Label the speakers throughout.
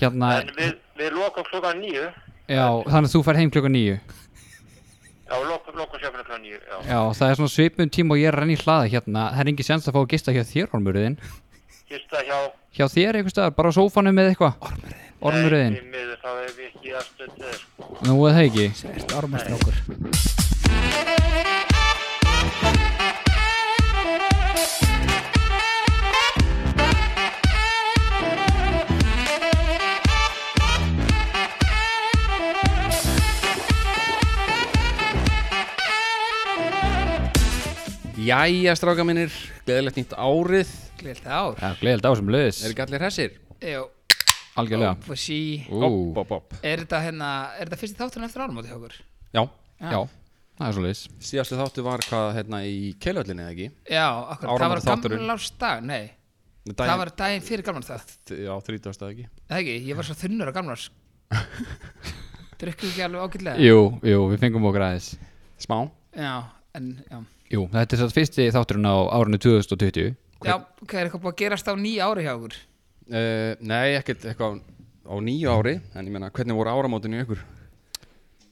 Speaker 1: hérna,
Speaker 2: En við, við lokum klukkan nýju.
Speaker 1: já, þannig að þú fær heim klukkan nýju
Speaker 2: Já, lokum, lokum sjöfnum klukkan nýju, já.
Speaker 1: Já, það er svona svipum tíma og ég er að renna í hlaða hérna Það er engin sens að fá að gista hjá þér, Ormurðin
Speaker 2: Gista hjá...
Speaker 1: Hjá þér einhvers staðar, bara á sófanum eða eitthvað Ormurðin
Speaker 2: Nei, því miður, þá hef ég ekki aðstönd þeir, sko.
Speaker 1: Nú er það ekki
Speaker 3: Svert ormastrákur
Speaker 4: Jæja, stráka minnir, gleðilegt nýtt árið
Speaker 3: Gleilt ár
Speaker 1: Já, gleðild á sem löðis
Speaker 4: Er ekki allir hressir?
Speaker 3: Jó,
Speaker 1: Algjörlega
Speaker 3: og sí
Speaker 1: Ú,
Speaker 4: Opp, opp, opp
Speaker 3: Er þetta hérna, er þetta fyrsti þátturinn eftir áramóti hjá okkur?
Speaker 4: Já,
Speaker 1: Já, það er svo löðis
Speaker 4: síðastu þáttu var hvað hérna í keilöllinni eða ekki?
Speaker 3: Já, akkur, það var
Speaker 4: Áramótaþátturinn.
Speaker 3: gamlárs dag, nei Það var daginn fyrir gamlárs það
Speaker 4: Já, þrítast eða ekki
Speaker 3: Það ekki, ég var svo þunnur á gamlárs Drukkum við ekki alveg ágætlega
Speaker 1: Jú, jú, við fengum okkur aðeins
Speaker 4: Smá
Speaker 3: Já, en, já
Speaker 1: Jú, þetta er satt fyrsti þátturinn á árinu 2020
Speaker 3: Já, ok, er eitthvað búið að gerast á nýja ári hjá okkur?
Speaker 4: uh, Nei, ekkert eitthvað á nýju ári En ég meina, hvernig voru áramótin í ykkur?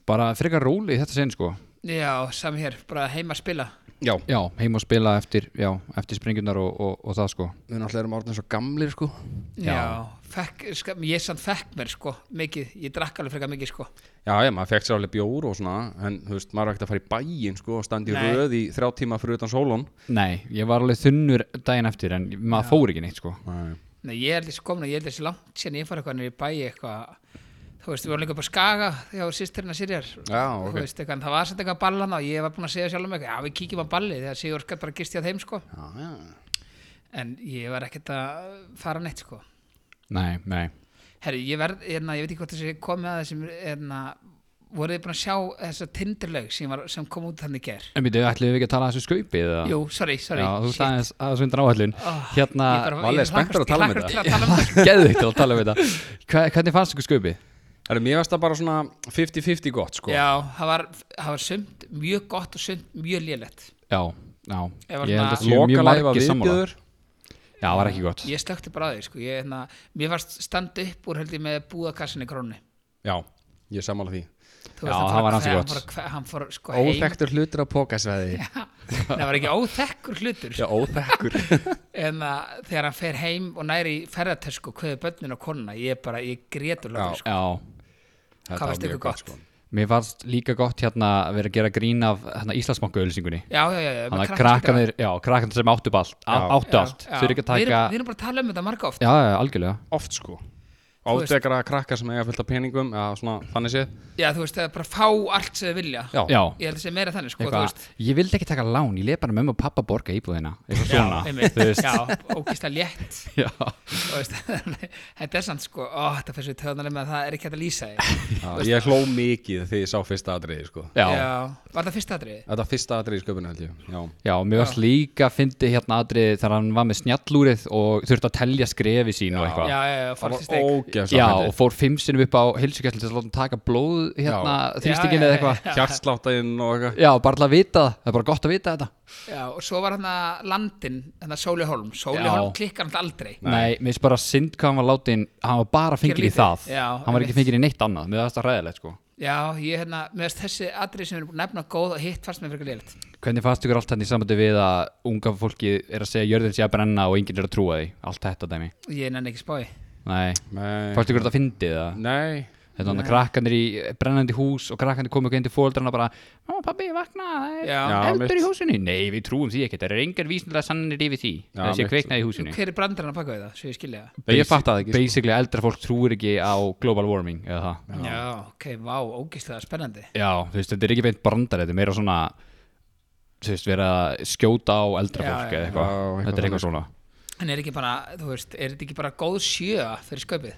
Speaker 1: Bara frekar róli í þetta sinn sko
Speaker 3: Já, sami hér, bara heima að spila
Speaker 4: Já
Speaker 1: Já, heim og spila eftir, já, eftir springjurnar og, og, og það sko
Speaker 4: Við náttúrulega erum orðin svo gamlir sko
Speaker 3: Já, fekk, ska, ég sann fekk mér sko, mikið, ég drakk alveg frekar mikið sko
Speaker 4: Já, já, maður fekk sér alveg bjór og svona En, þú veist, maður er ekkert að fara í bæinn sko Og standi í
Speaker 3: Nei.
Speaker 4: röð í þrjá tíma fyrir utan sólun
Speaker 1: Nei, ég var alveg þunnur daginn eftir en maður fór ekki neitt sko
Speaker 4: Nei
Speaker 3: Nei, ég held þessi komin að ég held þessi langt síðan ég fara eitthvað niður í bæi eitthvað Þú veist, við vorum líka upp á Skaga þegar sýstirna Sirjar
Speaker 4: Já, ok.
Speaker 3: Þú veist, eitthvað, en það var samt eitthvað ballan og ég var búin að segja sjálfum eitthvað Já, við kíkjum á balli þegar Sigur skall bara gisti á þeim sko
Speaker 4: Já, já
Speaker 3: En ég var ekkert að fara neitt sko
Speaker 1: Nei, nei
Speaker 3: Herri, ég verð, hérna, ég veit ekki hvort þessi komið að þessum hérna, Voruð þið búin að sjá þessa tindirlaug sem, var, sem kom út þannig ger
Speaker 1: En býtu, ætlum við ekki að tala að þessu skaupið eða?
Speaker 3: Jú, sorry, sorry
Speaker 1: Já, þú ert
Speaker 3: shit.
Speaker 1: aðeins aðeins undan áhællun
Speaker 3: Ah,
Speaker 1: Hérna,
Speaker 3: ég bara-
Speaker 4: Valli
Speaker 3: ég
Speaker 4: er spenntur að
Speaker 3: hlakkar-
Speaker 4: tala um
Speaker 3: ég hlakkar til
Speaker 4: þetta.
Speaker 3: að tala um þetta
Speaker 1: geðvikt að tala um þetta Hva, Hvernig fannst ykkur skaupið?
Speaker 4: Herru, mér varst það bara svona 50-50 gott sko
Speaker 3: Já, það var, það var sumt mjög gott og sumt mjög lélegt
Speaker 1: Já, já
Speaker 3: Ég var
Speaker 1: Ég held
Speaker 3: svona-
Speaker 1: að séu mjög
Speaker 4: Lokalæfa
Speaker 1: margir sammála
Speaker 4: viðbjöður.
Speaker 1: Já, það var ekki gott
Speaker 3: Ég slökkti bara á því, sko ég, hérna, Mér varst standa upp úr held ég með búðakassinni krónu
Speaker 4: Já, ég er sammála því
Speaker 3: Þú
Speaker 1: Já,
Speaker 3: hann
Speaker 1: það
Speaker 3: fór
Speaker 1: var
Speaker 3: að
Speaker 1: ansi
Speaker 3: kve-
Speaker 1: gott.
Speaker 3: Hann fór, að kve- hann fór sko heim
Speaker 4: Óþektur hlutur á pókasveði
Speaker 3: Nei, Það var ekki óþekkur hlutur
Speaker 4: Já, óþekkur
Speaker 3: En að þegar hann fer heim og næri í ferðatösku og kveði bönnin og konuna Ég bara, ég grétur
Speaker 4: Já.
Speaker 3: lögur sko.
Speaker 1: Já,
Speaker 4: Þetta
Speaker 3: Hvað
Speaker 4: var
Speaker 3: fannst
Speaker 4: mjög
Speaker 3: ykkur
Speaker 4: gott,
Speaker 3: gott?
Speaker 4: sko.
Speaker 1: mér fannst líka gott hérna að vera að gera grín af hérna, Íslandsbankaauðlýsingunni
Speaker 3: Já, já, já, já
Speaker 1: Þannig að krakkanir, já, krakkanir sem áttu upp allt á- Áttu allt, þau eru ekki að
Speaker 3: Við
Speaker 1: taka
Speaker 3: erum, við erum bara að tala um þetta marga oft
Speaker 1: Já, já, algjörlega
Speaker 4: Oft sko
Speaker 3: veist-
Speaker 4: Átekra krakka sem eiga fullt af peningum eða svona þannig séð
Speaker 3: Já, þú veist, það er bara að fá allt sem þau vilja
Speaker 4: Já,
Speaker 1: Já,
Speaker 3: Ég held að segja meira þannig, sko, þú
Speaker 1: eitthvað
Speaker 3: veist
Speaker 1: Ég vildi ekki taka lán, ég leið bara mömmu og pappa borga íbúðina Eitthvað svona
Speaker 3: einmitt,
Speaker 1: þú veist.
Speaker 3: já, ógist að létt
Speaker 1: Já,
Speaker 3: Þú veist, þetta er samt sko ó, þetta fyrir svo töðanlega með að það er ekki hægt að lýsa því.
Speaker 4: Já, Ég hló mikið þegar ég sá fyrsta atriði sko
Speaker 1: já
Speaker 3: var það fyrsta atriði?
Speaker 4: Þetta var fyrsta atriði í sköpunni held ég Já,
Speaker 1: Já, mér varst líka að fyndi hérna aðrið þegar hann var með snjallúrið og þurfti að telja skrefi sín og
Speaker 3: Já,
Speaker 1: eitthvað.
Speaker 3: já, já,
Speaker 4: það
Speaker 3: fórst í
Speaker 4: var
Speaker 3: steik
Speaker 4: ógeðslega
Speaker 1: Já, og
Speaker 4: fyndið.
Speaker 1: fór fimm sinnum upp á heilsugæslinn til að láta hann taka blóð hérna þrýstingin eða
Speaker 3: Já, já, já,
Speaker 1: eitthvað.
Speaker 4: Hjartsláttainn og eitthvað
Speaker 1: Já, bara til að vita það, það er bara gott að vita þetta.
Speaker 3: já, og svo var hann að landin hann að Sóli Holm, Sóli
Speaker 1: Já.
Speaker 3: Holm klikkar hann aldrei
Speaker 1: Nei, mér finnst bara synd hvað hann var látin, hann var bara fengið í
Speaker 3: lítið.
Speaker 1: það.
Speaker 3: Já,
Speaker 1: hann var ekki
Speaker 3: einmitt.
Speaker 1: fengið í neitt annað, mér finnst það ræðilegt sko.
Speaker 3: já, ég hérna, með þess þessi atrið sem er nefna góð og hitt fannst mér fyrir leilt
Speaker 1: Hvernig fannst ykkur allt þetta í sambandi við að unga fólki er að segja jörðin sé að brenna og enginn er að trúa því, allt þetta dæmi.
Speaker 3: ég nenni ekki spái
Speaker 1: Nei,
Speaker 4: Nei,
Speaker 1: fannst ykkur þetta fyndið það?
Speaker 4: Nei.
Speaker 1: Þetta hann að krakkanir í brennandi hús og krakkanir komu ekki inn til fóldrana bara Má pabbi, vakna, það er
Speaker 3: Já.
Speaker 4: Já,
Speaker 1: eldur
Speaker 4: mitt.
Speaker 1: í húsinu Nei, við trúum því ekki, það er engar vísinlega sannir yfir því
Speaker 4: Já,
Speaker 1: Það sé
Speaker 4: mitt.
Speaker 1: kveiknað í húsinu
Speaker 3: hver er brandarinn að baka við það, svo ég skilja það
Speaker 4: Ég fattaði ekki, sko.
Speaker 1: Basically, eldra fólk trúir ekki á global warming eða það
Speaker 3: já, ok, vá, ógislega spennandi
Speaker 1: Já, þú veist, þetta er ekki beint brandar, þetta er meira svona Þú veist, vera að skjóta á eldra
Speaker 3: Já,
Speaker 1: fólk
Speaker 3: já,
Speaker 1: eða
Speaker 3: já.
Speaker 1: eitthvað
Speaker 4: Já, eitthvað
Speaker 1: Þetta er eitthvað svona
Speaker 3: en er ekki bara, þú veist, er þetta ekki bara góð sjö fyrir sköpið,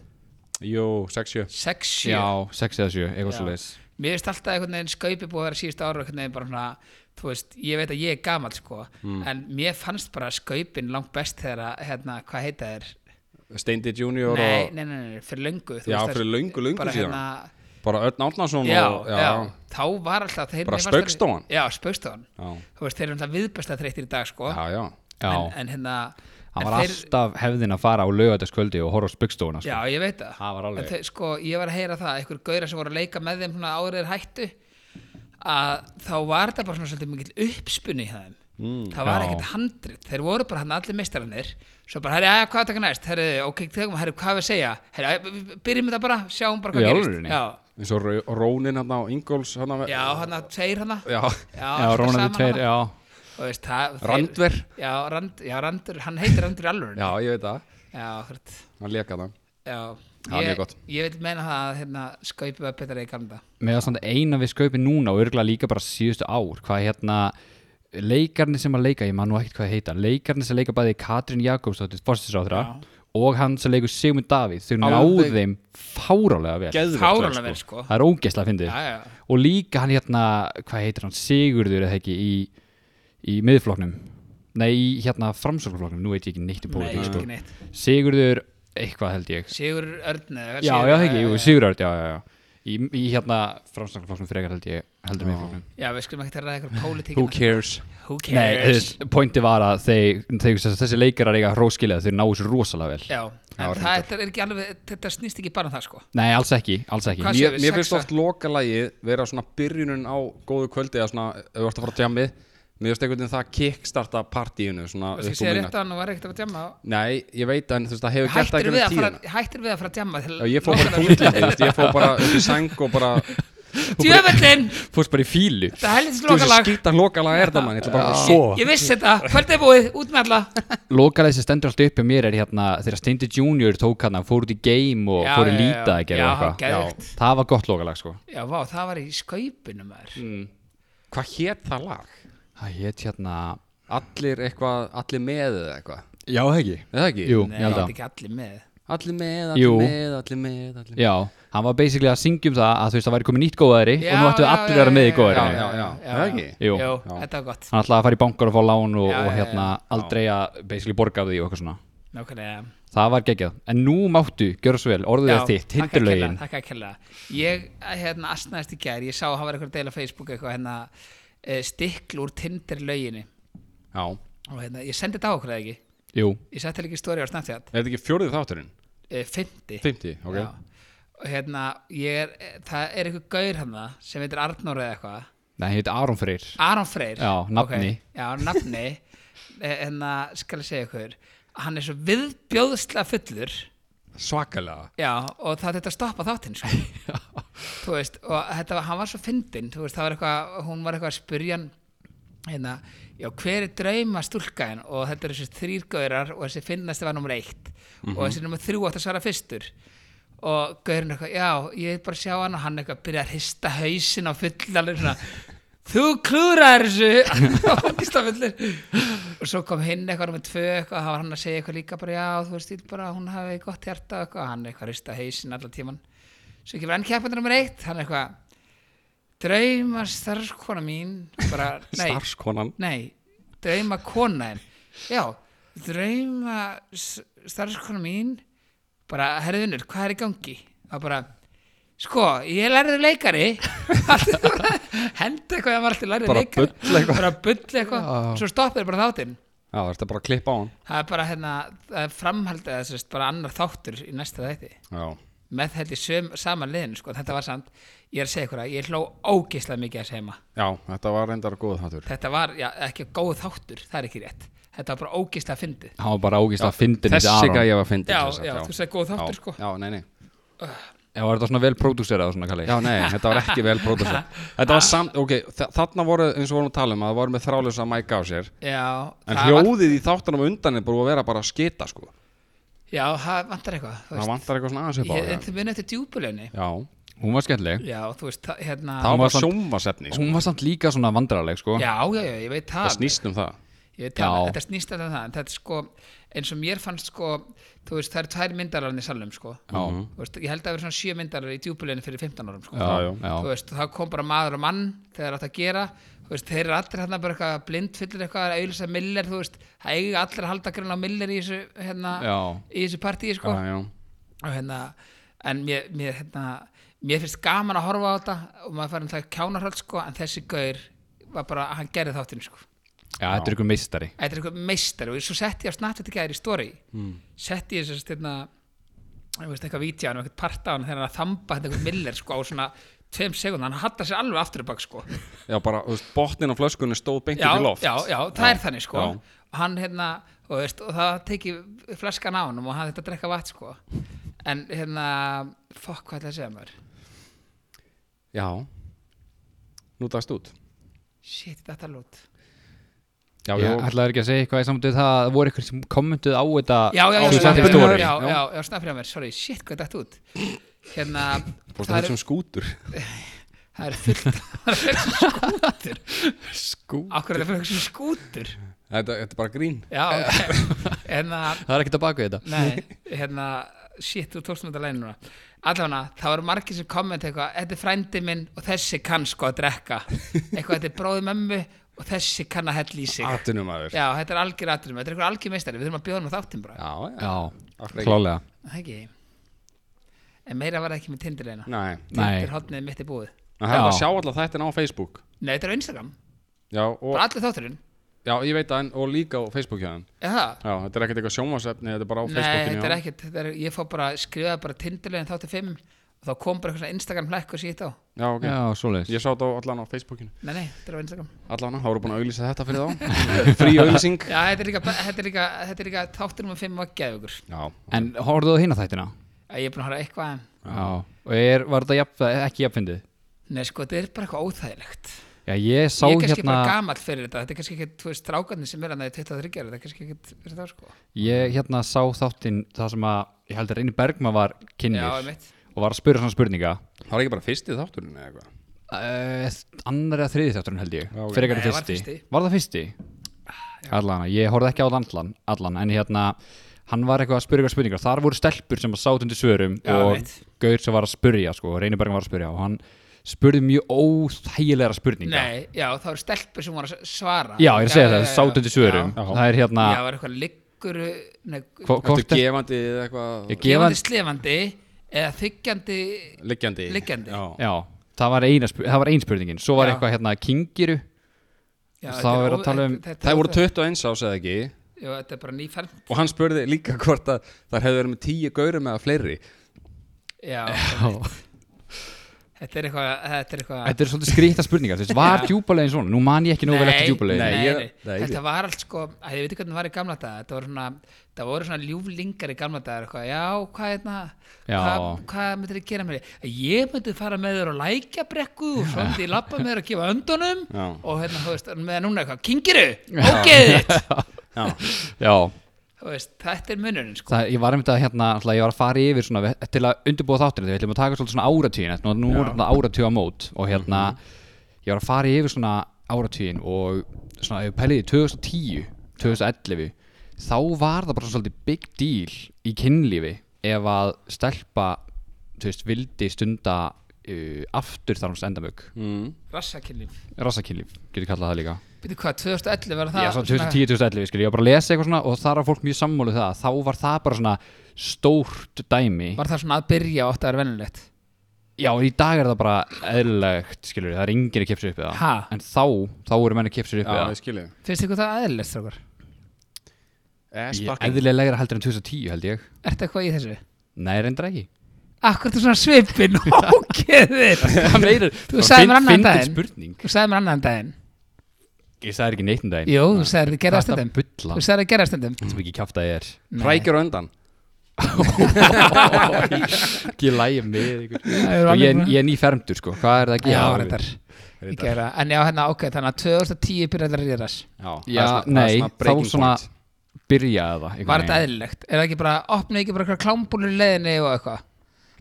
Speaker 4: Jú, 6-7
Speaker 3: sex sjö
Speaker 1: Já, 6 eða 7, eitthvað svo leis
Speaker 3: Mér finnst alltaf einhvern veginn skaupi búið að vera síðust ára einhvern veginn bara svona, þú veist, ég veit að ég er gamall sko,
Speaker 4: Mm.
Speaker 3: en mér fannst bara skaupin langt best þegar að, hérna, hvað heita þér?
Speaker 4: Steindi Junior
Speaker 3: Nei,
Speaker 4: og
Speaker 3: nei, nei, nei, fyrir löngu. þú
Speaker 4: Já,
Speaker 3: veist, það-
Speaker 4: fyrir löngu, löngu
Speaker 3: bara,
Speaker 4: síðan.
Speaker 3: Hérna,
Speaker 4: bara Örn Árnason
Speaker 3: já,
Speaker 4: og-
Speaker 3: já, þá var alltaf þeir, mér
Speaker 4: Bara
Speaker 3: fannst þeir-
Speaker 4: Spaugstofan?
Speaker 3: Já, spaukstofan.
Speaker 4: Já,
Speaker 3: Þú veist, þeir eru alltaf viðbesta þreyttir í dag sko,
Speaker 4: já, já
Speaker 1: Já,
Speaker 3: En, en hérna,
Speaker 1: Hann
Speaker 3: En
Speaker 1: var
Speaker 3: þeir-
Speaker 1: alltaf hefðin að fara á laugardagskvöldi og horfa á spöggstofuna
Speaker 3: Já,
Speaker 1: sko.
Speaker 3: ég veit það.
Speaker 1: Það var alveg-
Speaker 3: En þau- Sko, ég var að heyra það, einhver gauðra sem voru að leika með þeim svona áriðir hættu, að þá var þetta bara svona svolítið mikill uppspunni í þeim. Mm, það var
Speaker 1: Já.
Speaker 3: ekkert handrit. Þeir voru bara hann allir meistararnir, svo bara, herri, aðja, hvað er taka næst? Herri, ok, tegum, herri, hvað er að segja? Herri, æ, við- við byrjum þetta bara, sjáum bara
Speaker 1: Í
Speaker 3: hvað gerist.
Speaker 1: alvörunni?
Speaker 3: Já,
Speaker 4: eins og Rau- Rónin hann á Ingolls hann á
Speaker 3: já, hann að segir hann að.
Speaker 4: já.
Speaker 1: já Rónandi tveir, já
Speaker 3: Veist, það, þeir-
Speaker 4: Randver
Speaker 3: Já, rand, já, randur, hann heitir randur í alvörunni.
Speaker 4: Já, ég veit það,
Speaker 3: Já, hrætt.
Speaker 4: hann leka það
Speaker 3: Já,
Speaker 4: Það var mjög gott.
Speaker 3: ég vil meina það að hérna, skaupið var betra í gamla daga.
Speaker 1: með að standa eina við skaupin núna og örgulega líka bara síðustu ár hvað hérna leikarnir sem að leika, ég man nú ekkert hvað þeir heita leikarnir sem leika bæði Katrín Jakobsdóttir fórstisáþra og hann sem leikur Sigmund Davíð, þau náðu
Speaker 4: Alveg-
Speaker 1: þeim fárálega vel
Speaker 4: Geðveikt
Speaker 3: Fárálega vel, sko.
Speaker 1: það er ógeðslega að fyndi
Speaker 3: Já, já.
Speaker 1: og líka hann hérna, hvað heitir hann Sigurður eða ekki í, í miðfloknum nei, í hérna framsóknarfloknum, nú veit ég ekki neitt um
Speaker 3: Nei,
Speaker 1: pólitík
Speaker 3: ekki
Speaker 1: sko.
Speaker 3: neitt.
Speaker 1: Sigurður, eitthvað held ég
Speaker 3: Sigur Örn eða eh,
Speaker 1: já,
Speaker 3: Sigur-
Speaker 1: já, það ekki, jú,
Speaker 3: já,
Speaker 1: Sigurörd, já, já, já í, í hérna framstaknaflokksum frekar held ég heldur mig flokkum
Speaker 3: Já, við skulum ekki að ræða eitthvað pólitík. hérna.
Speaker 4: Who cares?
Speaker 3: Who
Speaker 1: Nei, þú
Speaker 3: cares?
Speaker 1: veist, pointi var að þeir, þeir, þessi, þessi leikarar eiga hróskilja þeir náu svo rosalega vel
Speaker 3: já, en það, þetta er ekki alveg, þetta snýst ekki bara um það, sko.
Speaker 1: Nei, alls ekki, alls ekki
Speaker 3: Hvað-
Speaker 1: Mjög-
Speaker 3: segir
Speaker 4: Mér,
Speaker 3: við,
Speaker 4: mér finnst
Speaker 3: sexa?
Speaker 4: oft lokalagið vera svona byrjunin á góðu kvöldi eða svona, ef þú ert að fara á jammið mér finnst einhvern veginn það kickstarta partíinu svona
Speaker 3: Þú veist, ég
Speaker 4: upp úr
Speaker 3: segi
Speaker 4: miðnætti.
Speaker 3: rétt að hann var ekkert að fara að djamma. á-
Speaker 4: Nei, ég veit en þú veist, það hefur gert það
Speaker 3: Hættir við,
Speaker 4: einhvern
Speaker 3: að
Speaker 4: tíðina
Speaker 3: fara- hættir við að fara að djamma til...
Speaker 4: Já, ég fór bara í þunglindi, þú veist, ég fór bara upp í sæng og bara
Speaker 3: Djöfellin!
Speaker 1: Fórst bara í fílu
Speaker 3: Þetta er helvitist
Speaker 4: Þú veist,
Speaker 3: lokalag.
Speaker 4: skýta lokalag er það mann, ég ætla bara að sofa
Speaker 3: Ég vissi þetta. Kvöldið er búið, út með alla.
Speaker 1: Lokalega sem stendur alltaf upp hjá mér er hérna þegar Steindi Junior tók hann fór út í game og
Speaker 3: Já,
Speaker 1: fór í
Speaker 3: já, já,
Speaker 1: líta
Speaker 3: já.
Speaker 1: að gera
Speaker 3: Já,
Speaker 1: eitthvað
Speaker 3: geðveikt.
Speaker 1: Það var gott lokalag sko
Speaker 3: Já, vá, það var í skaupinu, maður.
Speaker 4: Hvað hét það lag?
Speaker 1: Það hétt hérna
Speaker 4: Allir eitthvað, allir með eða eitthvað
Speaker 1: Já, ekki
Speaker 4: Er það ekki?
Speaker 1: Jú,
Speaker 3: Nei,
Speaker 1: ég held
Speaker 3: þetta
Speaker 1: að
Speaker 3: er ekki allir með.
Speaker 4: Allir með, allir
Speaker 1: Jú.
Speaker 4: með, allir með, allir með
Speaker 1: Já, hann var basically að syngja um það að þú veist það væri komið nýtt góðæri og
Speaker 3: Já,
Speaker 1: nú ættu
Speaker 3: já,
Speaker 1: allir
Speaker 3: já,
Speaker 1: að vera með í
Speaker 3: já,
Speaker 1: góðæri
Speaker 4: já, já, er það ekki?
Speaker 1: Jú.
Speaker 3: Jú,
Speaker 4: Já.
Speaker 3: þetta var gott.
Speaker 1: hann ætlaði að fara í bankar og fá lán og,
Speaker 3: Já,
Speaker 1: og
Speaker 3: já,
Speaker 1: hérna
Speaker 3: já.
Speaker 1: aldrei að basically borga af því og eitthvað svona
Speaker 3: Nákvæmlega.
Speaker 1: það var geggjað, en nú máttu, gjör svo vel orðið
Speaker 3: Já,
Speaker 1: er þitt,
Speaker 3: takk að
Speaker 1: hinderlögin
Speaker 3: kærlega, Takk að kella Ég hérna asnaðist í gær Ég sá að hann var eitthvað að deila á Facebook eitthvað hérna eh, stikl úr Tinder löginni
Speaker 4: Já
Speaker 3: og hérna ég sendi þetta á okkur eða ekki
Speaker 1: Jú,
Speaker 3: Ég setti líka í stóri á Snapchat
Speaker 4: Er þetta ekki fjórið þátturinn?
Speaker 3: eh, 50
Speaker 4: 50, ok
Speaker 3: Já. og hérna ég er eh, það er eitthvað gaur hann sem heitir Arnór eða eitthvað
Speaker 1: nei, hétt Aron Freyr
Speaker 3: Aron Freyr
Speaker 1: Já,
Speaker 3: ok.
Speaker 1: nafni.
Speaker 3: Já, nafni Eh, hérna skal ég segja ykkur hann er svo viðbjóðslega fullur
Speaker 4: Svakalega
Speaker 3: Já, og það þetta stoppa þáttinn sko. þú veist, og þetta var, hann var svo fyndinn, þú veist, það var eitthvað hún var eitthvað að spyrja hann hérna, já, hver er drauma stúlkaðin og þetta eru þessi þrýrgaurar og þessi finnasti var nummer eitt og þessi nummer þrjú átt að svara fyrstur og gaurinn eitthvað, já, ég vil bara sjá hann og hann eitthvað byrja að hrista hausin á full alveg svona, þú klúðraðir þessu og hann hrista fullur og svo kom hinn eitthvað nummer tvö eitthvað, það var hann að segja eitthvað líka bara, já, þú veist, ég vil bara, að hún hafi gott hjarta og eitthvað, og hann eitthvað hrista hausin allan tíman svo kemur enn keppandi nummer eitt, hann eitthvað drauma starfskona mín bara, nei,
Speaker 4: Starfskonan
Speaker 3: Nei, drauma konaðin Já, drauma s- starfskona mín bara, herðunur, hvað er í gangi? Það bara, sko, ég lærði leikari Hendi eitthvað, það var alltaf lærði
Speaker 4: Bara
Speaker 3: leikari
Speaker 4: bulla eitthvað.
Speaker 3: Bara bull eitthvað Svo stoppaði bara þáttinn
Speaker 4: Já, þetta er bara að klippa á hann
Speaker 3: Það er bara, hérna, það er framhaldið eða sérst, bara annar þáttur í næsta þætti
Speaker 4: Já
Speaker 3: með þetta í söm, saman liðinu sko, þetta var samt, ég er að segja ykkur að ég hló ógeislega mikið að segja maður
Speaker 4: Já, þetta var reyndar góð þáttur
Speaker 3: þetta var já, ekki góð þáttur, það er ekki rétt þetta var bara ógislega fyndið
Speaker 1: hann var bara ágist að fyndin þessi
Speaker 4: Þessi
Speaker 1: Aron
Speaker 4: gæði
Speaker 1: ég...
Speaker 4: ég var að fyndi
Speaker 3: já, já, þú segir góð þáttur sko
Speaker 4: Já, nei, nei
Speaker 1: var þetta svona vel pródúserað og svona kallið
Speaker 4: Já, nei, þetta var ekki vel pródúsa Þetta var samt, ok, þa- þarna voru eins og vorum að tala um að það voru með þrálega mæk á sér
Speaker 3: já,
Speaker 4: En
Speaker 3: það var,
Speaker 4: hljóðið í þáttunum á undan er búið að vera bara að skita sko
Speaker 3: já, það vantar eitthvað þú
Speaker 4: Það
Speaker 3: veist,
Speaker 4: vantar eitthvað svona aðeins upp á
Speaker 3: ég, en
Speaker 4: það
Speaker 3: þið muni eftir djúpulunni
Speaker 4: Já,
Speaker 1: hún var skemmtileg,
Speaker 3: já, þú veist, það, hérna
Speaker 4: það var
Speaker 1: Hún var
Speaker 4: bara
Speaker 1: samt-
Speaker 4: sjómasefni sko.
Speaker 1: hún var samt líka svona vandrarleg sko
Speaker 3: já, já, já, ég veit það
Speaker 4: Það snýst um það
Speaker 3: Ég veit það,
Speaker 1: Já.
Speaker 3: þetta snýst alltaf um það en þetta er sko, eins og mér fannst sko þú veist, það eru tvær myndararinn í salnum sko Þú veist, ég held að það eru svona sjö myndarar í djúpuleginu fyrir 15 árum sko.
Speaker 1: Já, já, já.
Speaker 3: Þú veist, og það kom bara maður og mann þegar átt að gera Þú veist, þeir eru allir hérna bara eitthvað blind fyllir eitthvað að auðvitað Miller þú veist, það eiga allir að halda grunna á Miller í þessu, hérna,
Speaker 1: Já.
Speaker 3: í þessu partíi sko.
Speaker 4: Já, já
Speaker 3: og hérna en mér, mér, hérna, mér finnst gaman að horfa á þetta og maður fær um það kjánarhöld sko, en þessi gaur var bara, hann gerði þáttinn sko.
Speaker 1: Já, þetta er ykkur meistari
Speaker 3: Þetta er eitthvað meistar og svo setti ég á Snapchat í gæðir í story mm. setti ég þess að ég veist eitthvað vítja hann og eitthvað parta hann þegar hann er að þamba hann eitthvað miller sko á svona tveim sekund, hann hattar sér alveg aftur í bak sko
Speaker 4: Já, bara, þú veist, botnin á flöskunni stóð beint
Speaker 3: já,
Speaker 4: upp í loft
Speaker 3: já, já, það er þannig sko
Speaker 4: já.
Speaker 3: og hann hérna, og, veist, og það teki flaskan á hann og hann þetta að drekka vatn sko en hérna, fokk hvað ætla að segja maður
Speaker 4: Já Nú dagst út
Speaker 3: shit, þetta er lút
Speaker 4: Já,
Speaker 1: Ég
Speaker 4: já,
Speaker 1: ætlaði ekki að segja eitthvað í samtöð það að voru ykkur sem kommentuð á þetta
Speaker 3: já, já, já,
Speaker 1: á
Speaker 4: Þú
Speaker 3: já,
Speaker 4: sendir
Speaker 1: Snapchat
Speaker 3: já,
Speaker 4: story.
Speaker 1: story
Speaker 3: já, já, já, snappir á mér, sorry, shit hvað þetta út hérna,
Speaker 4: fórstu um
Speaker 3: það
Speaker 4: þetta
Speaker 3: er,
Speaker 4: sem skútur
Speaker 3: það er fullt það er fullt skútur
Speaker 1: Skú
Speaker 3: akkur er það fullt skútur
Speaker 4: Þetta, þetta er bara grín
Speaker 3: já, ok hérna,
Speaker 1: Það er ekkert að baka þetta
Speaker 3: Nei, hérna, shit, þú tókst mér þetta læn núna Allána, það var margir sem komment eitthvað, þetta er frændi minn og þessi kann sko að drekka eitthvað, þetta er bróði mömmu og þessi kann að hella í sig
Speaker 4: Atunum aður Já,
Speaker 3: Já, þetta er algjör aðurum, þetta er eitthvað algjör meistari við þurfum að bjóða hann á þáttum bara
Speaker 4: já,
Speaker 1: Já,
Speaker 4: Akkur ekki.
Speaker 1: klálega
Speaker 3: Það ekki En meira var það ekki með Tinder eina
Speaker 4: Nei,
Speaker 1: Nei,
Speaker 3: Tinder hotnið mitt er búið
Speaker 4: það hefði
Speaker 1: Já.
Speaker 4: að sjá alla þetta á Facebook
Speaker 3: Nei, þetta er á Instagram,
Speaker 4: Já, og,
Speaker 3: bara allir þátturinn
Speaker 4: já ég veit það, en- og líka á Facebook hjá þeim
Speaker 3: Er það?
Speaker 4: Já, þetta er ekkert eitthvað sjónvarsefni, þetta er bara á
Speaker 3: Nei,
Speaker 4: Facebookinu
Speaker 3: þetta er
Speaker 4: já.
Speaker 3: ekkert, þetta er, ég fór bara, skrifaði bara Tinderlegin þáttu 5 og þá kom bara eitthvað svona Instagram hlækku sítt á
Speaker 4: Já, ok,
Speaker 1: já, svoleiðis
Speaker 4: ég sá þetta á- allan á Facebookinu
Speaker 3: Nei, nei, þetta er á Instagram
Speaker 4: Allan, þá voru búin að auglýsa þetta fyrir þá Frí auglýsing
Speaker 3: Já, þetta er líka, þetta er líka, þetta er líka þáttur um fimm og gæði ykkur.
Speaker 4: Já,
Speaker 1: En horfðu á hina þættina?
Speaker 3: Ég er búin að horfa á eitthvað en,
Speaker 1: Já Og er, var þetta jafn, ekki jafnfindið?
Speaker 3: nei sko, þetta er bara eitthvað óþægilegt.
Speaker 1: Já, ég sá
Speaker 3: ég er kannski
Speaker 1: hérna
Speaker 3: bara gamall fyrir þetta, þetta er kannski ekki, þú veist, strákarnir sem er hann að 23 ára, þetta er kannski ekki fyrir það sko.
Speaker 1: Ég hérna sá þáttinn það sem að Ég held að Reyni Bergma var
Speaker 3: Já,
Speaker 1: kynnir
Speaker 3: einmitt.
Speaker 1: Og var að spyrja svona spurninga
Speaker 4: það var ekki bara fyrsti þátturinn eða eitthvað
Speaker 1: uh, Annari að þriði þátturinn held ég
Speaker 4: Já, ok.
Speaker 1: Frekar
Speaker 3: Nei,
Speaker 1: en
Speaker 3: var
Speaker 1: fyrsti
Speaker 3: fyrsti.
Speaker 1: Var það fyrsti? Allan, ég horfði ekki á það allan, allan En hérna, hann var eitthvað að spyrja eitthvað spurningar Þar voru stelpur sem að sátt undir svörum
Speaker 3: Já,
Speaker 1: Og
Speaker 3: einmitt.
Speaker 1: Gaur sem var að spyrja sko, Reyni Bergma var að spyrja Og hann spurði mjög óþægilega spurninga
Speaker 3: Nei, já, þá eru stelpur sem voru að svara.
Speaker 1: Já, ég er að segja
Speaker 3: já,
Speaker 1: það,
Speaker 3: já, já.
Speaker 1: sátundi svörum
Speaker 3: Já,
Speaker 1: Það er hérna
Speaker 3: já var eitthvað liggur, nei,
Speaker 1: hvo-
Speaker 4: Hvort
Speaker 1: hvort er
Speaker 4: gefandi eða eitthvað
Speaker 1: Ég gefa
Speaker 3: gefandi slefandi eða þykjandi,
Speaker 4: Liggjandi
Speaker 3: Liggjandi.
Speaker 4: Já,
Speaker 1: Já, það var, eina, spu- það var ein spurningin Svo var
Speaker 3: Já.
Speaker 1: eitthvað hérna kingiru
Speaker 3: já,
Speaker 1: Þá
Speaker 3: þetta
Speaker 1: er að
Speaker 3: ó-
Speaker 1: tala um-
Speaker 3: þetta- þetta
Speaker 4: Það
Speaker 3: er
Speaker 4: voru
Speaker 3: óþægilegt.
Speaker 4: 21 ás eða ekki
Speaker 3: Já, þetta er bara nýfermt.
Speaker 4: og hann spurði líka hvort að þar hefði verið með 10 gaurum eða fleiri
Speaker 3: Já, einmitt. þetta er eitthvað, þetta er eitthvað.
Speaker 1: Þetta er svolítið skrýta spurningar þú veist, Var djúbulegin svona? Nú man ég ekki nú vel eftir
Speaker 3: nei,
Speaker 1: djúbulegin
Speaker 4: Nei, ég-
Speaker 3: nei,
Speaker 4: nei,
Speaker 3: þetta
Speaker 4: ég-
Speaker 3: var allt sko að ég veit ekki hvernig það var í gamla daga þetta voru svona, það voru svona ljúflingar í gamla daga eitthvað, já, hvað er það
Speaker 1: Já.
Speaker 3: hvað, hvað myndir þið gera með því ég myndi fara með þér á lækjabrekku og svo myndi ég lappa með þér að gefa öndunum
Speaker 4: Já.
Speaker 3: og hérna, þú veist, með núna eitthvað kingiru, ógeðið
Speaker 4: Já,
Speaker 1: Já,
Speaker 3: þú veist, þetta er mununin sko
Speaker 1: það, ég var einmitt að hérna alltaf, Ég var að fara yfir svona ve- Til að undirbúa þáttir Við ætlum að taka svolítið svona áratugin Nú, nú er þetta áratuga mót Og hérna Ég var að fara yfir svona áratugin Og svona ef við pæliði 2010 2011 Þá var það bara svolítið big deal Í kynlífi Ef að stelpa Þú veist, vildi stunda uh, Aftur þar hans endamögg
Speaker 3: rassakynlíf,
Speaker 1: Rassakynlíf, getur kallað það líka
Speaker 3: veitir hvað, 2011 var það
Speaker 1: Já, svona 2010, 2011, skil, ég var bara að lesa eitthvað svona og þar var fólk mjög sammálið það, þá var það bara svona stórt dæmi
Speaker 3: var það svona að byrja og átt að vera venulegt
Speaker 1: Já, í dag er það bara eðlilegt, skilur, það er enginn að kipsa upp við það
Speaker 3: Ha?
Speaker 1: En þá, þá voru menn að kipsa upp
Speaker 4: já
Speaker 1: við
Speaker 4: ég
Speaker 1: það
Speaker 4: skilji
Speaker 3: finnst þið það aðeinlegt, strókar?
Speaker 4: Eh,
Speaker 1: Ég- Eðlilegra heldur en 2010 held ég
Speaker 3: Ertu eitthvað í þessu?
Speaker 1: Nei, reyndar ekki
Speaker 3: Akkur þú svona svipin, ógeðið
Speaker 1: Það meinar-
Speaker 3: Þú
Speaker 1: það
Speaker 3: sagðir
Speaker 1: var
Speaker 3: mér annan
Speaker 1: fyndin-
Speaker 3: daginn.
Speaker 1: fyndin spurning
Speaker 3: Þú sagði mér annan daginn
Speaker 1: Ég sagði ekki neitt um daginn
Speaker 3: Jú, þú sagði það gerða
Speaker 1: Þetta
Speaker 3: stundum
Speaker 1: bulla
Speaker 3: Þú sagði það gerða stundum
Speaker 1: sem ekki kjafta er
Speaker 4: Hrækir á undan
Speaker 1: Ekki lægja með ykkur
Speaker 3: Það eru
Speaker 1: Sko, ég,
Speaker 3: alveg-
Speaker 1: ég er nýfermdur sko, hvað er það að
Speaker 3: Já,
Speaker 1: gera?
Speaker 3: reyndar Ég gerða En já, hérna, ok, þannig að 2010 byrjaði þetta að rýðast
Speaker 4: Já, það er
Speaker 1: Já,
Speaker 4: svona- það er
Speaker 1: nei,
Speaker 4: svona
Speaker 1: þá
Speaker 4: breaking
Speaker 1: svona
Speaker 4: point.
Speaker 1: byrjaði það einhvern
Speaker 3: Var þetta
Speaker 1: veginn.
Speaker 3: eðlilegt? Er það ekki bara, opnaði ekki bara eitthvað klámbúlur í leiðinni og eitthvað?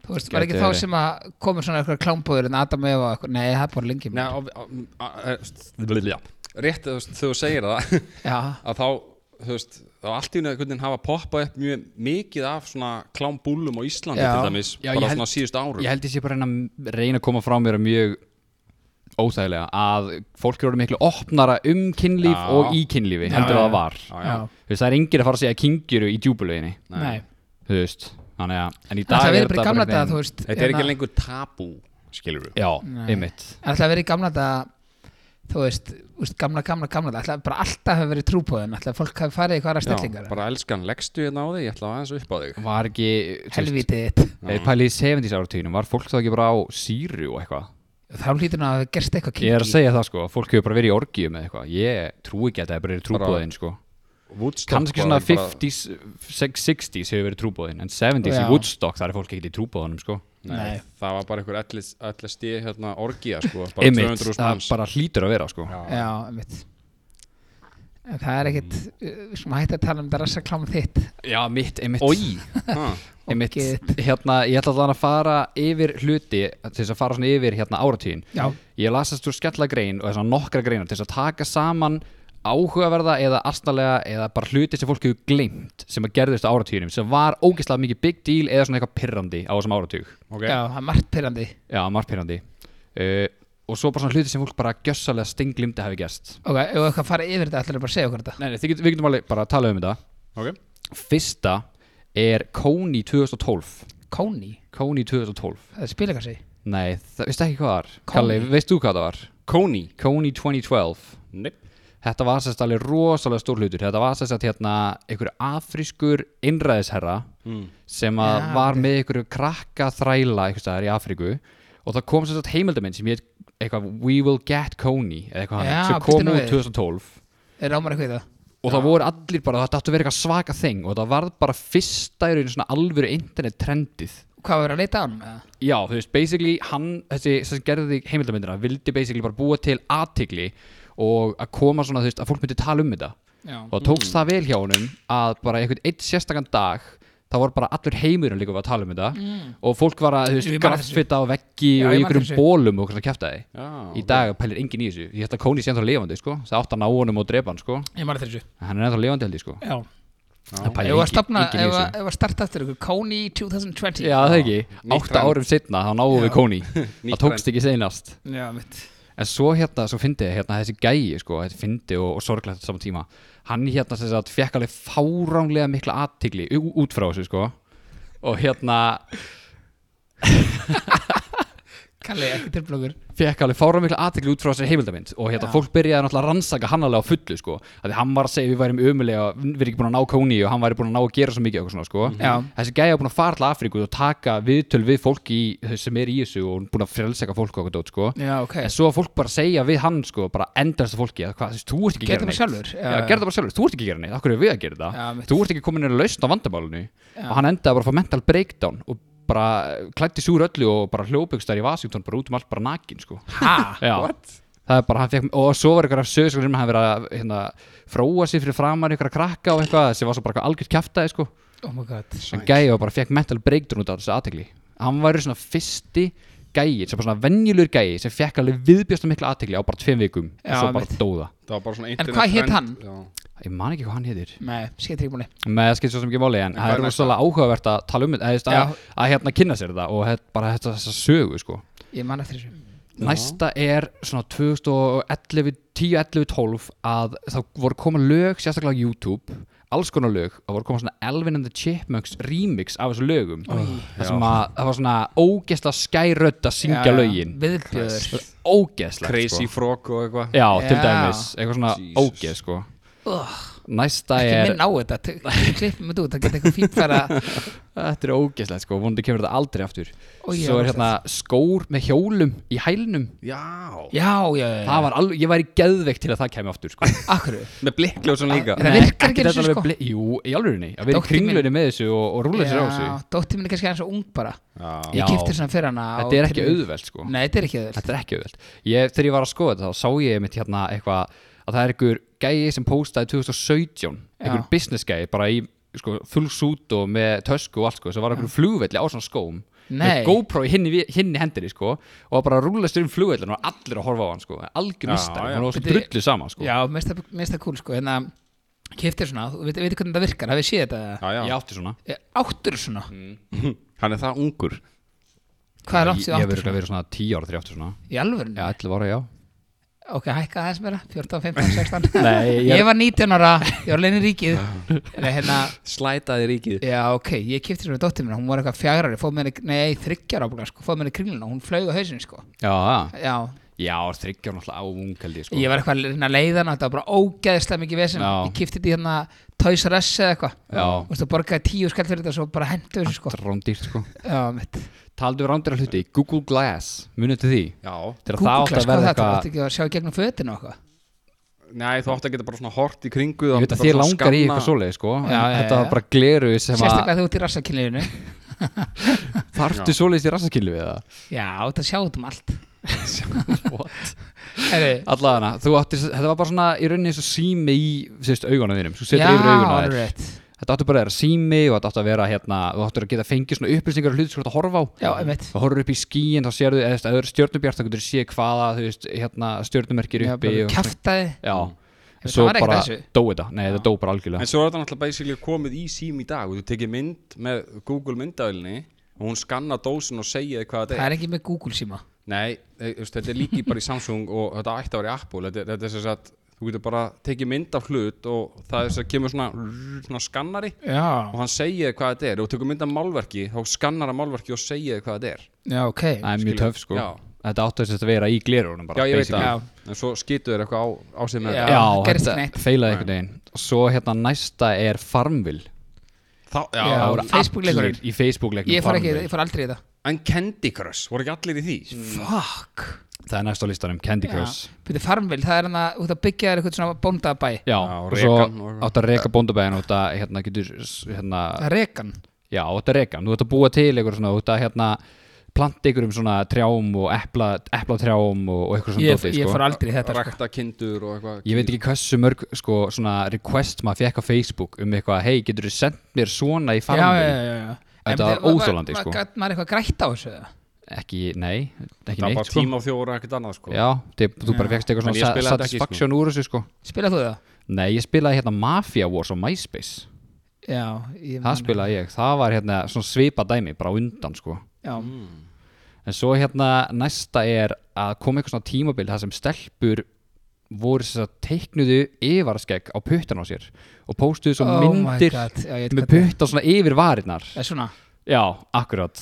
Speaker 3: Þú veist, var
Speaker 1: Gæti
Speaker 3: ekki þá
Speaker 1: verið.
Speaker 3: sem að komur svona eitthvað klámbúður en Adam og Eva og eitthvað? Nei, það er bara lengi
Speaker 4: Nei,
Speaker 3: mér
Speaker 4: á- á- á- á- á- Rétt þú veist, þegar þú segir það
Speaker 3: Já,
Speaker 4: að þá þú veist, þá allt í einu einhvern veginn hafa poppað upp mjög mikið af svona klámbúllum á Íslandi
Speaker 3: Já.
Speaker 4: til dæmis,
Speaker 1: Já,
Speaker 4: bara
Speaker 1: ég held-
Speaker 4: svona síðust árum
Speaker 1: Ég held ég sé bara að reyna, reyna að koma frá mér að mjög óþægilega að fólk eru orðið miklu opnara um kynlíf
Speaker 4: Já.
Speaker 1: og í kynlífi heldur
Speaker 3: já,
Speaker 1: að það var
Speaker 4: já, já.
Speaker 3: já
Speaker 1: Þú veist, það er engir að fara að segja kyngiru í djúbulöginni
Speaker 3: Nei
Speaker 1: þú veist, þannig að en í
Speaker 3: Það
Speaker 1: dag
Speaker 3: verið bara í gamla
Speaker 1: einhvern
Speaker 3: daga, þú veist
Speaker 4: Þetta er ekki
Speaker 3: hérna-
Speaker 4: lengur tabú skilur við
Speaker 1: veginn- Já, einmitt
Speaker 3: En Það verið í gamla daga þú veist, þú veist gamla, gamla, gamla ætla, bara alltaf hafa verið trúbóðin ætla, fólk hafi farið í hverja
Speaker 4: Já,
Speaker 3: stellingar
Speaker 4: bara elskan, leggstu hérna á þig, ég ætla aðeins upp á þig
Speaker 1: var ekki þú veist,
Speaker 3: helvítið þitt
Speaker 1: Eða pælið í 70s áratíðinum, var fólk þá ekki bara á síru og eitthvað?
Speaker 3: þá hlýtur hann að hafa gerst eitthvað
Speaker 1: Ég er að
Speaker 3: kinky.
Speaker 1: segja það sko, fólk hefur bara verið í orgíu með eitthvað Ég trú ekki að það er bara trúbóðin sko
Speaker 4: Woodstock
Speaker 1: Kannski
Speaker 4: var
Speaker 1: svona
Speaker 4: bara-
Speaker 1: 50s, sex- 60s hefur verið trúbóðin En 70s
Speaker 3: Já.
Speaker 1: í Woodstock, þar er fólk ekki í trúbóðunum sko
Speaker 4: Nei,
Speaker 3: Nei.
Speaker 4: það var bara einhver allir stíð hérna orgía sko, bara
Speaker 1: Einmitt,
Speaker 4: 200.000
Speaker 1: það
Speaker 4: manns
Speaker 1: bara hlýtur að vera sko
Speaker 3: já, mitt en það er ekkit við skulum hægt að tala um þetta rassakláma þitt
Speaker 1: Já, mitt, einmitt
Speaker 4: Oj, ha,
Speaker 1: Einmitt,
Speaker 3: Ógeð.
Speaker 1: hérna, ég ætla þannig að fara yfir hluti Til þess að fara svona yfir hérna áratíðin
Speaker 3: Já.
Speaker 1: Ég lasast úr skella grein og þess að nokkra greinar Til þess að taka saman áhugaverða eða astalega eða bara hluti sem fólk hefur gleymt sem að gerðist á áratíðinum sem var ógeðslega mikið big deal eða svona eitthvað pirrandi á þessum áratug
Speaker 4: ok
Speaker 3: já, það er margt pyrrandi
Speaker 1: Já, margpirrandi uh, Og svo bara svona hluti sem fólk bara gjössalega stinglimti hafi gerst
Speaker 3: ok, ef við eitthvað farið yfir þetta ætlar bara að segja okkur þetta
Speaker 1: Nei, nei þið getum, við getum alveg bara að tala um þetta
Speaker 4: ok
Speaker 1: Fyrsta er Kóni 2012
Speaker 3: Kóni,
Speaker 1: Kóni 2012
Speaker 3: það er spilakarsi
Speaker 1: Nei, það veistu ekki hvað það var
Speaker 3: Kóni?
Speaker 1: Kalli, veist þú hvað það var?
Speaker 4: Kóni
Speaker 1: Kóni 2012
Speaker 4: Nei.
Speaker 1: Þetta var sérst alveg rosalega stór hlutur Þetta var sérst að hérna einhver afrískur innræðisherra sem að
Speaker 3: Já,
Speaker 1: var
Speaker 3: ok.
Speaker 1: með einhverju krakka þræla einhvers staðar í Afríku og það kom sérst heimildamind sem ég eitthvað We Will Get Kony eða eitthvað
Speaker 3: Já,
Speaker 1: hann sem
Speaker 3: býttu
Speaker 1: kom
Speaker 3: nú
Speaker 1: út
Speaker 3: við.
Speaker 1: 2012
Speaker 3: er rámar eitthvað í það
Speaker 1: og það voru allir bara, þetta áttu að vera eitthvað svaka þing og það varð bara fyrsta í rauninu svona alvöru internet trendið
Speaker 3: hvað var að leita á hann með það
Speaker 1: Já, þú veist, basically hann, þessi sem gerði heimildamindina, vildi basically bara búa til aðtigli og að koma svona, þú veist, að fólk myndi tala um þetta
Speaker 3: já,
Speaker 1: og það tókst það vel hjá honum að bara einhvern eitt sérstakann dag þá var bara allur heimurinn líka að tala um þetta og fólk var að, þú veist,
Speaker 3: Ég man Mm. þessu.
Speaker 1: graffita á veggi og
Speaker 3: Já, ég
Speaker 1: í
Speaker 3: man
Speaker 1: einhverjum
Speaker 3: þessu.
Speaker 1: bólum og hvernig kæfta þið
Speaker 4: Já,
Speaker 1: Í dag pælir enginn í þessu, ég held að Kóni sé ennþá lifandi, sko það átt að ná honum og drepa hann, sko
Speaker 3: ég marði þessu
Speaker 1: en hann er ennþá lifandi held ég, sko
Speaker 3: já,
Speaker 1: Það
Speaker 3: ef
Speaker 1: pælir
Speaker 3: við að
Speaker 1: enginn-
Speaker 3: stopna,
Speaker 1: enginn í
Speaker 3: ef
Speaker 1: þessu.
Speaker 3: að- ef að starta eftir ykkur Kóni 2020
Speaker 1: Já, það ekki,
Speaker 4: Nýtt
Speaker 1: átta
Speaker 4: trend.
Speaker 1: árum setna þá náum við Kóni, það tókst ekki seinast
Speaker 3: já mitt
Speaker 1: En svo hérna, svo fyndi ég hérna þessi gæi, sko, þetta fyndi og, og sorglegt á sama tíma. Hann hérna sem sagt fekk alveg fáránlega mikla aðtigli út frá þessu, sko. Og hérna
Speaker 3: Kalli, ekki tilblókur
Speaker 1: fekk alveg fáránlega mikla aðtigli út frá þessu heimildamind. Og hérna, fólk byrjaði náttúrulega að rannsaka hann alveg á fullu, sko. Þegar hann var að segja við værim ömulega, við erum ekki búin að ná kóni og hann væri búin að ná að gera svo mikið og eitthvað svona, sko.
Speaker 3: Já.
Speaker 1: Þessi gæi var búin að fara til Afríku og taka viðtöl við fólk í, þau sem er í þessu og búin að frelseka fólk og eitthvað dót, sko.
Speaker 3: já, ok
Speaker 1: en svo að fólk bara segja við hann sko, bara endast að fólki að hvað, þú veist, þú ert ekki að gera
Speaker 3: Gerðu bara
Speaker 1: neitt
Speaker 3: sjálfur,
Speaker 1: já,
Speaker 3: já, já.
Speaker 1: gerðu það bara sjálfur, þú ert ekki að gera neitt, okkur er við að gera það
Speaker 3: Já, mitt.
Speaker 1: þú ert ekki komin að lausna á vandamálinu
Speaker 3: Já.
Speaker 1: og hann endaði bara að fá mental breakdown og bara klætti súr öllu og bara hljópugstæri í Vasington bara út um allt bara nakin sko.
Speaker 3: ha,
Speaker 1: já, það er bara, hann fekk og svo var eitthvað sögurskólar um að hann verið að hérna, fróa sér fyrir framar ykkur að krakka og eitthvað sem var svo bara eitthvað algjört kjaftaði sko.
Speaker 3: oh my god
Speaker 1: en gæi og bara fekk mental breakdown út af þessu aðtegli hann væri svona fyrsti gæi sem bara svona venjulur gæi sem fekk alveg viðbjösta mikla aðtegli á bara tveim vikum og
Speaker 3: Já,
Speaker 1: svo bara
Speaker 3: einmitt.
Speaker 1: dóða
Speaker 4: Það var bara svona
Speaker 3: En
Speaker 4: internet
Speaker 3: hvað hét
Speaker 4: trend,
Speaker 3: hann?
Speaker 4: já.
Speaker 1: ég man ekki hvað hann heitir
Speaker 3: Nei, skeitt ekki búinni
Speaker 1: með það skilt svo sem ekki máli en
Speaker 4: hvað
Speaker 1: það
Speaker 4: er
Speaker 1: er
Speaker 4: næsta?
Speaker 1: rosalega áhugavert að tala um þetta eða þú veist,
Speaker 3: Já.
Speaker 1: að, að hérna kynna sér þetta og þetta- bara þetta þessa sögu sko
Speaker 3: Ég man eftir þessu
Speaker 1: næsta er svona 2011 10, 11, 12 að þá voru koma lög sérstaklega á YouTube alls konar lög og voru koma svona Elvin and the Chipmunks remix af þessu lögum það sem að það var svona ógeðsla skærödd að syngja lögin
Speaker 3: Viðbjöður
Speaker 1: ógeðsla
Speaker 4: Crazy Frog og
Speaker 1: sko.
Speaker 4: eitthvað
Speaker 1: Já, til
Speaker 3: Já.
Speaker 1: dæmis, eitthvað svona
Speaker 4: Jesus.
Speaker 1: ógeð sko
Speaker 3: Ugh,
Speaker 1: Næsta
Speaker 3: Ekki
Speaker 1: er,
Speaker 3: minn á þetta t- Klippum þetta út, það geta eitthvað fínt fara
Speaker 1: þetta er ógeðslegt sko, vonandi kemur þetta aldrei aftur
Speaker 3: Ó, já,
Speaker 1: Svo er hérna skór með hjólum í hælnum
Speaker 4: Já,
Speaker 3: Já, já, já
Speaker 1: Það var alveg, ég væri geðveikt til að það kemur aftur sko
Speaker 3: Akkur
Speaker 4: með blikkljósun líka
Speaker 3: Það
Speaker 1: Nei,
Speaker 3: virkar ekki eins
Speaker 1: þetta
Speaker 3: og
Speaker 1: alveg
Speaker 3: sko
Speaker 1: bli- Jú, í alvegurinni, að vera í
Speaker 3: Dóttir mín-
Speaker 1: kringlunni með þessu og, og rúla þessu á þessu
Speaker 3: Já, dóttir minn er kannski aðeins og ung bara
Speaker 4: Já,
Speaker 1: Já.
Speaker 3: Ég kipti svona fyrir hana
Speaker 1: Þetta er
Speaker 3: á
Speaker 1: ekki
Speaker 3: tilbúin.
Speaker 1: auðvelt sko
Speaker 3: Nei, þetta er ekki auðvöld
Speaker 1: Þetta er ekki auðvelt ég, Þegar ég var að skoða þetta þá sá ég mitt hérna eitthvað að það er einhver gæi sem postaði 2017 einhver
Speaker 3: Já.
Speaker 1: business gæi bara í sko, full suit og með tösku og allt sko sem var einhver flugvelli á svona skóm
Speaker 3: Nei.
Speaker 1: með GoPro í hinni, vi- hinni hendinni sko og var bara að rúlast um flugvellin og allir að horfa á hann sko algjör
Speaker 4: Já,
Speaker 1: mistar,
Speaker 4: já.
Speaker 1: hann var svo
Speaker 3: Þetta-
Speaker 1: drullu sama sko
Speaker 3: Já, mér finnst það- mér finnst það kúl sko Hérna, kipti svona Þú veit- veitir hvernig það virkar, hafið séð þetta eða?
Speaker 4: já,
Speaker 1: Ég
Speaker 4: já.
Speaker 1: átti svona
Speaker 3: Eh, Áttur svona
Speaker 1: Mm.
Speaker 4: Hann er það ungur
Speaker 3: Hvað er langt
Speaker 1: Ég
Speaker 3: sér
Speaker 1: hef verið
Speaker 3: áttur svona?
Speaker 1: verið svona 10 ára þegar ég átti svona
Speaker 3: Í alvörinu?
Speaker 1: Já, 11 ára, já
Speaker 3: Ok, hækka aðeins meira, 14, 15, 16
Speaker 1: Nei,
Speaker 3: ég,
Speaker 1: ég er-
Speaker 3: var 19 ára, ég var leiðin í ríkið Nei, hérna,
Speaker 4: Slætaði ríkið
Speaker 3: já ok, ég kipti sem við dóttir minna Hún var eitthvað fjagrari, fóð mér, nei þryggjar ábúinlega sko, fóð mér í kringluna Hún flaug á hausinu sko
Speaker 1: Já, já
Speaker 3: Já,
Speaker 1: Já, þryggja var náttúrulega á ungaldi sko.
Speaker 3: Ég var eitthvað að reyna að leiða hann, þetta var bara ógeðislega mikið vesen.
Speaker 1: Já.
Speaker 3: Ég kipti þetta í hérna Toys R Us eða eitthvað.
Speaker 1: Já.
Speaker 3: Þú veist, þú borgaði tíu skall fyrir þetta og svo bara hendur þessu sko.
Speaker 1: Rándýrt sko
Speaker 3: Já, mitt.
Speaker 1: Taldu við rándýra hluti, Google Glass Munið til því
Speaker 4: Já,
Speaker 1: Þegar
Speaker 3: Google
Speaker 1: það átt
Speaker 3: Glass,
Speaker 1: að verða
Speaker 3: hvað er þetta? Þú
Speaker 1: eitthvað
Speaker 3: átt ekki að sjá í gegnum fötin og eitthvað.
Speaker 4: nei þú átt að geta bara svona hort í kringu
Speaker 1: Ég veit að þið langar í eitthvað svoleið sko
Speaker 3: Já,
Speaker 1: en
Speaker 3: já,
Speaker 1: Þetta
Speaker 3: já,
Speaker 1: var
Speaker 3: já.
Speaker 1: bara gleru sem að
Speaker 3: Sérstaklega þú ert í rassakynlífinu.
Speaker 1: Þarftu svoleiðist í rassakilju við það
Speaker 3: Já, þetta sjá út um allt.
Speaker 1: What?
Speaker 3: Heyrðu,
Speaker 1: Allavega, þú áttir, þetta var bara svona í rauninni eins og sími í sérst, augunum þínum Svo setur
Speaker 3: já,
Speaker 1: yfir augun á þér
Speaker 3: alveg rétt.
Speaker 1: Þetta áttu bara að vera sími og þetta áttu að vera hérna Þú áttu að geta fengið svona upplýsingar og hluti sem þú ert að horfa á
Speaker 3: Já, einmitt.
Speaker 1: Þú horfur upp í skíin, þá sérðu eða þú ert stjörnubjart þá getur þú séð hvaða, þú veist, hérna stjörnumerkir
Speaker 3: Já,
Speaker 1: uppi
Speaker 3: bara
Speaker 1: og-
Speaker 3: kjaftaði.
Speaker 1: Já, en
Speaker 3: Mm. það
Speaker 1: svo
Speaker 3: var ekkert
Speaker 1: bara
Speaker 3: að þessu.
Speaker 1: dói þetta Nei, þetta dói bara algjörlega
Speaker 4: En svo er þetta náttúrulega basically komið í sím í dag og Þú tekið mynd með Google myndavélni og hún skanna dósin og segja þér hvað þetta er
Speaker 3: Það er ekki með Google síma.
Speaker 4: Nei, e, þú veist, þetta er líki bara í Samsung og þetta ætti að vera í Apple Þetta, þetta er sem sagt, þú getur bara tekið mynd af hlut og það er sem sagt, kemur svona, svona skannari
Speaker 3: Já.
Speaker 4: og hann segir þér hvað þetta er og þú tekur mynd af málverki, þá skannar að málverki og segir þér hvað þetta er
Speaker 3: Já, ok.
Speaker 1: Það er mjög
Speaker 4: skilur.
Speaker 1: töf sko
Speaker 4: Já.
Speaker 1: Þetta áttu þess að vera í glerunum bara
Speaker 4: Já, ég veit
Speaker 1: basically.
Speaker 4: það, en svo skýtu þér eitthvað á, á sig með
Speaker 3: Já.
Speaker 4: þetta
Speaker 1: Já,
Speaker 3: gerist ekki neitt.
Speaker 1: þetta feilaði einhvern veginn Og Svo hérna næsta er Farmville
Speaker 4: Þá, já,
Speaker 3: Já.
Speaker 1: Það voru
Speaker 3: Facebook-leikurinn.
Speaker 1: allir í Facebook-leiknum
Speaker 3: Ég fór, ekki, ég fór aldrei í það.
Speaker 4: En Candy Crush, voru ekki allir í því?
Speaker 3: Fuck.
Speaker 1: Það er næst á listanum, Candy Crush
Speaker 3: Býttu farmvill, það er hann að út að byggja þér eitthvað svona bóndabæ.
Speaker 1: Já,
Speaker 4: Já,
Speaker 1: og
Speaker 4: rekan
Speaker 1: svo
Speaker 4: og-
Speaker 1: áttu að reka bóndabæðin og þetta hérna getur s- hérna,
Speaker 3: Það er rekan.
Speaker 1: Já, og þetta reka, þú ert að búa til eitthvað svona, þú ert að hérna planta ykkur um svona trjám og epla, epla trjám og, og eitthvað svona
Speaker 3: Ég,
Speaker 1: dótið
Speaker 3: ég
Speaker 1: sko.
Speaker 3: fór aldrei í þetta. Sko.
Speaker 4: Rækta kindur og eitthvað
Speaker 1: Ég veit ekki hversu mörg sko, svona request maður fekk á Facebook um eitthvað, hei, getur þú sendt mér svona í
Speaker 3: Já, já,
Speaker 1: farmvinn?
Speaker 3: já, já.
Speaker 1: Þetta
Speaker 3: En
Speaker 1: var
Speaker 3: þið- ma-
Speaker 1: óþolandi,
Speaker 3: ma-
Speaker 1: sko.
Speaker 3: Gat maður eitthvað grætt á þessu? eða?
Speaker 1: Ekki, nei, ekki
Speaker 4: Það er
Speaker 1: neitt
Speaker 4: bara
Speaker 1: sko.
Speaker 4: tíma og fjóra, ekkert annað sko
Speaker 1: Já, þið, þú bara fegst eitthvað
Speaker 4: En ég
Speaker 1: svona
Speaker 4: spilaði
Speaker 1: sa-
Speaker 4: þetta ekki,
Speaker 1: satisfaction úr þessu sko
Speaker 3: Spilað þú það?
Speaker 1: Nei, ég spilaði hérna Mafia Wars á MySpace
Speaker 3: Já, ég
Speaker 1: Það spilaði ég, það var hérna svona svipa dæmi bara á undan sko
Speaker 3: Já, Mm.
Speaker 1: En svo hérna næsta er að koma eitthvað svona tímabil þar sem stelpur voru þess að teiknuðu yfarskegg á puttan á sér og póstuðu svo
Speaker 3: Oh my
Speaker 1: myndir
Speaker 3: God, já, ég veit
Speaker 1: með
Speaker 3: hvað það er.
Speaker 1: putta svona yfir varirnar
Speaker 3: það er svona.
Speaker 1: Já, akkurat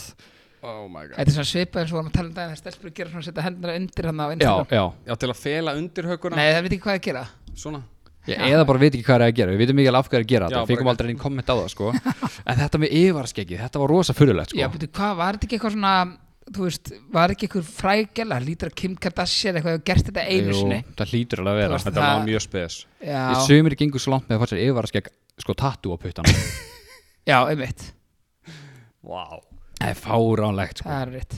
Speaker 4: Oh my god
Speaker 3: Þetta er svona svipað eins og vorum að tala um daginn þegar stelpur gera svona að setja hendina undir hann á
Speaker 1: Já,
Speaker 3: Instagram.
Speaker 1: já
Speaker 4: Já, til að fela undirhauguna
Speaker 3: Nei, það veit ekki hvað að gera.
Speaker 4: Svona
Speaker 1: Ég, eða bara veit ekki hvað er að gera, við vitum mikið alveg af hverju er að gera
Speaker 4: Já,
Speaker 1: þetta,
Speaker 4: bara
Speaker 1: við fengum
Speaker 4: eitthvað.
Speaker 1: aldrei einn komment á það sko En þetta með yfarskeggið, þetta var rosa fyrirlegt sko
Speaker 3: Já, betur hvað, var þetta ekki eitthvað svona, þú veist, var ekki eitthvað frægjala, lítur að Kim Kardashian eitthvað hefur gert þetta einu sinni?
Speaker 1: það hlýtur alveg að vera
Speaker 3: Þú
Speaker 1: Þetta-
Speaker 4: Þetta var
Speaker 3: Það-
Speaker 4: mjög spes
Speaker 3: Já,
Speaker 1: Í sumir gengur svo langt með að fara sér yfirvaraskegg sko tattu á puttana
Speaker 3: já, einmitt,
Speaker 4: Vá wow.
Speaker 1: Það er fáránlegt sko.
Speaker 3: það er rétt.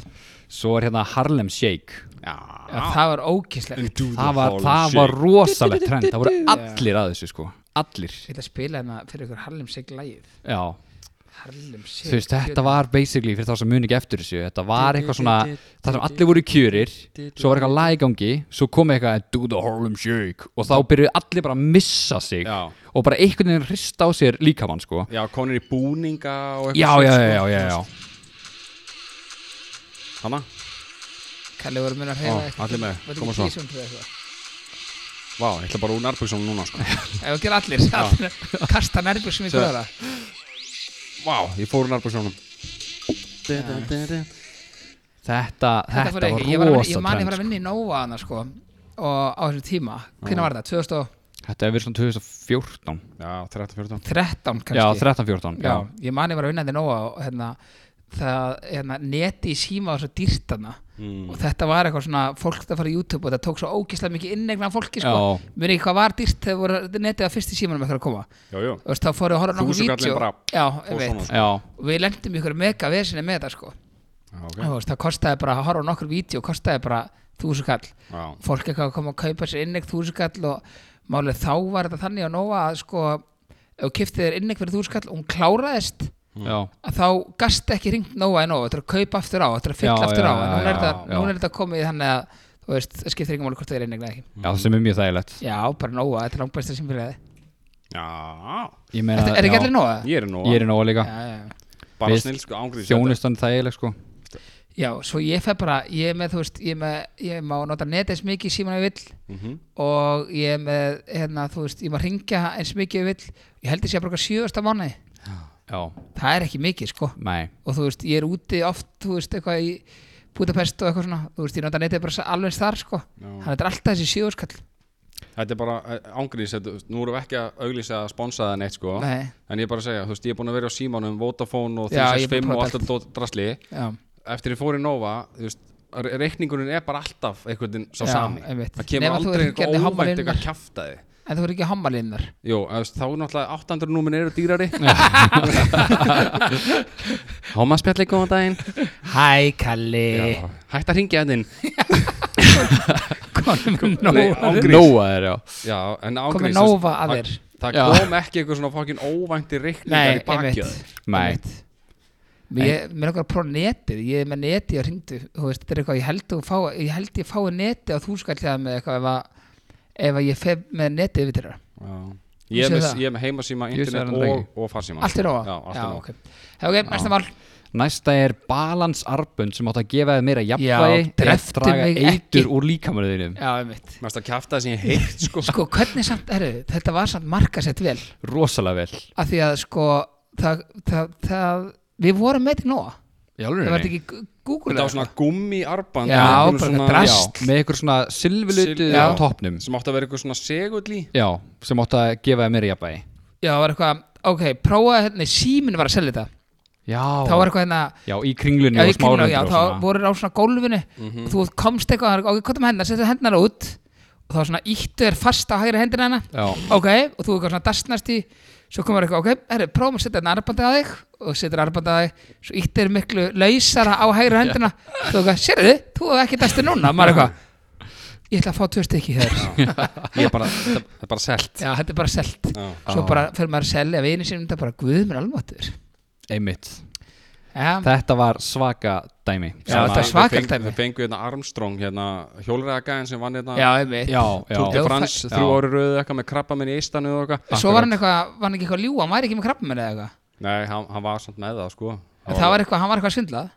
Speaker 1: Svo er hérna Harlem Shake
Speaker 4: Já
Speaker 1: Ah.
Speaker 3: Já, það var ókíslegt.
Speaker 1: Það var, það var rosalegt trend Það voru allir að þessu sko Allir
Speaker 3: Ég ætla að spila hérna fyrir ykkur Harlem Shake lægið.
Speaker 1: Já,
Speaker 3: Harlem Shake.
Speaker 1: þú veist, þetta var basically fyrir þá sem muni ekki eftir þessu Þetta var eitthvað svona Það sem allir voru í kjörir Svo var eitthvað lægangi Svo kom eitthvað Do the Harlem Shake Og þá byrjuðu allir bara að missa sig
Speaker 4: Já.
Speaker 1: Og bara einhvern veginn hrista á sér líkamann sko
Speaker 4: Já, konir í búninga og eitthvað
Speaker 1: Já, já,
Speaker 4: sko.
Speaker 1: já,
Speaker 3: sko.
Speaker 1: já, já, já.
Speaker 4: Hanna,
Speaker 3: Kalli voru mun að
Speaker 4: Ó,
Speaker 3: reyna
Speaker 4: allir með, koma
Speaker 3: Var þetta
Speaker 4: svo.
Speaker 3: ekki tísum fyrir eitthvað?
Speaker 4: vá, ég ætla bara úr nærbyggsum núna sko
Speaker 3: Ef við gerum allir, allir kasta nærbjörnsum í
Speaker 4: Svo-
Speaker 3: hverjara.
Speaker 4: Vá, ég fór úr nærbyggsumnum
Speaker 1: Þetta, þetta,
Speaker 3: fór
Speaker 1: var
Speaker 3: ekki- ég að
Speaker 1: rosa
Speaker 3: vinna- Ég man ég
Speaker 1: trend
Speaker 3: var að vinna í Nova hana, sko, og á þessum tíma. Hvernig var það? 2013
Speaker 1: sko. Þetta hefur verið svona 2014
Speaker 4: Já, 13-14
Speaker 3: kannski?
Speaker 1: Já, 13-14 já.
Speaker 3: Já, ég man ég var að vinna þetta nóga og hérna, það, hérna, neti í síma var svo dýrt hana
Speaker 4: Hmm.
Speaker 3: og þetta var eitthvað svona, fólk þetta fara í YouTube og þetta tók svo ógislega mikið innegna fólki sko,
Speaker 1: Já.
Speaker 3: mér ekki hvað var dýrt þegar voru netið að fyrst í símanum eitthvað að koma
Speaker 4: Jú, jú
Speaker 3: og veist, þá fóru að horfa á nokkuð
Speaker 4: Þúsund kallinn
Speaker 3: vídeo
Speaker 4: bara,
Speaker 3: Já,
Speaker 4: fór
Speaker 3: ég
Speaker 4: svona. sko.
Speaker 3: veit,
Speaker 1: já,
Speaker 3: og við lendum ykkur mega vesinni með þetta sko
Speaker 4: Já, ok
Speaker 3: Þú veist, það kostaði bara að horfa á nokkur vídeo kostaði bara þúsukall
Speaker 4: Já,
Speaker 3: fólk eitthvað að koma að kaupa sér innegn þúsukall og málið þá var þetta þannig á nóa að sko, ef þú kiftið þér innegn fyrir þúsukall og hún kláraðist
Speaker 1: já
Speaker 3: að þá gast ekki ringt nóa en nóa, þetta er að kaupa aftur á, þetta er að fylla
Speaker 1: Já,
Speaker 3: aftur
Speaker 1: já,
Speaker 3: á en núna
Speaker 1: já,
Speaker 3: er, þetta,
Speaker 1: já.
Speaker 3: núna er þetta komið þannig að þú veist, það skiptir ekki máli hvort það er einnig ekki
Speaker 1: Já, sem er mjög þægilegt
Speaker 3: já, bara nóa, þetta er langt besta sem fyrir það
Speaker 4: já
Speaker 1: Ég meina,
Speaker 3: er ekki
Speaker 1: já,
Speaker 3: allir nóa?
Speaker 4: Ég er nú
Speaker 1: Ég er í nóa líka
Speaker 3: já, já, já.
Speaker 4: bara
Speaker 1: við-
Speaker 4: snill sko ángriðis
Speaker 1: Þjónustan er þægileg sko
Speaker 3: já, svo ég fer bara ég er með, þú veist, ég er með, ég má nota netið eins mikið síman ég vill
Speaker 1: Mhm.
Speaker 3: og ég er með, hérna, þú veist, ég má ringja eins mikið ég vill, ég held þess að ég bruka sjöðasta mánu,
Speaker 1: Já,
Speaker 3: það er ekki mikið sko
Speaker 1: nei
Speaker 3: og þú veist, ég er úti oft, þú veist, eitthvað í Budapest og eitthvað svona þú veist, ég nota netið bara alveg eins þar sko þannig að þetta er alltaf þessi sjóðskall
Speaker 4: Þetta er bara eh, ángrís, þetta, nú erum við ekki að auglýsa að sponsa það neitt sko
Speaker 3: Nei,
Speaker 4: En ég er bara að segja, þú veist, ég er búin að vera á símanum, Vodafone og
Speaker 3: Já, ég er búin að
Speaker 4: 365 og
Speaker 3: prófa
Speaker 4: allt þetta dót- drasli
Speaker 3: já,
Speaker 4: Eftir ég fór í Nova, þú veist, re- reikningurinn er bara alltaf einhvern veginn sá
Speaker 3: Já,
Speaker 4: sami
Speaker 3: einmitt.
Speaker 4: Það kemur
Speaker 3: Nema þú
Speaker 4: aldrei
Speaker 3: ert ekki
Speaker 4: eitthvað
Speaker 3: hérna í
Speaker 4: óvænt
Speaker 3: hambalinnar.
Speaker 4: eitthvað kjaftaði
Speaker 3: en þú er ekki hammalinnar
Speaker 4: Jó, þú veist, þá er náttúrulega 800 númin eru dýrari Háma spjalli, góðan daginn
Speaker 3: Hæ Kalli
Speaker 4: Já, Hætt að ringja þinn
Speaker 3: komið
Speaker 4: Nei,
Speaker 3: nóg
Speaker 4: ángríns.
Speaker 1: Nóa er já
Speaker 4: Já, en
Speaker 3: komið
Speaker 4: ángríns
Speaker 3: nófa að þér
Speaker 4: Það
Speaker 1: Já.
Speaker 4: kom ekki eitthvað svona fokkin óvænti reikningar
Speaker 3: Nei,
Speaker 4: í bakið á
Speaker 3: einmitt.
Speaker 4: þér.
Speaker 1: Nei,
Speaker 3: Einmitt. Ég, mér langar að prófa netið, ég er með netið og ringdu, þú veist, þetta er eitthvað, ég held, þú fá, ég held ég fái netið og þú skall það með eitthvað ef að, ef að ég fef með netið yfir þeirra.
Speaker 4: Já. Ég er
Speaker 3: Þú sér
Speaker 4: með,
Speaker 3: það?
Speaker 4: ég er með heimasíma,
Speaker 1: Ég sé
Speaker 4: internet
Speaker 1: það
Speaker 4: og,
Speaker 1: ekki.
Speaker 4: og farsíma
Speaker 3: Allt er nóga?
Speaker 4: Já, allt er nóg
Speaker 3: ok. Það er ok, næsta mál.
Speaker 1: Næsta er balansarbund sem átt að gefa þið meira
Speaker 3: Já,
Speaker 1: jafnvægi eða
Speaker 3: drepptu
Speaker 1: draga
Speaker 3: mig ekki.
Speaker 1: eitur úr líkamanu þínum
Speaker 3: Já, einmitt.
Speaker 4: Mest að kjafta það sem ég heilt sko
Speaker 3: Sko, hvernig samt, herru, þetta var samt markasett vel,
Speaker 1: Rosalega vel
Speaker 3: af því að, sko, það, það, það, við vorum með þetta nóga.
Speaker 1: Í
Speaker 3: Það var
Speaker 1: alvörunni?
Speaker 3: þetta ekki gu- Google
Speaker 4: Þetta var svona gummi arband
Speaker 3: Já, bara drast.
Speaker 1: Já, með eitthvað svona silvilutu
Speaker 3: Sil-
Speaker 1: á
Speaker 3: já.
Speaker 1: toppnum
Speaker 4: Sem átti að vera eitthvað svona segull í
Speaker 1: Já, sem átt að gefa þið meira jafnvægi
Speaker 3: Já, það var eitthvað, ok, prófaði hérna, síminn var að selja þetta.
Speaker 1: Já,
Speaker 3: Það var eitthvað hérna,
Speaker 1: já í kringlunni
Speaker 3: Já,
Speaker 1: og
Speaker 3: ég kemur á,
Speaker 1: smárundur
Speaker 3: já,
Speaker 1: og
Speaker 3: þá
Speaker 1: svona
Speaker 3: voru á svona gólfinu þú komst eitthvað, ok, hvað er með hennar, setja hennar út og þá svona íttu þér fast á hægri hendina hennar
Speaker 1: Já,
Speaker 3: ok, og þú eitthvað svona dastnast í svo komur eitthvað, ok, herri, prófum að setja hennar arbandið að þig og setja arbandið að þig svo íttu þér miklu lausara á hægri hendina þú eitthvað, sérðu, þú hefur ekki dastið núna maður eitthvað, ég ætla að fá tvö stykki hér
Speaker 4: Ég er bara, þetta þetta er bara selt
Speaker 3: já, þetta er bara selt
Speaker 4: Já.
Speaker 3: svo
Speaker 1: Já.
Speaker 3: bara fyrir maður að selja vini sinni þetta er bara guð minn almáttur
Speaker 1: einmitt
Speaker 3: já,
Speaker 1: Þetta var svaka dæmi
Speaker 3: Já, þetta er
Speaker 4: Við
Speaker 3: svakalt
Speaker 4: feng-
Speaker 3: dæmi.
Speaker 4: Við fengum hérna Armstrong, hérna hjólræðagæðin sem vann hérna
Speaker 3: já, einmitt
Speaker 1: já, já.
Speaker 4: Tour de
Speaker 3: Já,
Speaker 4: France,
Speaker 1: það-
Speaker 4: þrjú
Speaker 1: Já.
Speaker 4: ári röðu eitthvað með krabba minn í eistanu og eitthvað
Speaker 3: svo var hann eitthvað, var hann ekki eitthvað ljúa, hann væri ekki með krabbamenn eða eitthvað
Speaker 4: Nei, hann, hann var samt með það sko
Speaker 3: En það var eitthvað, hann var eitthvað svindlað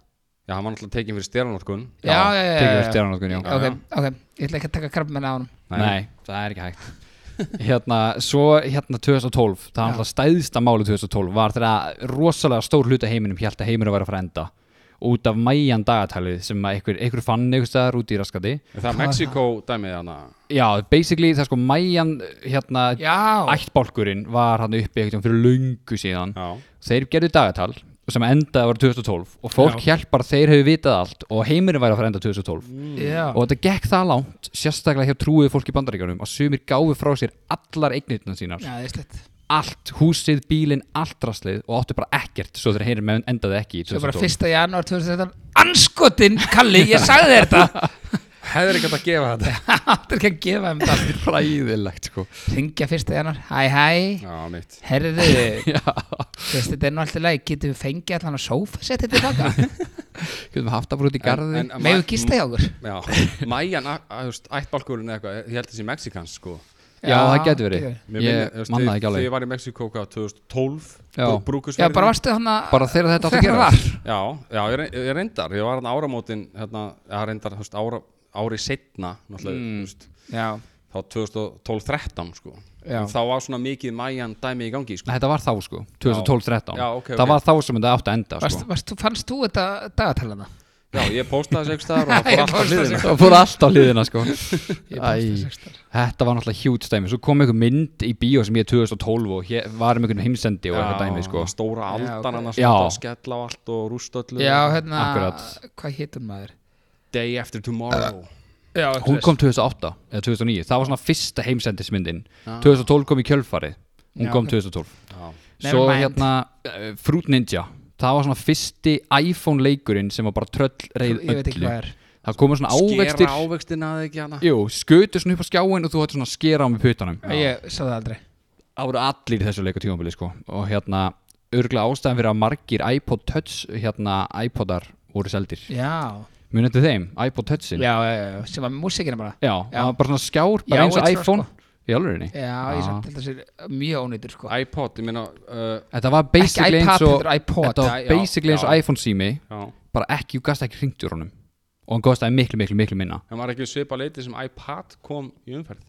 Speaker 4: Já, hann var náttúrulega tekin fyrir stjælanorkun
Speaker 3: Já, já, já,
Speaker 1: Tekið
Speaker 3: já,
Speaker 1: þér
Speaker 3: já.
Speaker 1: stjáranotkun, já
Speaker 3: Ok, ok, ég ætla ekki að taka krabbi á honum
Speaker 1: Nei, það er ekki hægt Hérna, svo hérna 2012 Það var alltaf stæðsta máli 2012 var þegar rosalega stór hluti af heiminum held að heiminum væri að fara að enda út af mæjan dagatalið sem að einhver, einhver fann einhver staðar út í raskati
Speaker 4: Er Það er Mexiko dæmið hana
Speaker 1: Já, basically það er sko mæjan hérna
Speaker 3: Já,
Speaker 1: ættbálkurinn var hann uppi einhvern veginn fyrir löngu síðan
Speaker 4: Já,
Speaker 1: þeir gerðu dagatal sem endaði að vera 2012 og fólk hjálpar bara að þeir hefur vitað allt og heimurinn væri að fara að enda 2012
Speaker 3: já,
Speaker 1: og þetta gekk það langt sérstaklega hjá trúið fólk í bandaríkjunum að sumir gáfu frá sér allar eignirna sínar
Speaker 3: já, það er slett
Speaker 1: allt, húsið, bílinn, allt draslið og áttu bara ekkert svo þegar heimurinn endaði ekki í
Speaker 3: Svo bara
Speaker 1: 2012
Speaker 3: 1. janúar 2013 Anskotin, Kalli, ég sagði þér þetta
Speaker 4: hefur ekki að gefa þetta
Speaker 3: Það er ekki að gefa þeim það
Speaker 1: Ræðilegt sko
Speaker 3: Ringja 1. janúar, hæ, hæ
Speaker 4: Já, mitt
Speaker 3: Herðu,
Speaker 1: Já,
Speaker 3: þú veist, þetta er nú alltaf leið Getum við fengið allan á sófa sett þetta tilbaka
Speaker 1: getum haft að bara út í garði
Speaker 4: En- en-
Speaker 3: Megum við gista hjá okkur
Speaker 4: Já, mæjan, að- að, þú veist, ættbálkurinn eða eitthvað, ég held þessi Mexikans sko
Speaker 1: Já, það getur verið
Speaker 3: getur verið.
Speaker 4: Mér minnir, þú
Speaker 1: Ég
Speaker 4: veist,
Speaker 1: manna það
Speaker 4: þið-
Speaker 1: ekki
Speaker 4: Þegar ég
Speaker 1: alveg
Speaker 4: var í Mexíkó hvað, 2012
Speaker 1: Já.
Speaker 4: brú- brúkusverðin.
Speaker 3: Já, bara varstu hann að
Speaker 1: Bara þegar þetta átti að
Speaker 3: Þegar
Speaker 1: gerast.
Speaker 3: var.
Speaker 4: Já, já ég, reyn- ég reyndar, ég var hann áramótin hérna, já, reyndar, þú veist, ára, ári setna náttúrulega, þú veist,
Speaker 3: Já,
Speaker 4: þá 2012-13 sko
Speaker 3: Já.
Speaker 4: En Þá var svona mikið mæjan dæmi í gangi
Speaker 1: Nei,
Speaker 4: sko
Speaker 1: Þetta var þá sko, 2012-13
Speaker 4: Já, ok,
Speaker 1: Það
Speaker 4: ok.
Speaker 1: var þá sem þetta átti að enda sko.
Speaker 3: varst, varst, fannst þú þetta dagatalana?
Speaker 4: Já, ég postaði þessu ekki staðar og það
Speaker 3: Ég
Speaker 4: fór alltaf
Speaker 3: postaði
Speaker 4: hliðina
Speaker 1: Það fór allt á hliðina sko Æ,
Speaker 3: sextán.
Speaker 1: Þetta var náttúrulega hjút stæmi Svo kom einhver mynd í bíó sem ég 2012 og hér var um einhvern heimsendi og eitthvað dæmi sko
Speaker 4: Stóra
Speaker 3: ok.
Speaker 4: aldan annars
Speaker 1: Já.
Speaker 4: að skella á allt og rústa öllu
Speaker 3: Já, hérna,
Speaker 1: Akkurat.
Speaker 3: hvað hétt hún maður?
Speaker 4: Day after tomorrow
Speaker 3: Já,
Speaker 1: Hún kom 2008 eða 2009 Það var svona fyrsta heimsendismyndin 2012 kom í kjölfarið Hún
Speaker 3: Já,
Speaker 1: kom
Speaker 3: ok.
Speaker 1: 2012
Speaker 4: Já,
Speaker 1: Svo
Speaker 3: Never mind.
Speaker 1: hérna eh, Fruit Ninja Það var svona fyrsti iPhone leikurinn sem var bara tröll reyð
Speaker 3: Ég veit ekki
Speaker 1: öllu
Speaker 3: hvað er
Speaker 1: Það komu svona ávextir
Speaker 4: Skera ávextina að ekki hana
Speaker 1: Jú, skautu svona upp á skjáin og þú hætti svona að skera á með putanum
Speaker 3: Ég sá það aldrei
Speaker 1: Það voru allir í þessu leiku tímabili sko og hérna örgla ástæðan fyrir að margir iPod Touch hérna iPodar voru seldir
Speaker 3: Já,
Speaker 1: munið til þeim, iPod Touchin
Speaker 3: já, já, já, sem var músikina bara
Speaker 1: já, það var bara svona skjár
Speaker 3: Já,
Speaker 1: bara eins og
Speaker 3: þetta var
Speaker 1: iPhone í alvegurinni
Speaker 3: Já, ég samt held að það sé mjög ónýtur sko
Speaker 4: iPod, ég meina uh,
Speaker 1: þetta var
Speaker 3: Ekki
Speaker 1: basically
Speaker 3: iPad,
Speaker 1: eins og
Speaker 3: þetta er iPod
Speaker 1: þetta
Speaker 4: Já,
Speaker 1: var
Speaker 4: já,
Speaker 1: basically eins og
Speaker 4: já.
Speaker 1: iPhone sími
Speaker 4: Já
Speaker 1: bara ekki, þú gast ekki hringt úr honum og hann kostaði miklu, miklu, miklu minna
Speaker 4: En var ekki svipa leiti sem iPad kom í umferð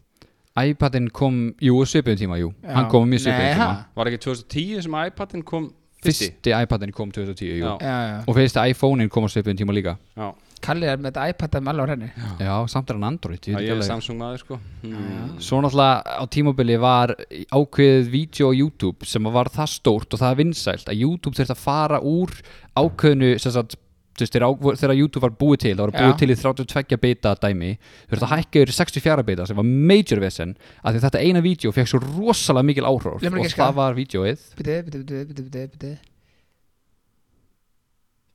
Speaker 1: iPadin kom, jú, svipiðum tíma, jú
Speaker 3: Já.
Speaker 1: hann kom mjög
Speaker 3: Nei,
Speaker 1: svipiðum tíma
Speaker 3: ha?
Speaker 4: Var ekki 2010 sem iPadin kom fyrsti
Speaker 1: fyrsti iPadin kom 2010, jú
Speaker 4: Já.
Speaker 3: Já, já,
Speaker 1: og fyrsti iPhonein kom á svipiðum tíma líka
Speaker 4: Já,
Speaker 3: Kalli er með þetta iPad með alveg á henni
Speaker 1: Já, samt er hann Android ég veit
Speaker 4: Það
Speaker 1: ekki
Speaker 4: ég er
Speaker 1: alveg.
Speaker 4: Samsung maður sko mm.
Speaker 1: Svo náttúrulega á tímabili var ákveðið vídeo á YouTube sem var það stórt og það vinsælt að YouTube þurfti að fara úr ákveðinu sem sagt þú veist, þegar, á, þegar YouTube var búið til, það var búið
Speaker 3: Já.
Speaker 1: til í 32 beta dæmi, þurfti að hækka yfir í 64 beta sem var major vesen að því þetta eina vídeo fekk svo rosalega mikil áhróf
Speaker 3: Leif mér
Speaker 1: og
Speaker 3: giska.
Speaker 1: það var vídeoið
Speaker 3: Bíddu, bíddu, bíddu, bíddu, bíddu, bíddu.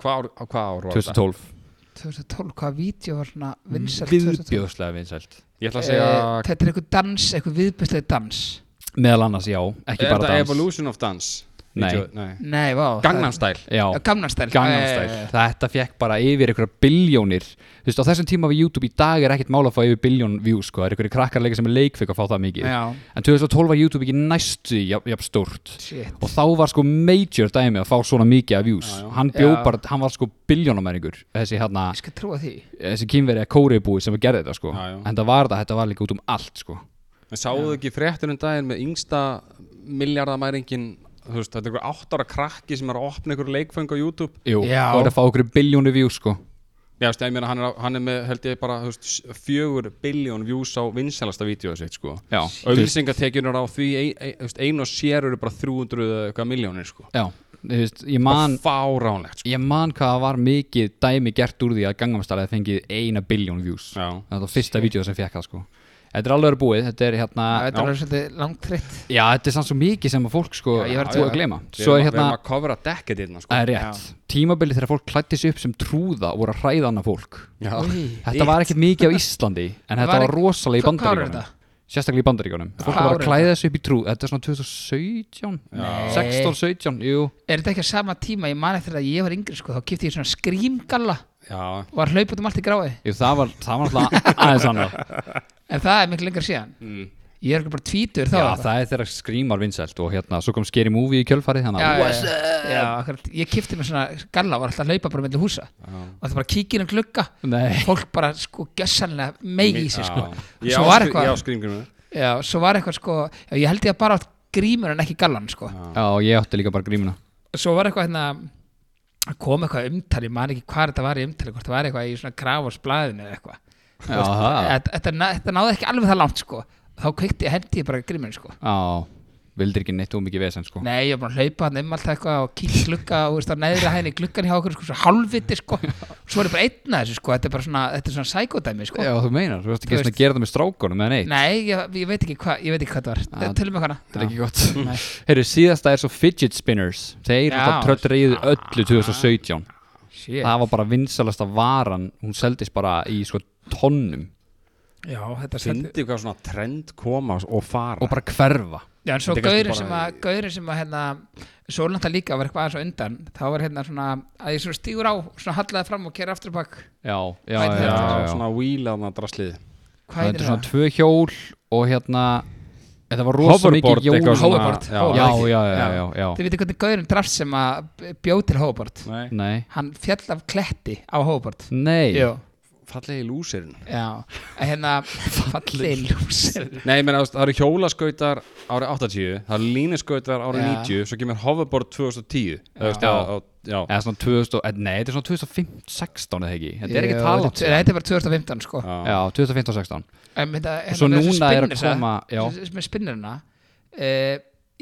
Speaker 4: Hvað ár, á hvað ár var þetta?
Speaker 1: 2012
Speaker 3: 2012, hvaða vídeo var svona vinsælt 2012?
Speaker 1: viðbjóðslega vinsælt
Speaker 4: Ég ætla að segja
Speaker 3: Eh, Þetta er einhver dans, einhver viðbjörslega dans
Speaker 1: meðal annars já, ekki
Speaker 4: Er
Speaker 1: bara
Speaker 4: þetta
Speaker 1: dans
Speaker 4: Evolution of Dance?
Speaker 1: Nei.
Speaker 4: Vídeó- Nei
Speaker 3: Nei, vá
Speaker 4: Gangnam Style
Speaker 1: já,
Speaker 3: Gamnastæl
Speaker 1: Gangnam Style þetta fekk bara yfir einhverja biljónir þú veist á þessum tíma við YouTube í dag er ekkert mála að fá yfir biljón views sko, það er einhverju krakkarleika sem er leikfik að fá það mikið
Speaker 3: Já,
Speaker 1: en 2012 var YouTube ekki næstu jafn, jafn stórt
Speaker 3: shit
Speaker 1: og þá var sko major dæmi að fá svona mikið af views hann bjó
Speaker 3: Já.
Speaker 1: bara, hann var sko biljónamæringur þessi hérna,
Speaker 3: Ég skal trúa því
Speaker 1: þessi kýmveri að kóriðbúi sem gerði þetta sko,
Speaker 4: Já, já.
Speaker 1: en það var það, þetta var líka út um allt sko,
Speaker 4: En sáðu ekki fréttur um daginn með yngsta miljardamæringin Þú veist, þetta er einhver átt ára krakki sem er að opna einhver leikföng á YouTube
Speaker 1: jú,
Speaker 3: Já.
Speaker 1: og þetta fá okkur biljónu views sko,
Speaker 4: Já, veist, ég meina, hann er, á- hann er með, held ég bara, þú veist, s- fjögur biljón views á vinsælasta vídeoðu sitt, sko.
Speaker 1: já,
Speaker 4: Ölsingatekjunar á því, ein, ein, þú veist, einu og sér eru bara 300 eða eitthvað miljónir, sko.
Speaker 1: já, þú veist, ég man
Speaker 4: Fáránlegt, sko.
Speaker 1: Ég man hvað það var mikið dæmi gert úr því að gangamstælaði fengið eina biljón views
Speaker 4: Já.
Speaker 1: Það var fyrsta vídeo sem fekk það sko Þetta er alveg verið búið, þetta er hérna
Speaker 3: Þetta er alveg svolítið langtritt
Speaker 1: Já, þetta er samt svo mikið sem að fólk sko
Speaker 3: Já, ég verð
Speaker 1: búið
Speaker 3: að-
Speaker 1: að gleyma
Speaker 4: Við
Speaker 1: Svo
Speaker 4: erum,
Speaker 1: er
Speaker 4: hérna,
Speaker 1: hérna,
Speaker 4: erum að kofra dekkið hérna, sko.
Speaker 1: það er rétt Tímabilið þegar fólk klætti sig upp sem trúða og voru að hræða annað fólk
Speaker 4: Já.
Speaker 1: Þetta var ekkert mikið á Íslandi en þetta
Speaker 3: Var
Speaker 1: var
Speaker 3: ekki-
Speaker 1: rosalega í
Speaker 3: Hvað- hvað ár er
Speaker 1: bandaríkjónum Sérstaklega í bandaríkjónum Fólk
Speaker 3: Hvað
Speaker 1: var að
Speaker 3: ár er
Speaker 1: klæða sig upp í trúð Þetta er svona 2017 16, 17, jú
Speaker 3: Er þetta ekki á sama tíma, ég man eftir að ég var yngri sko, þá kipti ég svona skrýmgalla
Speaker 4: Já.
Speaker 3: og var hlaupað um allt í grái
Speaker 1: Jú, Það var það var alltaf aðeins annað
Speaker 3: en það er miklu lengur síðan ég er ekki bara tvítur þá
Speaker 1: Mm. Já, það er þegar skrýmar vinsælt og hérna, svo kom Scary Movie í kjölfarið þannig
Speaker 3: já,
Speaker 1: að
Speaker 3: já, já, já, akkurat. ég kipti mér svona galla var alltaf að hlaupa bara mellu húsa og það bara kíkir um glugga
Speaker 1: Nei.
Speaker 3: fólk bara sko gjössanlega megi í sig sko
Speaker 4: Já. Ég
Speaker 3: svo var
Speaker 4: á skri-
Speaker 3: eitthvað
Speaker 4: Ég á skrýmgrunum.
Speaker 3: já, svo var eitthvað sko já, ég held ég að bara átt grímur en ekki gallan sko
Speaker 1: já, ég átti líka bara grímuna
Speaker 3: svo var eitthvað hérna að kom eitthvað umtali, ég man ekki hvað þetta var í umtali hvort það var eitthvað í svona krafosblæðinu eða eitthvað
Speaker 1: Já, það
Speaker 3: þetta, þetta, ná- þetta náði ekki alveg það langt sko þá kveikti ég hendi ég bara grímur sko
Speaker 1: Já, vildir ekki neitt um mikið vesen sko
Speaker 3: Nei, ég var bara að hlaupa hann um allt eitthvað og kýtt glugga og veist, á neðri hæðin í gluggan hjá okkur sko, svo hálfviti sko svo er ég bara einn að þessu sko, þetta er bara svona þetta er svona sækódæmi sko
Speaker 1: Já, þú meinar, þú veist
Speaker 3: Þú
Speaker 1: ekki svona að gera það með strákunum eða neitt
Speaker 3: Nei, ég, ég veit ekki hvað ég veit ekki hvað það var,
Speaker 1: Ah,
Speaker 3: tölum við hana
Speaker 1: Það er ekki gott Heyrðu, síðasta er svo fidget spinners Þeir
Speaker 3: Já. Ah.
Speaker 1: það tröllriðu öllu 2017
Speaker 3: Shit.
Speaker 1: Það var bara vinsalasta varan Hún seldist bara í sko tonnum
Speaker 3: Já, þetta er sætt
Speaker 4: Fyndi hvað svona trend koma og fara.
Speaker 1: og bara hverfa
Speaker 3: Já, en svo
Speaker 4: Þetta er kannski
Speaker 3: gaurinn sem
Speaker 4: bara-
Speaker 3: að gaurinn sem að hérna svo náttúrulega líka var eitthvað aðeins á undan þá var hérna svona að ég svona stígur á svona hallaði fram og kera aftur á bak
Speaker 1: Já, já,
Speaker 3: Hvað
Speaker 1: já,
Speaker 3: er
Speaker 4: já,
Speaker 1: já, já.
Speaker 4: svona wheel á maður draslið.
Speaker 3: Hvað
Speaker 1: Þetta
Speaker 3: heitir
Speaker 1: er
Speaker 3: það?
Speaker 1: svona tvö hjól og hérna Þetta var rosa mikið jól
Speaker 4: eitthvað svona-
Speaker 3: Hoverboard,
Speaker 4: Já.
Speaker 1: Já,
Speaker 3: hoverboard.
Speaker 1: já, já, já, já.
Speaker 3: Þið veitir hvernig gaurinn drafst sem að bjóð til hófabort
Speaker 4: Nei.
Speaker 1: Nei
Speaker 3: Hann fjall af kletti á hófabort
Speaker 1: Nei
Speaker 3: Jú
Speaker 4: Fallegi lúsirinn.
Speaker 3: Já, en hérna fallið lúsir
Speaker 4: Nei, ég meina, þú veist, það eru hjólaskautar árið 80, það eru línuskautar árið
Speaker 3: Já.
Speaker 4: 90, svo kemur hoverboard 2010. Já. Veist,
Speaker 1: Já.
Speaker 4: já. Já, já.
Speaker 1: Eða svona 2000, og- eh, nei, þetta er svona 2015 eða ekki Þetta er ekki talant
Speaker 3: Þetta þetta er bara 2015 sko
Speaker 1: Já, 2015-16
Speaker 3: En mynda, hérna,
Speaker 1: Svo
Speaker 3: þessi
Speaker 1: núna er að
Speaker 3: spinners,
Speaker 1: koma-
Speaker 3: að-
Speaker 1: já.
Speaker 3: þessi- Með spinnurina uh,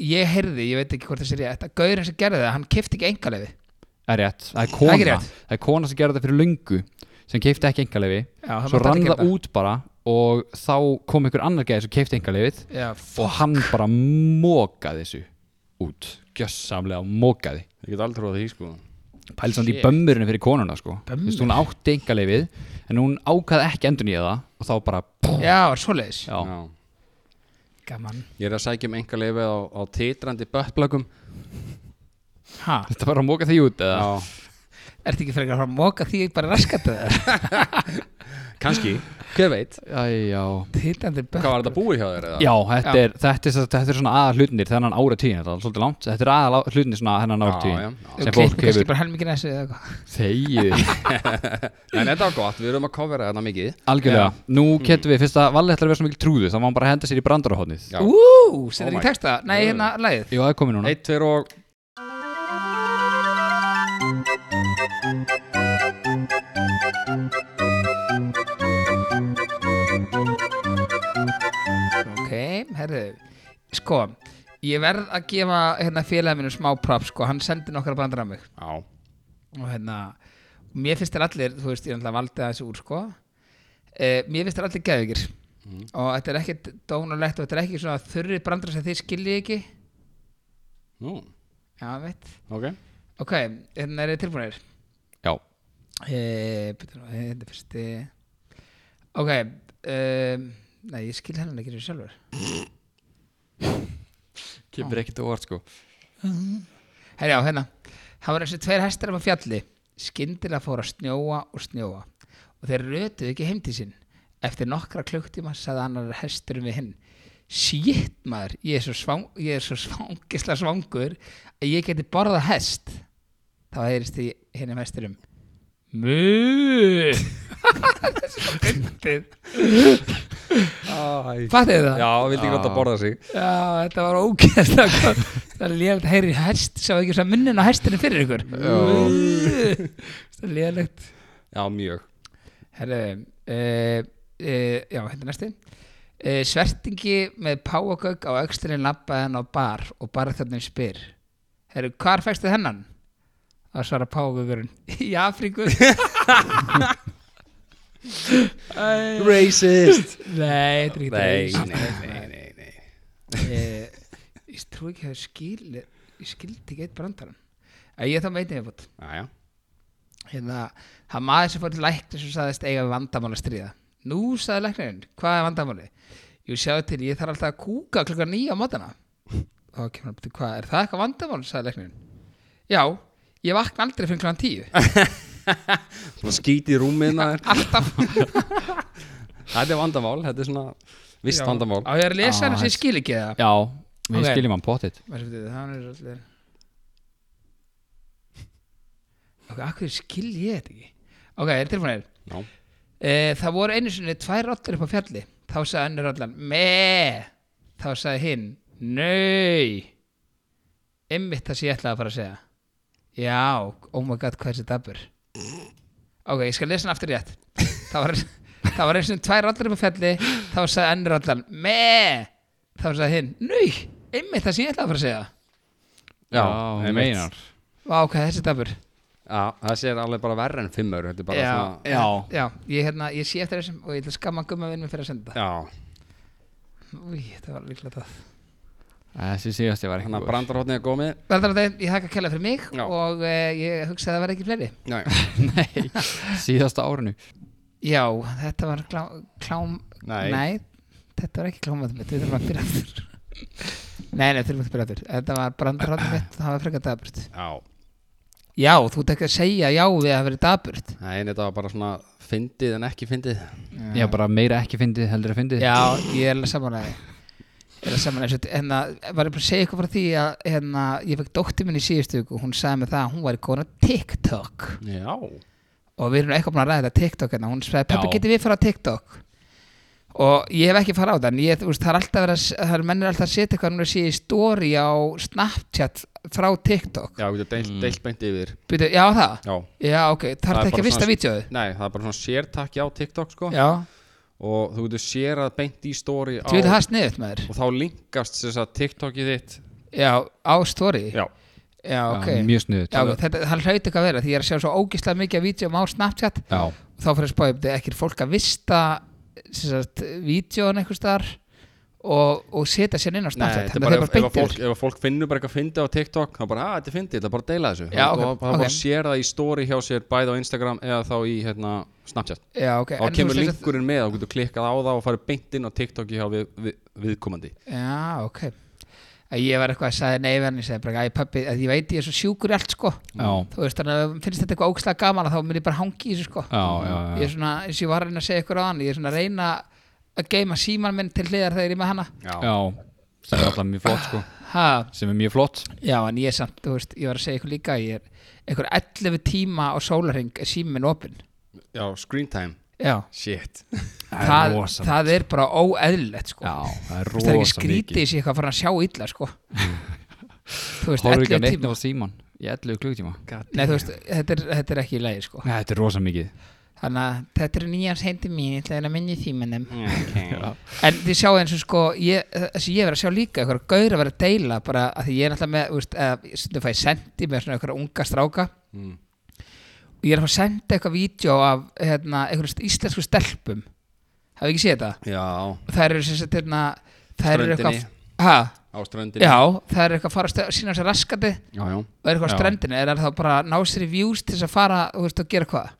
Speaker 3: Ég heyrði, ég veit ekki hvort þessi er rétt að gaurinn sem gerði það, hann kefti ekki engaleifi
Speaker 1: Það er rétt, það er
Speaker 3: Það er
Speaker 1: kona
Speaker 3: ekki rétt.
Speaker 1: Það er kona sem gerði þetta fyrir löngu sem keipti ekki engaleifi
Speaker 3: Já, það
Speaker 1: Svo
Speaker 3: mátti
Speaker 1: rann
Speaker 3: ekki
Speaker 1: það
Speaker 3: gera
Speaker 1: út bara og þá kom einhver annar gæði sem keipti engaleifið
Speaker 3: Já,
Speaker 1: og hann bara mókaði þessu út Gjössamlega mókaði
Speaker 4: Ég get aldrei trúið því, sko.
Speaker 1: Pæli samt í
Speaker 3: Shit.
Speaker 1: bömmurinu fyrir konuna sko
Speaker 3: Bömmur?
Speaker 1: Þú veist, Hún átti engaleifið en hún ákaði ekki endur nýja það og þá bara
Speaker 3: já var svoleiðis
Speaker 1: Já,
Speaker 4: Já.
Speaker 3: Gaman
Speaker 4: Ég er að sækja um enga leifið á, á titrandi böttblökkum.
Speaker 3: ha,
Speaker 1: Þetta var að móka því út eða?
Speaker 4: Já.
Speaker 3: Ertu ekki frekar að fara að móka því bara raskat það?
Speaker 4: Kanski. Hver veit?
Speaker 1: Æ, já
Speaker 3: Tittandi
Speaker 4: Hvað var þetta búið hjá þér eða?
Speaker 1: Já, þetta, Er, þetta, er, þetta er svona aðal hlutinir þennan ára tíðin, þetta er svolítið langt þetta er aðal á- hlutinir svona þennan ára
Speaker 4: Já, já,
Speaker 1: tíðin
Speaker 4: já.
Speaker 3: Sem
Speaker 1: sem fólk hefur
Speaker 3: bara helmingin að þessu eða eitthvað
Speaker 1: þegið
Speaker 4: En þetta var gott, við erum að covera þetta mikið.
Speaker 1: algjörlega, nú
Speaker 3: Mm.
Speaker 1: getum við, fyrst að Valli ætlar að vera svo mikil trúðu, þá má hann bara henda sér í brandarahotnið
Speaker 4: Já.
Speaker 3: Ú, sem
Speaker 4: Oh
Speaker 3: er
Speaker 4: my
Speaker 3: í texta Nei, hérna, lagið
Speaker 1: Jú, það er komið núna
Speaker 4: Eitt, tveir og...
Speaker 3: Herðu, sko, ég verð að gefa hérna félagið mínum smá prop, sko, hann sendi nokkra bandar að mig
Speaker 4: Já,
Speaker 3: og hérna, mér finnst þér allir, þú veist, ég náttúrulega valdi það þessu úr, sko, e, mér finnst þér allir geðvíkir og þetta er ekkert dónulegt og þetta er ekki svona þurri brandar sem þið skiljið ekki,
Speaker 4: nú,
Speaker 3: já, veit,
Speaker 4: ok
Speaker 3: ok, hérna er þið tilbúinir?
Speaker 1: Já,
Speaker 3: Eh, bíddu nú, eh, Þetta er fyrsti Ok um, Nei, ég skil hennan ekki fyrir sjálfur
Speaker 1: kemur ekkert óvart sko
Speaker 3: Herjá, hérna Það var þessi tveir hestar um að fjalli Skyndilega fór að snjóa og snjóa Og þeir rötuðu ekki heim til sín Eftir nokkra klukktíma sagði annar hesturinn við hinn Shit maður, ég er svo, svang, ég er svo svangisla svangur að ég geti borðað hest Þá heyrist því hinnum hesturum Mú Fyndið
Speaker 4: Æ.
Speaker 3: Fattið það?
Speaker 4: Já, vildi ekki láta
Speaker 1: Já.
Speaker 4: borða sig
Speaker 3: Já, þetta var ógeðslega gott. Það er lélægt að heyri hest Sá ekki svo munnin á hestinu fyrir ykkur Það er lélægt
Speaker 4: Já, mjög
Speaker 3: Herðu uh, uh, Já, hérna næsti uh, Svertingi með páagögg á öxlinni labbaði hann á bar og barþjóðnum spyr Herðu, hvar fækstu hennan? Það svara páagöggurinn Í Afríku
Speaker 4: Racist
Speaker 3: Nei, þetta er ekki
Speaker 4: Nei,
Speaker 3: racist.
Speaker 4: nei, nei, nei, nei.
Speaker 3: Eh, Ég trú ekki að skil Ég skildi ekki eitt brandarann Eh, Ég er þá meitin ég fótt
Speaker 4: Jæja,
Speaker 3: hérna, það maður sem fór til lækni sem sagðist eiga við vandamál að stríða nú sagði læknirinn, hvað er vandamáli jú sjáðu til, ég þarf alltaf að kúka klukkan nýja á mótana og kemur hann, "Bíddu, hvað, er það eitthvað vandamál, sagði læknirinn já, ég vakna aldrei fyrir klukkan tíu
Speaker 4: svona skíti í rúmið maður
Speaker 3: alltaf
Speaker 4: Þetta er vandamál, þetta er svona Vist vandamál
Speaker 3: á ég er að lesa
Speaker 1: Á,
Speaker 3: hann sem ég skil ekki það
Speaker 1: Já, við
Speaker 3: Ok.
Speaker 1: skiljum hann pottit
Speaker 3: Maður sem þetta, hann er allir ok, akkur skil ég þetta ekki ok, er tilfónir
Speaker 4: Já,
Speaker 3: E, það voru einu sinni tvær rottur upp á fjalli þá sagði önnur rollan meee þá sagði hinn nöi einmitt það sem ég ætlaði að fara að segja já, oh my god, hvað er þessi dabur ok, ég skal lesa hann aftur rétt það var, það var einu sinni tvær rottur upp á fjalli þá sagði önnur rollan meee þá sagði hinn nöi einmitt það sem ég ætlaði að fara að segja
Speaker 4: Já,
Speaker 1: hún
Speaker 4: einmitt.
Speaker 1: meinar
Speaker 3: Vá, hvað er þessi dabur
Speaker 4: Já, það sé alveg bara verra en fimmur Þetta er bara svona
Speaker 1: Já,
Speaker 3: já ég, hérna, ég sé eftir þessum og ég ætla að skamma gumma vinnum fyrir að senda
Speaker 4: Já,
Speaker 3: Új, þetta var líklega það
Speaker 1: þessi síðasti var ekki
Speaker 4: þannig að
Speaker 1: góður.
Speaker 4: brandarhóttni er gómið
Speaker 3: Verðarlega, ég þakka kella fyrir mig
Speaker 4: Já.
Speaker 3: og uh, ég hugsa að það verði ekki fleiri.
Speaker 4: Já, já
Speaker 1: Nei, síðasta árinu
Speaker 3: Já, þetta var klá, klám...
Speaker 4: Nei.
Speaker 3: þetta var ekki klámatum mitt, við þurfum að byrja aftur. nei, nei, þurfum ekki að byrja aftur. Þetta var brandarátum mitt, það var frekar daburt.
Speaker 4: Já,
Speaker 3: Já, þú ert ekki að segja já við að verið daburt.
Speaker 4: nei, þetta var bara svona Fyndið en ekki fyndið
Speaker 1: Já, bara meira ekki fyndið heldur að fyndið
Speaker 3: Já, ég er alveg samanlega. Ég er alveg samanlega. Hérna, var ég bara að segja eitthvað frá því að hérna, ég fekk dóttir minni í síðustu viku, hún sagði mig það að hún væri góðan á TikTok.
Speaker 4: Já
Speaker 3: og við erum nú eitthvað búin að ræða þetta TikTok hérna, hún sagði, pappi,
Speaker 1: Já.
Speaker 3: getur við fara á TikTok og ég hef ekki fara á það en ég, þú veist, það er alltaf verið að, það er mennir alltaf að setja eitthvað núna sé í story á Snapchat frá TikTok
Speaker 4: Já, þetta er deilt, deilt beint yfir
Speaker 3: Býtu, já það,
Speaker 4: Mm. Já
Speaker 3: já ok, þarf
Speaker 4: Það er
Speaker 3: það ekki
Speaker 4: bara
Speaker 3: að vista
Speaker 4: svona-
Speaker 3: vídeoðu
Speaker 4: Nei, það er bara svona sértakki á TikTok sko
Speaker 3: já,
Speaker 4: og þú getur sér að beint í stóri á
Speaker 3: þú veit það er sniðut með þér
Speaker 4: og þá linkast þess að TikTokið þitt
Speaker 3: já, á story já,
Speaker 4: Já,
Speaker 3: ok,
Speaker 1: Já, Mjög snuðut
Speaker 3: já, ok, þetta, það hlaut ekki að vera því ég er að sjá svo ógislega mikið af vídeoum á Snapchat
Speaker 1: Já,
Speaker 3: þá fyrir að spája, ekki er fólk að vista sem sagt, vídeoðan einhvers staðar og, og setja sér inn á Snapchat
Speaker 4: þetta er
Speaker 3: þannig að
Speaker 4: bara,
Speaker 3: það
Speaker 4: ef,
Speaker 3: er
Speaker 4: ef,
Speaker 3: bara
Speaker 4: að fólk, ef að fólk finnur bara eitthvað fyndi á TikTok þá bara, að þetta er fyndi, það er bara að deila þessu
Speaker 3: Já,
Speaker 4: og
Speaker 3: ok,
Speaker 4: það bara
Speaker 3: ok.
Speaker 4: okay. sér það í stóri hjá sér bæði á Instagram eða þá í hérna, Snapchat
Speaker 3: Já, ok. en
Speaker 4: og þá
Speaker 3: þú
Speaker 4: kemur
Speaker 3: veist þess að-
Speaker 4: linkurinn með og getur klikkað á það og farið beint inn á TikToki hjá við, við, viðkomandi
Speaker 3: Já, ok. Að Ég var eitthvað að sagði nei við hann, ég sagði bara, æ pabbi, að ég veit ég er svo sjúkur í allt, sko.
Speaker 1: já,
Speaker 3: Þú veist, þannig að finnst þetta eitthvað ógslag gaman að þá mun ég bara hangi í þessu, sko.
Speaker 1: já, já, já.
Speaker 3: Ég er svona, eins og ég var að reyna að segja ykkur á hann, ég er svona að reyna að geima síman minn til hliðar þegar ég er með hana.
Speaker 1: Já, sem er alltaf mjög flott sko
Speaker 3: Ha,
Speaker 1: sem er mjög flott
Speaker 3: já, en ég er samt, þú veist, ég var að segja ykkur líka, ég er einhver 11 tíma á sólarring er síminn minn opinn.
Speaker 4: Já, screen time,
Speaker 3: Já,
Speaker 4: shit
Speaker 3: það, það er bara óeðlilegt, sko.
Speaker 1: sko. Já, það er
Speaker 3: Þú veist, það er ekki
Speaker 1: rosa
Speaker 3: skrítið í sig eitthvað að fara að sjá illa, sko. Þú veist,
Speaker 1: Hóru ekki
Speaker 3: 11
Speaker 1: að
Speaker 3: tíma.
Speaker 1: neitt á síman í 11 klukkutíma
Speaker 3: Nei, þú veist, þetta er, þetta er ekki í lægi, sko.
Speaker 1: Nei, þetta er rosa mikið
Speaker 3: þannig að þetta eru nýjans hendi mín ég ætla að reyna að minna í þýmanum
Speaker 4: okay.
Speaker 3: en þið sjáu eins og sko ég, þessi ég verið að sjá líka eitthvað gaur að vera að deila bara að því ég er náttúrulega með úst, að, stundum fæ ég sendi með svona eitthvað unga stráka
Speaker 4: Mm.
Speaker 3: og ég er að fá að senda eitthvað vídeo af hérna, einhverjum íslensku stelpum hafið ekki séð þetta?
Speaker 4: Já,
Speaker 3: það eru sem sagt hérna, það eru eitthvað
Speaker 4: Ströndinni.
Speaker 3: ha,
Speaker 4: á ströndinni
Speaker 3: já, það eru eitthvað að fara að stöð- sýna sér raskandi
Speaker 4: já, já.
Speaker 3: og eru eitthvað á
Speaker 1: Já.
Speaker 3: strendinu er það bara að ná sér í views til þess að fara þú veist, og gera hvað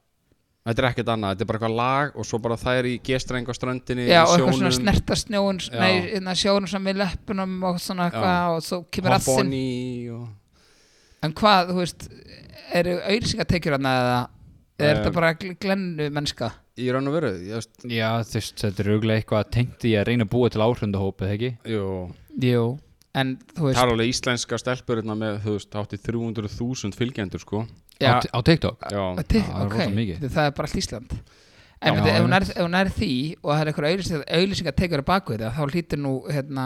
Speaker 4: Þetta er ekkert annað, þetta er bara eitthvað lag og svo bara það er í gestreng á ströndinni
Speaker 3: já,
Speaker 4: í
Speaker 3: og eitthvað svona
Speaker 4: sjónum,
Speaker 3: snerta snjóun
Speaker 4: Já.
Speaker 3: nei, hérna, sjónum svona með löpunum og svona
Speaker 4: Já.
Speaker 3: eitthvað og svo kemur
Speaker 4: hoppa
Speaker 3: rassinn
Speaker 4: ofan í og...
Speaker 3: en hvað, þú veist eru auðlýsingatekjur hann eða eða er
Speaker 4: Eh,
Speaker 3: þetta bara gl- glennu mennska
Speaker 4: Í raun og veru, ég veist
Speaker 1: Já, þú veist, þetta er auðvitað eitthvað tengt í að reyna að búa til áhrundahópið, ekki?
Speaker 4: Jú,
Speaker 3: jú, en þú
Speaker 4: það
Speaker 3: veist
Speaker 4: er alveg íslenska stelpurina með, þú veist, átti 300.000 fylgjendur, sko
Speaker 1: Á,
Speaker 3: já,
Speaker 1: t- á TikTok?
Speaker 4: Já,
Speaker 3: Ti-
Speaker 1: það er
Speaker 3: ok,
Speaker 1: rosa mikið.
Speaker 3: þetta- það er bara allt Ísland
Speaker 1: Já,
Speaker 3: en já, ef, hún er,
Speaker 1: einmitt.
Speaker 3: ef hún er því og það er eitthvað auðlýsingatekjur á baku þetta þá hlýtur nú hérna,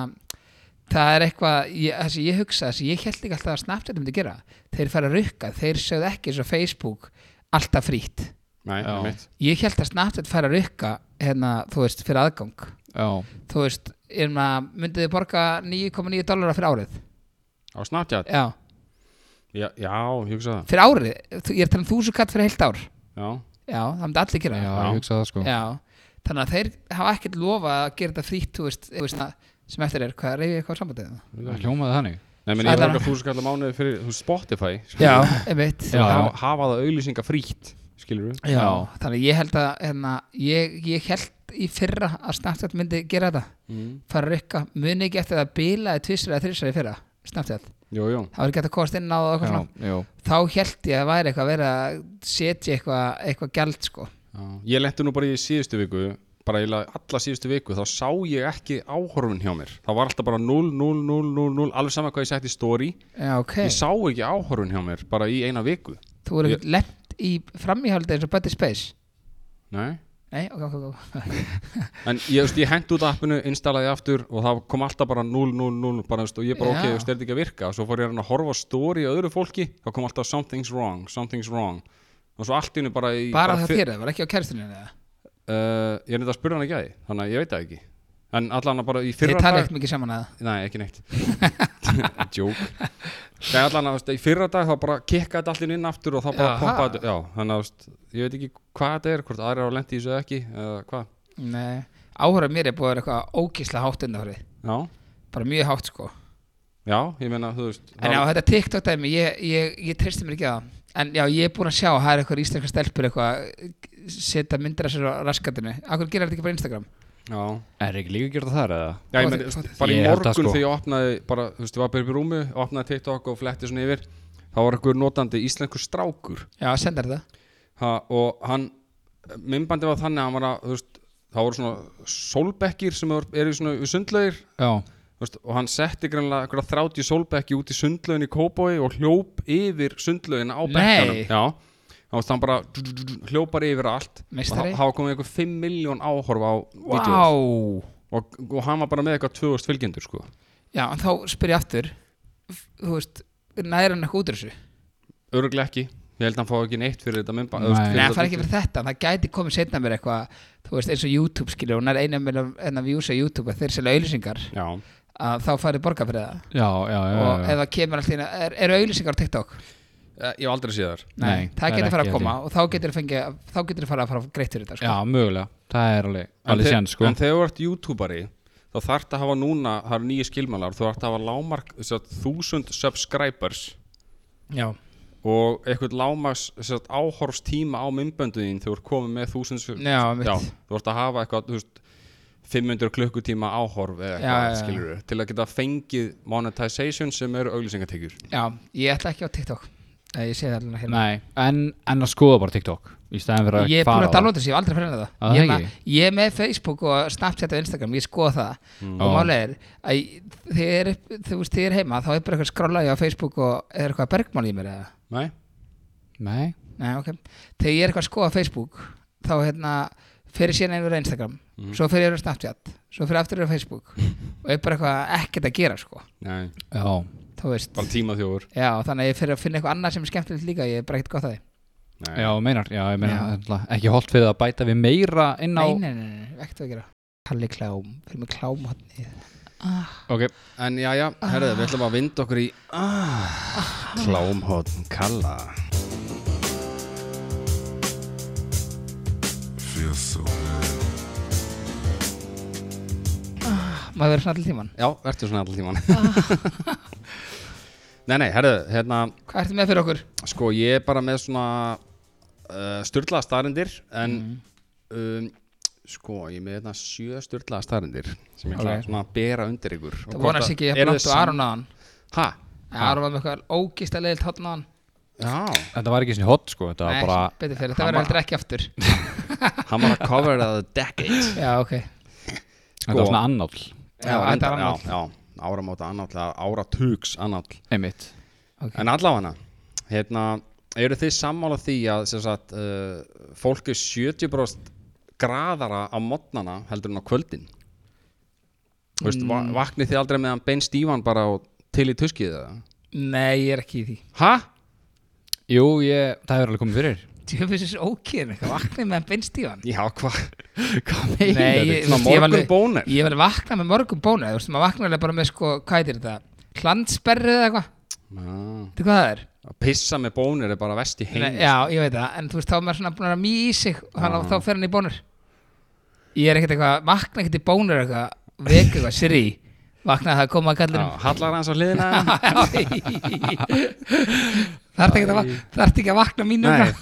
Speaker 3: það er eitthvað, ég- það sem ég hugsa það sem ég held ekki alltaf að Snapchat myndi gera þeir fara að rukka, þeir sögðu ekki eins og Facebook alltaf frítt
Speaker 4: nei,
Speaker 1: Já.
Speaker 4: mitt
Speaker 3: ég held að Snapchat fara að rukka hérna, þú veist, fyrir aðgang
Speaker 1: Já,
Speaker 3: þú veist, er maður, myndið þið borga 9,9 dollara fyrir árið
Speaker 4: Á Snapchat?
Speaker 3: já,
Speaker 4: Já, já, ég hugsa það
Speaker 3: fyrir árið, Þú- ég er talað um þúsu katt fyrir heilt ár
Speaker 4: Já,
Speaker 3: já, það myndi allir
Speaker 1: já,
Speaker 3: gera það.
Speaker 1: ég hugsa það sko.
Speaker 3: já, þannig að þeir hafa ekkert lofað að gera þetta frítt, þú veist, þú veist það, sem eftir er, hvað reyfið eitthvað sambandið það?
Speaker 1: Það hljómaði þannig.
Speaker 4: Nei, menn ég
Speaker 3: Sætara.
Speaker 4: borga þúsund kallar mánuði fyrir þú veist, Spotify skilur
Speaker 3: já,
Speaker 4: við.
Speaker 3: einmitt
Speaker 1: Já,
Speaker 4: Ha-
Speaker 1: já.
Speaker 4: Hafa það auglýsinga frítt, skilur við
Speaker 3: Já, þannig að ég held að hérna, ég, ég held í fyrra að Snapchat myndi gera þetta,
Speaker 4: mm.
Speaker 3: fara að rykka muni ekki eftir að það bilaði tvisra eða þrisra í fyrra Snapchat,
Speaker 4: Jú, jú
Speaker 3: það var ekki hægt að komast inn á það og eitthvað
Speaker 1: Já,
Speaker 3: svona
Speaker 1: já.
Speaker 3: þá held ég að væri eitthvað að vera að setja eitthvað eitthvað gjald sko
Speaker 4: Já. Ég lendi nú bara í síðustu viku bara eiginlega alla síðustu viku þá sá ég ekki áhorfun hjá mér það var alltaf bara 0, 0, 0, 0, 0 alveg sama hvað ég sett í story
Speaker 3: já ok,
Speaker 4: ég sá ekki áhorfun hjá mér bara í eina viku
Speaker 3: þú eru ekkert lent í framíhaldi eins og Buddy Space
Speaker 4: Nei.
Speaker 3: nei, ok, ok, ok
Speaker 4: en ég, veist, ég hengt út appinu, installaði aftur og það kom alltaf bara 0, 0, 0 bara, veist, og ég bara
Speaker 3: Já.
Speaker 4: ok, þú veist, er þetta ekki að virka svo fór ég að reyna að horfa á story á öðru fólki þá kom alltaf something's wrong, something's wrong og svo allt innu bara í
Speaker 3: bara það
Speaker 4: fyr-
Speaker 3: þér, það var ekki á kærstinu eða?
Speaker 4: uh, ég er neitt að spurra hann ekki að því þannig að ég veit það ekki en allan að bara í
Speaker 3: þið
Speaker 4: fyrra
Speaker 3: tala ekkert mikið saman að
Speaker 4: Nei, ekki neitt Joke Nei, allan að þú veist, í fyrra dag þá bara kikkaði þetta allir inn aftur og þá bara
Speaker 3: Jaha.
Speaker 4: pompaði þetta Já, þannig að þú veist, ég veit ekki hvað þetta er hvort aðrir á lendi í þessu eða ekki eða hvað
Speaker 3: það nei, áhörðum mér er búið að vera eitthvað ókísla hátt undanfari,
Speaker 4: Já,
Speaker 3: bara mjög hátt sko
Speaker 4: já, ég meina, þú veist
Speaker 3: en já, þetta TikTok dæmi, ég, ég, ég tristi mér ekki að það en já, ég er búin að sjá, það er eitthvað íslenska stelpur eitthvað setja myndir af sér á raskatinu akkur gera þetta ekki bara á Instagram
Speaker 4: já.
Speaker 1: Er ekki líka að gera það þar eða?
Speaker 4: já, ég
Speaker 3: Fá
Speaker 4: meina,
Speaker 3: þig, fá þig.
Speaker 4: bara í
Speaker 1: Ég held
Speaker 4: morgun
Speaker 1: það, sko.
Speaker 4: þegar ég opnaði bara, þú veist, ég var bara upp í rúmi opnaði TikTok og fletti svona yfir þá var einhver notandi íslenskur strákur
Speaker 3: já, sendar þetta
Speaker 4: ha, og hann minnbandi var þannig að hann var að, þú veist, þá voru svona sólbekkir sem eru eru svona við sundlaugir
Speaker 1: Já.
Speaker 4: Þú veist, og hann setti grannlega einhverja 30 sólbekki út í sundlaugin í Kóboi og hljóp yfir sundlaugin á
Speaker 3: Nei.
Speaker 4: bekkanum já þá veist hann bara dú- dú- dú- dú- hljópar yfir allt
Speaker 3: Meistari.
Speaker 4: og þá- þá komið eitthvað 5 miljón áhorfa á vídeoð
Speaker 3: wow.
Speaker 4: og, og hann var bara með eitthvað 2000 fylgjendur sko
Speaker 3: Já, en þá spyr ég aftur f- Þú veist, næri hann eitthvað út úr þessu Nei,
Speaker 4: öruglega ekki ég held að hann fá ekki neitt fyrir þetta minnba
Speaker 1: Nei. Nei,
Speaker 3: það er ekki fyrir þetta, en það gæti komið setna mér eitthvað Þú veist, eins og YouTube skilur Hún er eina með enna views á YouTube að Þeir selja auðlýsingar
Speaker 4: já
Speaker 3: að Þá farið borga fyrir það
Speaker 1: Já, já, já.
Speaker 3: Og
Speaker 1: já,
Speaker 3: ef
Speaker 1: já.
Speaker 3: það kemur alltaf inn er, Eru auðlýsingar á TikTok?
Speaker 4: Eh, ég hef aldrei séð þar
Speaker 1: Nei, það er
Speaker 3: það getur farið
Speaker 1: ekki,
Speaker 3: að koma
Speaker 1: held
Speaker 3: Og þá getur það farið að fara greitt fyrir þetta
Speaker 1: Já,
Speaker 3: sko.
Speaker 1: mögulega. Það er alveg, alveg
Speaker 4: þe-
Speaker 1: sjans sko.
Speaker 4: en þegar þú ert youtuberi þá þarf það að hafa núna það eru nýju skilmálar þú þarf að hafa lámark þess að 1000 subscribers
Speaker 3: Já.
Speaker 4: og eitthvað lámas áhorfstíma á myndböndu þín þegar þú ert komið með þúsund
Speaker 3: Já, mitt.
Speaker 4: þú ert að hafa eitthvað þú veist, 500 klukkutíma áhorf eða
Speaker 3: Já, já,
Speaker 4: eitthvað
Speaker 3: já.
Speaker 4: skilur við til að geta fengið monetization sem eru auglýsingatekjur
Speaker 3: Já, ég ætla ekki á TikTok Eh, Ég sé það alveg hérna
Speaker 1: Nei, en, en að skoða bara TikTok í stæðan fyrir að
Speaker 3: Ég er búin
Speaker 1: fara Ah,
Speaker 3: að downloada þessu, ég hef aldrei fyrir það
Speaker 1: það
Speaker 3: ég,
Speaker 1: ekki?
Speaker 3: ma- ég er með Facebook og Snapchat og Instagram, ég skoða það og
Speaker 1: Ó.
Speaker 3: málega er að ég- þegar ég er- þú veist, þegar ég er heima þá er bara eitthvað skrolla ég á Facebook og er eitthvað bergmál í mér eða
Speaker 4: Nei?
Speaker 1: Nei,
Speaker 3: Nei, ok, þegar ég er eitthvað að skoða Facebook þá hérna fyrir síðan einhver á Instagram,
Speaker 1: Hmm.
Speaker 3: svo fyrir ég á Snapchat svo fyrir aftur yfir á Facebook og er bara eitthvað ekkert að gera sko
Speaker 4: Nei,
Speaker 1: já,
Speaker 3: þú veist,
Speaker 4: bara tímaþjófur
Speaker 3: já þannig að ég fyrir að finna eitthvað annað sem er skemmtilegt líka ég er bara ekkert gott að því
Speaker 4: Nei.
Speaker 1: Já, meinar, já, ég meina
Speaker 3: Já.
Speaker 1: náttúrulega ekki holdt fyrir að bæta við meira inn á
Speaker 3: Nei, nei, nei, nei, ekkert að gera Kalli klám, fyrir mig klám hotni
Speaker 1: Ok,
Speaker 4: En já, já, herðu, við ætlum að vinda okkur í ah, Klámhóttn Kalla
Speaker 5: Feels so good.
Speaker 3: Maður verður svona allir tíman
Speaker 4: Já, verður svona alltaf tíman Nei, nei, herðu, hérna
Speaker 3: Hvað ertu með fyrir okkur?
Speaker 4: Sko, ég er bara með svona uh, Sturlaða starindir En
Speaker 3: Mm.
Speaker 4: um, Sko, ég er með hérna sjö sturlaða starindir Sem ég ætla
Speaker 3: Ok.
Speaker 4: svona að bera undir ykkur
Speaker 3: Það vonast ekki, ég hef langt og Aron aðan
Speaker 4: Hæ?
Speaker 3: Aron var með eitthvað ógist að leiðilt hotn aðan
Speaker 4: Já,
Speaker 1: þetta var ekki svona hot sko, þetta
Speaker 3: Nei,
Speaker 1: var bara
Speaker 3: betur fyrir,
Speaker 4: Hann
Speaker 3: það verður
Speaker 4: var-
Speaker 3: heldur ekki aftur
Speaker 4: hann var að cover of the decade
Speaker 3: Já, ok
Speaker 1: Þetta
Speaker 3: Sko.
Speaker 1: var svona annál,
Speaker 3: Já, þetta er
Speaker 4: reyndar,
Speaker 3: annál.
Speaker 4: Já, já, áramóta annál, eða áratugs annál
Speaker 1: einmitt
Speaker 4: En allavega hérna, eru þið sammála því að sem sagt, uh, fólk er 70% graðara á modnana heldur en á kvöldin? Þú veist,
Speaker 3: Mm.
Speaker 4: va vaknið þið aldrei meðan bein stífan bara og til í tuskið eða?
Speaker 3: Nei, ég er ekki í því
Speaker 4: Hæ?
Speaker 1: Jú, ég, það hefur alveg komið fyrir
Speaker 3: Djöfis þessi ókýðin, eitthvað vaknið meðan beinst í hann
Speaker 4: Já, hvað?
Speaker 1: Hvað
Speaker 3: Nei,
Speaker 1: meinar
Speaker 3: ég,
Speaker 1: þetta?
Speaker 3: veist,
Speaker 4: Svona
Speaker 3: ég hef alveg-
Speaker 4: morgunbónir?
Speaker 3: Ég vel vakna með morgun bónir Þú veist, maður vakna alveg bara með sko, hvað heitir þetta? Klandsperrið eða eitthvað
Speaker 4: Ah, Að
Speaker 3: Þetta hvað það er?
Speaker 4: pissa með bónir er bara vest í heim.
Speaker 3: Nei, já, ég veit það, en þú veist, þá er maður svona búin að vera mý í sig og hann, þá fer hann í bónir Ég er ekkert eitthvað, vakna ekkert í bónir eitthvað, vek eitthvað, sirri vakna það að koma að
Speaker 4: Já,
Speaker 3: kallir
Speaker 4: Ah, hallar hans á hliðina.
Speaker 3: Þarf ekki, að va- þarftu ekki að vakna mín
Speaker 4: Nei,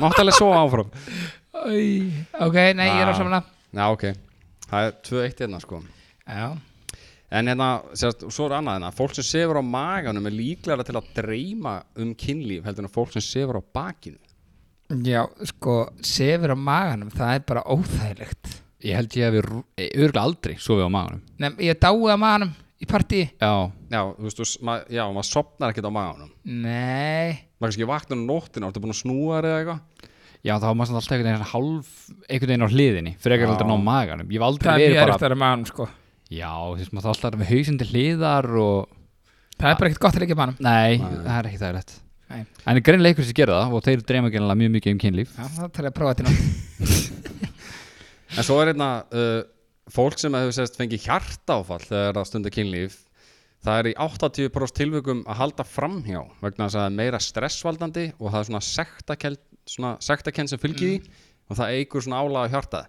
Speaker 4: mátt alveg svo áfram.
Speaker 3: Ok, nei, ég er á
Speaker 4: Ah.
Speaker 3: saman
Speaker 4: Já, ok. Það er 2-1 hérna, sko.
Speaker 3: Já,
Speaker 4: En hérna, sérst, svo er annað hérna, fólk sem sefur á maganum er líklega til að dreyma um kynlíf heldur en fólk sem sefur á bakinu.
Speaker 3: já, sko, sefur á maganum, það er bara óþægilegt
Speaker 1: Ég held ég hefur örgulega aldrei sofið á maganum
Speaker 3: Nefn, ég dáið á maganum í partí
Speaker 1: Já,
Speaker 4: Já, þú veist, þú s- ma já, maður sopnar ekkert á maganum.
Speaker 3: Nei,
Speaker 4: Maður kannski vaknar um nóttina, ertu búin að snúa þér eða eitthvað?
Speaker 1: já þá var maður samt alltaf einhvern veginn hálf einhvern veginn á hliðinni, frekar heldur en á maganum Ég hef aldrei
Speaker 3: það er
Speaker 1: verið
Speaker 3: mjög
Speaker 1: bara
Speaker 3: erft að vera á maganum, sko
Speaker 1: Já, þú veist maður þá alltaf með hausinn til hliðar og
Speaker 3: Það er bara ekkert gott að leggja á maganum
Speaker 1: Nei, það er ekki það lett
Speaker 3: Nei.
Speaker 1: En greinlega ykkur sem gera það og þeir dreyma gennilega mjög mikið um kynlíf
Speaker 3: Já, það þarf ég að prófa þetta í nótt
Speaker 4: En svo er hérna, uh, fólk sem hefur sérst fengið hjartáfall þegar það stundar kynlíf, það er í 80% tilvikum að halda framhjá vegna þess að það er meira stressvaldandi og það er svona sektakenn, svona sektakenn sem fylgir því og það eigur svona álaga hjartað.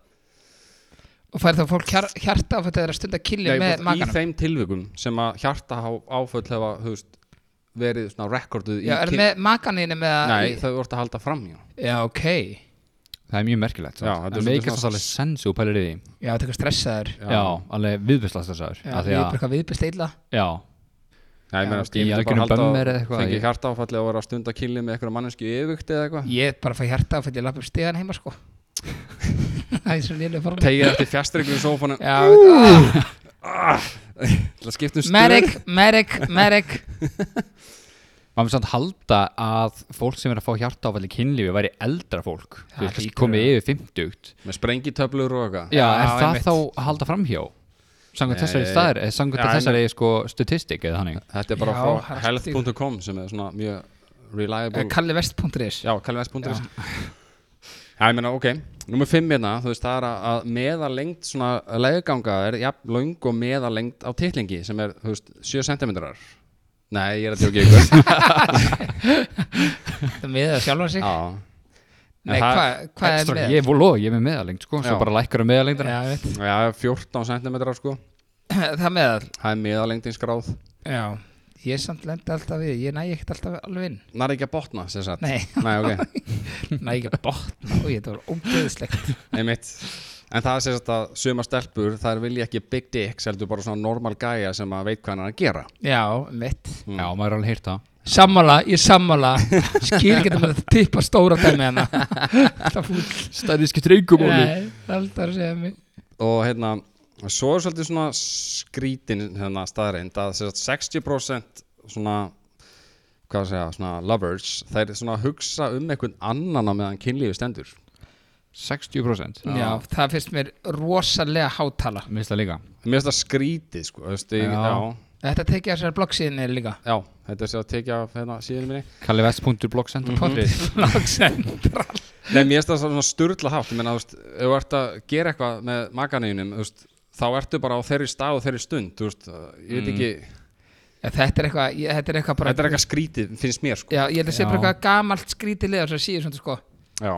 Speaker 3: Og fær þá fólk hjar, hjarta að þetta er að stunda kilja
Speaker 4: Nei,
Speaker 3: með
Speaker 4: bara í
Speaker 3: maganum
Speaker 4: þeim tilvikum sem að hjarta áföll hefa hufst, verið svona rekorduð í
Speaker 3: Já, er
Speaker 4: kyn-
Speaker 3: það með maganinu með að
Speaker 4: Nei, þau voru að halda fram já.
Speaker 3: Já, ok
Speaker 1: Það er mjög merkilegt
Speaker 4: Já, þetta er
Speaker 1: Það
Speaker 4: svolítið
Speaker 1: meikast
Speaker 4: svona-
Speaker 1: alltaf alveg sensu og pælir í því
Speaker 3: Já, þetta er eitthvað stressaður Já,
Speaker 1: Já, alveg viðbjöslast þessar
Speaker 3: það er bara eitthvað viðbyrst eilla
Speaker 1: Já,
Speaker 4: Já, ég meina,
Speaker 1: ok,
Speaker 4: ég
Speaker 1: í
Speaker 4: myndi
Speaker 1: algjörum
Speaker 4: bara halda
Speaker 1: bömmer
Speaker 4: að
Speaker 1: eða eitthvað,
Speaker 4: fengi
Speaker 1: ég-
Speaker 4: hjarta áfalli og vera að stunda kynli með eitthvað mannesku yfugt eða eitthvað
Speaker 3: Ég bara fæ hjarta að ég lapp upp stegan heima, sko Það er svo lélega form
Speaker 4: Tegið eftir fjastryggum sófanum
Speaker 3: Já, veit- Ah,
Speaker 4: Það skiptum stöð
Speaker 3: Merek, Merek, Merek
Speaker 1: maður samt halda að fólk sem er að fá hjartáfall í kynlífi væri eldra fólk
Speaker 3: Það
Speaker 1: Þú veist,
Speaker 3: hlýtur
Speaker 1: komið
Speaker 3: að-
Speaker 1: yfir 50
Speaker 4: Með sprengitöflur og eitthvað
Speaker 1: Já, er
Speaker 3: Já,
Speaker 1: það
Speaker 3: einmitt.
Speaker 1: þá að halda framhjá? Samkvæmt
Speaker 4: Nei.
Speaker 1: þessari staðar, eh, samkvæmt
Speaker 4: Já, en-
Speaker 1: þessari sko statistik eða þannig
Speaker 4: Þetta er bara
Speaker 3: Já, það
Speaker 4: frá
Speaker 3: er
Speaker 4: health.com sem er svona mjög reliable
Speaker 3: Kalli Vest.is
Speaker 4: Já, kalvins.is Já, ég meina, ok, nummer 5 hérna, þú veist, það er að- að meðalengt svona legganga er jafn löng og meðalengt á titlingi sem er, þú veist, 7 cm Nei, ég er að tjóka ykkur
Speaker 3: Það með það sjálfa sig
Speaker 4: Já,
Speaker 3: Nei,
Speaker 4: En það-
Speaker 3: hvað hva er
Speaker 1: Extra,
Speaker 3: með?
Speaker 1: Ég voru loð, ég er með meðalengt sko, svo
Speaker 4: Já.
Speaker 1: bara lækkar um meðalengdina
Speaker 3: Já, ég veit.
Speaker 4: Já, 14 cm sko,
Speaker 3: Það með það
Speaker 4: það er meðalengtins gráð
Speaker 3: Já Ég samt lendi alltaf við, ég næ ekkert alltaf alveg inn
Speaker 4: Nær ekki að botna, sem sagt
Speaker 3: Nei,
Speaker 4: Nei, ok,
Speaker 3: næ ekki að botna Úi, þetta var ógeðislegt
Speaker 4: einmitt En það er sem sagt að suma stelpur, þær vilja ekki big dicks, heldur bara svona normal gæja sem að veit hvað hann er að gera
Speaker 3: Já, mitt
Speaker 1: Já, maður er alveg heyrt það
Speaker 3: Sammála, ég sammála Skil ekki að maður tippa stóra dæmi hana Það fúl
Speaker 1: Stærði skiptir engum
Speaker 3: Nei, alltaf að segja mig
Speaker 4: og hérna svo er svolítið svona skrítin hérna, staðreind að sem sagt, 60% svona hvað að segja, svona lovers þeir svona hugsa um einhvern annan á meðan kynlífi stendur
Speaker 1: 60%
Speaker 3: Já, það finnst mér rosalega hátala
Speaker 1: Mér finnst það líka
Speaker 4: mér finnst það skrítið sko, þú veist, ég,
Speaker 1: Já.
Speaker 4: já.
Speaker 3: Þetta tekið á sér bloggsíðinni líka
Speaker 4: Já, þetta er sér að tekja af hérna síðinu minni
Speaker 3: Mhm.
Speaker 1: kallivest.blogcenter.is
Speaker 3: Bloggsendral
Speaker 4: Nei, mér finnst það svona sturla hátt Ég meina, þú veist, ef þú ert að gera eitthvað með makaneginum, þú veist þá ertu bara á þeirri stað og þeirri stund þú veist, ég veit ekki,
Speaker 3: Þetta er eitthvað ég- Þetta er eitthvað bara
Speaker 4: þetta er eitthvað skrítið finnst mér sko
Speaker 3: Já, ég held að sé bara
Speaker 1: Já.
Speaker 3: eitthvað gamalt skrítið liða sem síður svona sko
Speaker 4: Já.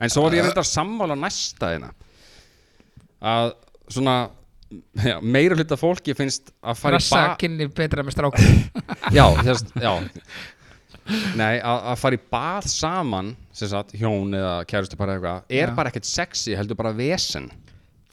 Speaker 4: En svo var ég reyndar sammála næsta þeina að svona já, meira hluta fólki finnst að fara í
Speaker 3: Rassa
Speaker 4: bar
Speaker 3: kynni betra með strákum
Speaker 4: Já, þess, já Nei, að að fara í bað saman sem sagt, hjón eða kærustu bara eitthvað er
Speaker 3: Já.
Speaker 4: bara ekkert sexy, heldur bara vesen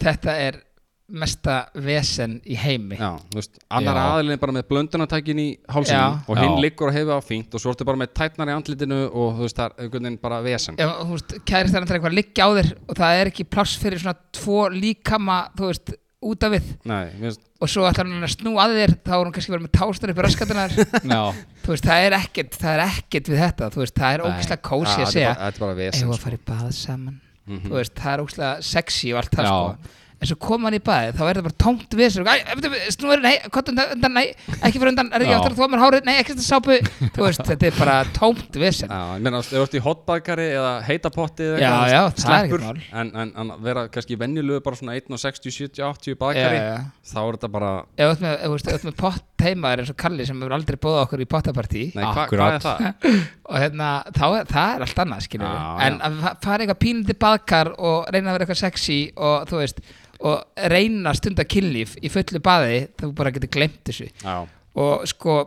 Speaker 3: Þetta er mesta vesen í heimi
Speaker 4: Já, þú veist, annar
Speaker 1: Já.
Speaker 4: aðilin er bara með blöndunatækin í hálsinum
Speaker 3: Já.
Speaker 4: og hinn
Speaker 1: Já.
Speaker 4: liggur og hefur það fínt og svo ertu bara með tætnar í andlitinu og þú veist, það er einhvern veginn bara vesen
Speaker 3: ef þú veist, kærist er eitthvað að liggja á þér og það er ekki pláss fyrir svona tvo líkama, þú veist, út af við
Speaker 4: Nei, mér finnst
Speaker 3: og svo ætlar hann að snúa að þér þá er hann kannski verið með tástar upp í raskatunar
Speaker 1: Já,
Speaker 3: þú veist, það er ekkert, það er ekkert við þetta þú veist, það er
Speaker 1: Nei.
Speaker 3: ógislega
Speaker 4: Já,
Speaker 3: kósi að
Speaker 4: þetta er
Speaker 3: segja
Speaker 4: bara- þetta er bara vesen,
Speaker 3: eigum við
Speaker 4: sko." Mhm.
Speaker 3: að fara í bað saman þú veist, það er ógislega sexy og allt það
Speaker 1: Já.
Speaker 3: sko en svo koma hann í baði, þá er það bara tómt við sér snúður, nei, hvað undan, undan, nei ekki fyrir undan, er ekki
Speaker 1: Já.
Speaker 3: aftur að þóa mér hárið nei, ekki þetta sápu, þú veist, þetta er bara tómt við sér
Speaker 4: Já, ég meina, ef þú ert í hotbakari eða heitapotti eða
Speaker 3: Já,
Speaker 4: eitthvað,
Speaker 3: já,
Speaker 4: þú veist,
Speaker 3: það er ekkert
Speaker 4: sleppur.
Speaker 3: mál.
Speaker 4: en, en, en að vera kannski venjulegu bara svona 1 og 60, 70, 80
Speaker 3: Já,
Speaker 4: bakari
Speaker 3: já, já.
Speaker 4: þá er þetta bara
Speaker 3: ef þú ert með, ef þú veist, ef þú ert með pott heimaður eins og Kalli sem hefur aldrei bóða okkur í pottapartí
Speaker 4: Nei, hva, hvað
Speaker 1: Akkurat.
Speaker 4: er það?
Speaker 3: og hérna, þá er, það er allt annað skilur
Speaker 4: Já,
Speaker 3: við,
Speaker 4: já.
Speaker 3: en að fa- fara eitthvað pínandi baðkar og reyna að vera eitthvað sexy og þú veist, og reyna að stunda kynlíf í fullu baði, þú bara getur glemt þessu
Speaker 4: Já,
Speaker 3: og sko,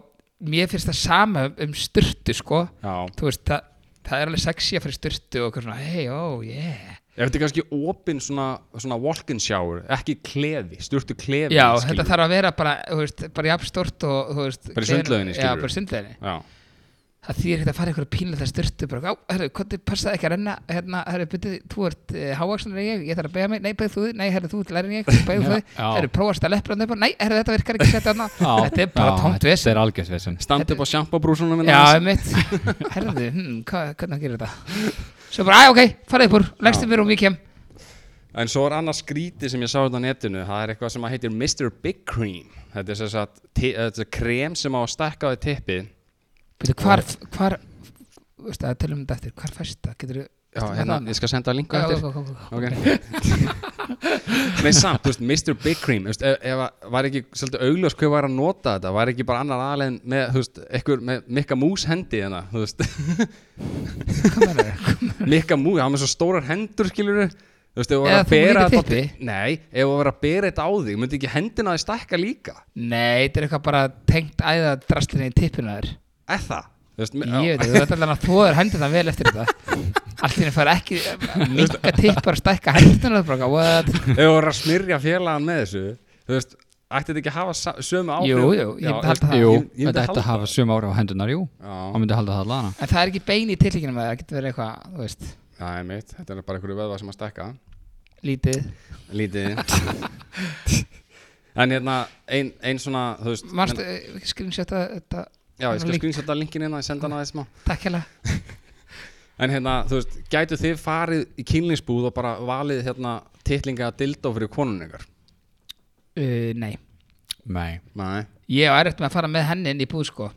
Speaker 3: mér finnst það sama um- um styrtu sko,
Speaker 4: já
Speaker 3: þú veist, það, það er alveg sexy að fara í styrtu og eitthvað svona, hey, oh, yeah
Speaker 4: Ef þetta er kannski opinn svona, svona walk-in shower, ekki klefi, sturtu klefi
Speaker 3: Já, þetta
Speaker 4: skilur við.
Speaker 3: þarf að vera bara, þú veist, bara jafnstort og, þú veist
Speaker 4: Bara í sundlauginni,
Speaker 3: Já,
Speaker 4: skilurðu?
Speaker 3: bara í sundlauginni
Speaker 4: Já,
Speaker 3: það þýðir ekkert að fara eitthvað pínlega styrtu bara, á, herru, hvað þið passaði ekki að renna hérna, herru, byrju, þú ert uh, hávaksunar en ég ég þarf að beigja mig, nei, beigðu þú, þig, nei, herru, þú ert lærin ég beigðu þú, þig,
Speaker 1: Já.
Speaker 3: herru, prófaðst að leppra upp, á- nei, herru, þetta virkar ekki setja hana
Speaker 1: já
Speaker 3: þetta er bara
Speaker 1: já,
Speaker 3: tómt
Speaker 1: Þetta
Speaker 3: vesen
Speaker 1: er algjörst vesen
Speaker 4: standa upp á sjampabrúsunum
Speaker 3: já, mitt, herru, hm, hva, hvernig gerir þetta svo bara, æ, ok, farið upp úr leggstu mér um, ég kem
Speaker 4: En svo er annað skríti sem ég sá þetta á netinu Það er eitthvað sem að heitir Mr. Big Cream Þetta er sem sagt, ti- þetta er krem sem á að stekka á því tippi
Speaker 3: Bíddu, hvar, hvar veist, að tölum um þetta eftir, hvar fæst það, getur
Speaker 4: Já, hérna, ég skal senda að linka eftir
Speaker 3: þú
Speaker 4: Ok Nei samt, þú veist, Mr. Big Cream þú veist, e- ef, ef að- var ekki svolítið augljós hver var að nota þetta, var ekki bara annar aðlegin með, þú veist, ekkur með Mikka Mús hendi hérna, þú veist Mikka Mús, hann með svo stórar hendur skilur þú veist, ef þú var
Speaker 3: Eða
Speaker 4: að
Speaker 3: þú
Speaker 4: bera
Speaker 3: líka
Speaker 4: þetta
Speaker 3: typpi.
Speaker 4: Nei, ef þú var að bera þetta á þig, myndi ekki hendina þig stakka líka
Speaker 3: Nei, þetta er eitthvað bara tengt æða drastinni í tippinu þér
Speaker 4: Er það? Þú veist, me-
Speaker 3: Ég veit ekki, þú ert allan að þóður hendur það vel eftir þetta Allt í henni fara ekki minka tippar og stækka hendur og bara, what?
Speaker 4: ef þú var að smyrja félagan með þessu þú veist, ætti þetta ekki að hafa sa- sömu áhrif
Speaker 3: Jú, jú, ég
Speaker 4: Já,
Speaker 3: myndi halda það.
Speaker 1: Jú,
Speaker 4: ég- ég myndi
Speaker 1: þetta ætti
Speaker 4: halda
Speaker 1: að hafa söm ára á hendunar, jú
Speaker 4: Já.
Speaker 1: Hann myndi halda það allan
Speaker 3: En það er ekki bein í tilíkinu með það, það getur verið eitthvað, þú veist,
Speaker 4: Það er mitt, þetta er bara einhverju vöðva sem að stekka
Speaker 3: lítið
Speaker 4: Lítið En hérna, ein, ein svona, þú veist
Speaker 3: Manstu,
Speaker 4: en,
Speaker 3: eh, screenshota þetta
Speaker 4: Já, ég skal
Speaker 3: link.
Speaker 4: screenshota linkin hérna, senda hana aðeins smá
Speaker 3: Takk hella
Speaker 4: En hérna, þú veist, gætu þið farið í kynlingsbúð og bara valið hérna titlinga að dildó fyrir konun ykkar?
Speaker 3: uh, Nei,
Speaker 1: Nei,
Speaker 4: Nei
Speaker 3: ég á erfitt með að fara með henni inn í búð sko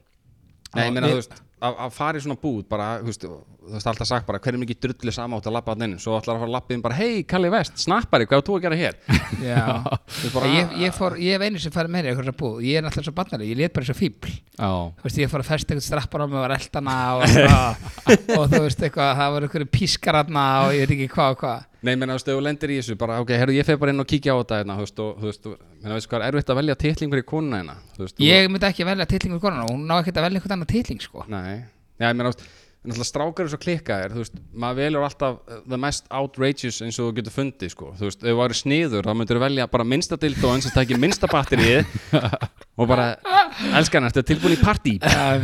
Speaker 3: Já,
Speaker 4: Nei, ég meina,
Speaker 3: við-
Speaker 4: þú veist, að, að fara í svona búð bara, þú veist, þú veist, alltaf sagt bara hver er mikið drullu sama átt að labba hann inn svo ætlar að fara að labba inn bara, hei, Kalli Vest, snappari, hvað er þú að gera hér?
Speaker 3: Já
Speaker 4: Þú veist, bara,
Speaker 3: Ég, ég, fór, ég hef einu sem farið með henni í eitthvað svona búð Ég er náttúrulega svo barnaleg, ég lét bara eins og fíbl
Speaker 1: já
Speaker 3: þú veist, ég fór að festa eitthvað strappar á mig og reltana og, og, og þú veist eitthvað, það voru eitthvað pískararna og ég veit ekki hvað og hvað.
Speaker 4: Nei, ég meina, þú veist, ef þú lendir í þessu, bara, ok, herru, ég fer bara inn og kíkja á þetta, hérna, þú veist, og, þú veist, og, meina, veist, hvað er erfitt að velja titling fyrir konuna hérna, þú veist, þú-
Speaker 3: Ég myndi ekki velja titlingur konuna, hún ná ekkert að velja eitthvað annað titling, sko.
Speaker 4: Nei, já, ég meina, þú veist, náttúrulega strákar er svo klikkaðir, þú veist, maður velur alltaf uh, the mest outrageous eins og þú getur fundið, sko, þú veist, ef þú væri sniður, þá myndur þú velja bara minnsta dildo eins og tækir minnsta batterið og bara, elskan, ertu tilbúin í partí, bara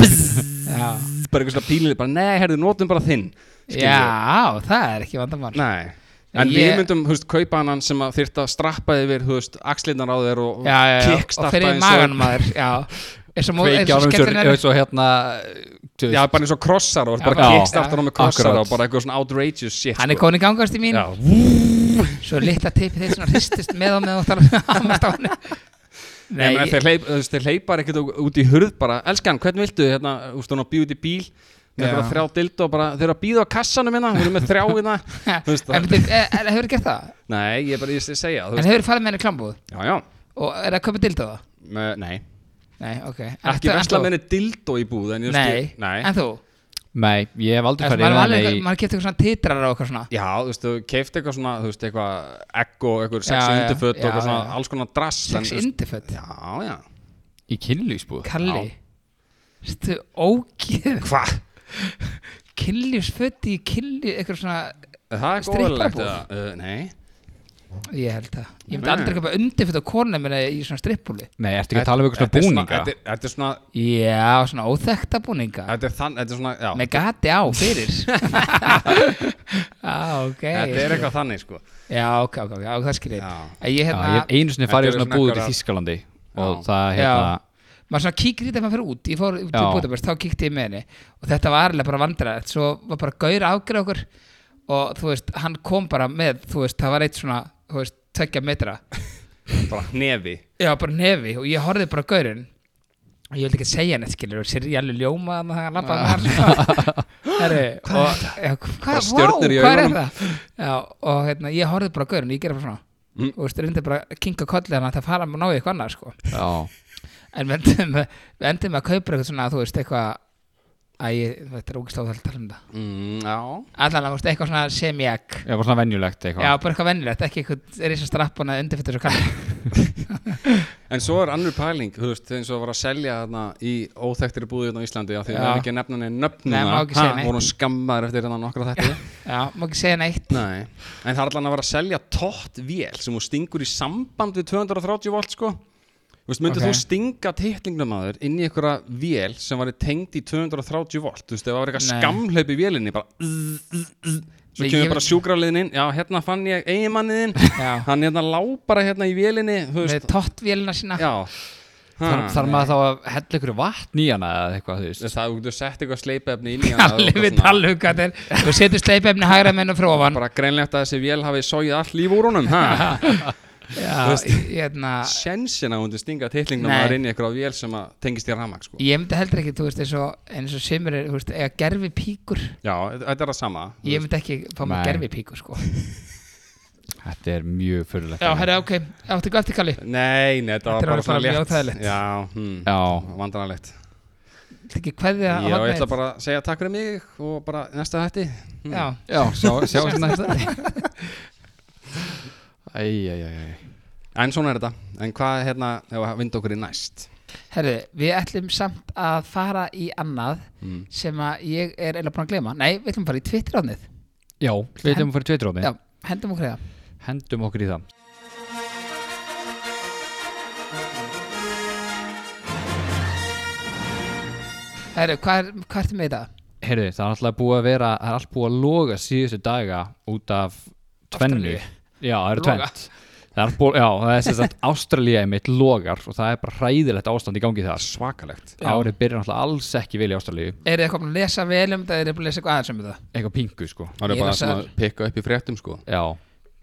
Speaker 3: Já,
Speaker 4: eitthvað svona pílið, bara, nei, herðu, notum bara þinn, skilurðu.
Speaker 3: Já það er ekki vandamál.
Speaker 4: Nei, en
Speaker 3: Ég-
Speaker 4: við myndum, þú veist, kaupa hann sem að þyrfti að strappa yfir, þú veist, axlinnar á þér og
Speaker 3: Já, já, já, og
Speaker 4: kickstarpa
Speaker 3: fyrir í magan maður, já. Eins og móð, eins
Speaker 1: Kveikja á
Speaker 3: og
Speaker 1: hann
Speaker 3: skemmtilega.
Speaker 1: eins og hérna þú
Speaker 4: Já,
Speaker 1: veist,
Speaker 4: bara eins og krossar og
Speaker 3: Já,
Speaker 4: bara
Speaker 1: já.
Speaker 4: kickstartar hann með krossar
Speaker 1: Akkurat.
Speaker 4: og bara eitthvað svona outrageous shit
Speaker 3: Hann er
Speaker 4: sko.
Speaker 3: komin í gangast í mín,
Speaker 4: Já,
Speaker 3: svo litla tipið þeir svona hristist með og með og tala með á hann.
Speaker 4: Nei, ég... meina,
Speaker 3: ég-
Speaker 4: þeir, hleyp, þú veist, þeir hleypar ekkert ú- út í hurð bara, elskan, hvernig viltu hérna, úst, hún á bíu út í bíl með
Speaker 3: Já.
Speaker 4: ja. þrjá dildo og bara, þeir eru að bíða á kassanum hérna, þeir eru með þrjá hérna þú veist,
Speaker 3: En
Speaker 4: það-
Speaker 3: byrju, eh, en hefur gert það?
Speaker 4: Nei, ég er bara, ég sé að segja þú
Speaker 3: En
Speaker 4: veist,
Speaker 3: hefur farið með henni í klámbúð?
Speaker 4: Já, já,
Speaker 3: Og er það komið dildóða?
Speaker 4: með, nei
Speaker 3: Nei, ok en
Speaker 4: Ekki
Speaker 3: ertu- en
Speaker 4: vesla
Speaker 3: þú-
Speaker 4: með henni dildo í búð en ég
Speaker 3: Nei,
Speaker 4: skil- nei.
Speaker 3: en þú?
Speaker 1: Nei, ég hef aldrei
Speaker 3: Maður
Speaker 1: farið
Speaker 3: maður
Speaker 1: yfir hana
Speaker 3: alveg-
Speaker 1: í-
Speaker 3: maður kefti eitthvað svona titrar og eitthvað svona
Speaker 4: Já, þú veist, þú keift eitthvað svona, þú veist, eitthvað egg og eitthvað
Speaker 3: Já,
Speaker 4: sexu
Speaker 3: já,
Speaker 4: undirföt og
Speaker 3: já,
Speaker 4: eitthvað svona,
Speaker 3: já.
Speaker 4: alls konar drass en,
Speaker 3: Sex
Speaker 4: þú veist,
Speaker 3: indiföt
Speaker 4: Já, já
Speaker 1: í kynlýsbúð
Speaker 3: Kalli Stu ógið
Speaker 4: Hva?
Speaker 3: Kynlífsföt í kynlíf Eitthvað svona
Speaker 4: Það er
Speaker 3: Strippabúð?
Speaker 4: góðilegt uh, Nei,
Speaker 3: Ég held það Ég myndi
Speaker 4: Nei.
Speaker 3: aldrei eitthvað undirföt á konu minna í svona strippbúli
Speaker 1: Nei, ertu ekki að tala um eitthvað
Speaker 4: Þetta er
Speaker 1: svona
Speaker 4: svona-
Speaker 1: búninga?
Speaker 4: þetta er- Þetta er svona,
Speaker 3: Já, svona óþekta búninga
Speaker 4: þetta er þann, þetta er svona, já
Speaker 3: Með gati á fyrir Já, ok
Speaker 4: Þetta er eitthvað þannig sko
Speaker 3: Já, ok, ok, ok, ok, það skil ég
Speaker 4: Já.
Speaker 3: En Ég
Speaker 1: Já,
Speaker 3: hérna
Speaker 1: ég hef einu sinni
Speaker 4: Þetta
Speaker 1: farið í
Speaker 4: eru
Speaker 1: svona
Speaker 4: svona
Speaker 1: búð út í
Speaker 4: einhverjar-
Speaker 1: Þískalandi og
Speaker 4: Já.
Speaker 1: það hérna
Speaker 3: Já, maður svona kíkir í þetta maður fyrir út ég fór út til
Speaker 1: Já.
Speaker 3: Budapest, þá kíkti ég með henni og þetta var alveg bara vandræðið svo var bara gaur ágreð okkur og þú veist, hann kom bara með þú veist, það var eitt svona, þú veist, tveggja metra
Speaker 4: Bara nefi
Speaker 3: já, bara nefi og ég horfði bara á gaurinn og ég vildi ekki segja henni, skilur og sér ég alveg ljóma þannig að hann
Speaker 4: Ah.
Speaker 3: labbaði með hann Herri, og já,
Speaker 4: Bara
Speaker 3: hvað, vá,
Speaker 4: stjörnur í
Speaker 3: hvað er
Speaker 4: augunum.
Speaker 3: það já, og hérna, ég horfði bara á gaurinn ég gerði bara svona, mm. og þú veist, reyndi bara að kinka kollið hann að það fara að ná í eitthvað annað, sko
Speaker 1: Já,
Speaker 3: En við endum, með- við endum með að kaupa eitthvað svona, þú veist, eitthvað Æ, ég- þetta er ógæslega óþægilegt að tala um það
Speaker 4: mm, Já
Speaker 3: Allan að, þú veist, eitthvað svona semjæk
Speaker 1: ég var svona venjulegt
Speaker 3: Já,
Speaker 1: eitthvað
Speaker 3: bara eitthvað venjulegt, ekki eitthvað er eins og strappun að undirfittur svo kallar
Speaker 4: En svo er annur pæling, þú veist, eins og var að selja þarna í óþekktir búðið á Íslandi af því
Speaker 3: Já.
Speaker 4: að það er ekki að nefna henni nöfn
Speaker 3: Nei, má ekki segja neitt.
Speaker 4: voru skammaður eftir hérna nokkra þetta
Speaker 3: Já, má ekki segja neitt
Speaker 4: Nei, en það er allan að vera að selja tótt vél sem þú stingur í samband við 230 volt sko Þú veist, myndir
Speaker 3: Ok.
Speaker 4: þú stinga titlingnum að þér inn í einhverja vél sem var tengd í 230 volt Þú veist, ef það var eitthvað
Speaker 3: Nei.
Speaker 4: skamhlaup í vélinni bara zzz, zzz, zzz. Svo
Speaker 3: Nei,
Speaker 4: kemur
Speaker 3: ég-
Speaker 4: bara sjúkraliðin inn, já, hérna fann ég eiginmanniðin
Speaker 3: Já.
Speaker 4: Hann hérna lá bara hérna í vélinni, þú
Speaker 3: Með
Speaker 4: veist
Speaker 3: tóttvélina sína
Speaker 4: Já
Speaker 1: Þar,
Speaker 4: Ha.
Speaker 1: þarf maður þá að hella ykkur vatn í hana eða eitthvað, þú
Speaker 4: Þú
Speaker 1: veist
Speaker 4: veist, það þú getur sett eitthvað sleipefni inn í hana og
Speaker 3: Allir
Speaker 4: eitthvað
Speaker 3: við um
Speaker 4: svona.
Speaker 3: talum hvað þetta er Þú setur sleipefni hægra menn og frá ofan
Speaker 4: Bara greinlegt að þessi vél hafi sóið allt líf úr honum, ha?
Speaker 3: Já, ég- hérna
Speaker 4: Sjensin að hún til stinga titlingnum
Speaker 3: Nei.
Speaker 4: að rinni eitthvað á vél sem að tengist í ramak, sko.
Speaker 3: Ég myndi heldur ekki, þú veist, eins og eins og sumir, eru, þú veist, eiga gerfi píkur
Speaker 4: Já, þetta er það sama.
Speaker 3: Ég
Speaker 4: þú veist.
Speaker 3: myndi ekki fá mig
Speaker 1: Nei.
Speaker 3: gerfi píkur, sko
Speaker 1: Þetta er mjög hérna. fyrirlegt
Speaker 3: Já, herra, ok, áttu gott í kalli
Speaker 4: Nei, nei, þetta
Speaker 3: Þetta er
Speaker 4: var bara
Speaker 3: alveg
Speaker 4: svona
Speaker 3: bara mjög
Speaker 4: létt.
Speaker 3: óþægilegt.
Speaker 4: Já, hm,
Speaker 1: Já.
Speaker 4: vandrarlegt.
Speaker 3: Þetta ekki kveðja á
Speaker 4: Já, ég
Speaker 3: hornið?
Speaker 4: ætla bara að segja takk fyrir mig og bara næsta hætti.
Speaker 3: Já,
Speaker 1: Já, sjá, sjá svona þetta Æ, æ, æ, æ
Speaker 4: En svona er þetta. En hvað, hérna, ef að vinda okkur í næst?
Speaker 3: herðu, við ætlum samt að fara í annað
Speaker 4: Mm.
Speaker 3: sem að ég er eiginlega búin að glema Nei, við ætlum að fara í Twitter ánið
Speaker 1: Já, við ætlum að fara í tveitróðni
Speaker 3: Já, hendum okkur í það
Speaker 1: Hendum okkur í það
Speaker 3: Herðu, hvað, er, hvað ertu með í dag?
Speaker 1: Heyrðu, það er alltaf búið að vera Það er allt búið að loga síðustu daga út af tvennu
Speaker 3: Ástralíu.
Speaker 1: Já, það eru
Speaker 3: Loga.
Speaker 1: tvennt Það er búið, já, það er sérst að Ástralía einmitt logar og það er bara hræðilegt ástand í gangi þar
Speaker 4: Svakalegt.
Speaker 1: Árið byrjar náttúrulega alls ekki vel í Ástralíu
Speaker 3: Eru þið komin að lesa vel um þetta? Eru þið búin að lesa eitthvað aðeins um þetta?
Speaker 1: Eitthvað pingu, sko
Speaker 4: Það
Speaker 3: Ég
Speaker 4: er bara
Speaker 3: las
Speaker 4: svona
Speaker 3: að-
Speaker 4: að pikka upp í fréttum, sko.
Speaker 1: Já,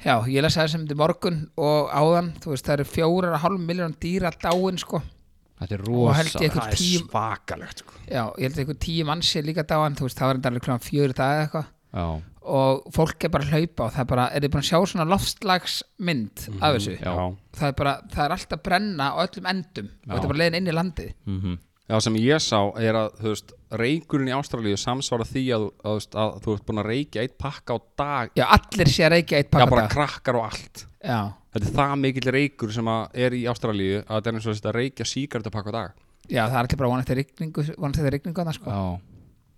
Speaker 3: Já, ég lesa aðeins um þetta í morgun og áðan Þú veist, það eru fjórar og hálf miljón dýra dáin, sko
Speaker 1: þetta er
Speaker 3: Og held ég
Speaker 1: rosa
Speaker 3: eitthvað tíu
Speaker 4: svakalegt, sko.
Speaker 3: Já, ég held ég eitthvað tíu manns er líka dáin Þú veist, það var enda alveg kljóðan fjögur dag eða eitthvað
Speaker 1: Já,
Speaker 3: og fólk er bara að hlaupa og það er bara, er þið búin að sjá svona loftslagsmynd af
Speaker 4: Mhm,
Speaker 3: þessu?
Speaker 1: já,
Speaker 3: það er bara, það er alltaf brenna á öllum endum og þetta er bara leiðin inn í landið
Speaker 1: mhm,
Speaker 4: Já, sem ég sá er að, þú veist, reykurinn í Ástralíu samsvara því að, þú- að, þú veist, að þú ert búin að reykja eitt pakka á dag.
Speaker 3: já, allir sé að reykja eitt
Speaker 4: Já,
Speaker 3: pakka á
Speaker 4: bara
Speaker 3: dag.
Speaker 4: krakkar og allt.
Speaker 3: já,
Speaker 4: Þetta er það mikill reykur sem að er í Ástralíu að þetta er eins og þetta reykja síkartupakk á dag.
Speaker 3: já, það er allir bara vonandi rigningu vonandi þetta rigningu annars sko
Speaker 1: já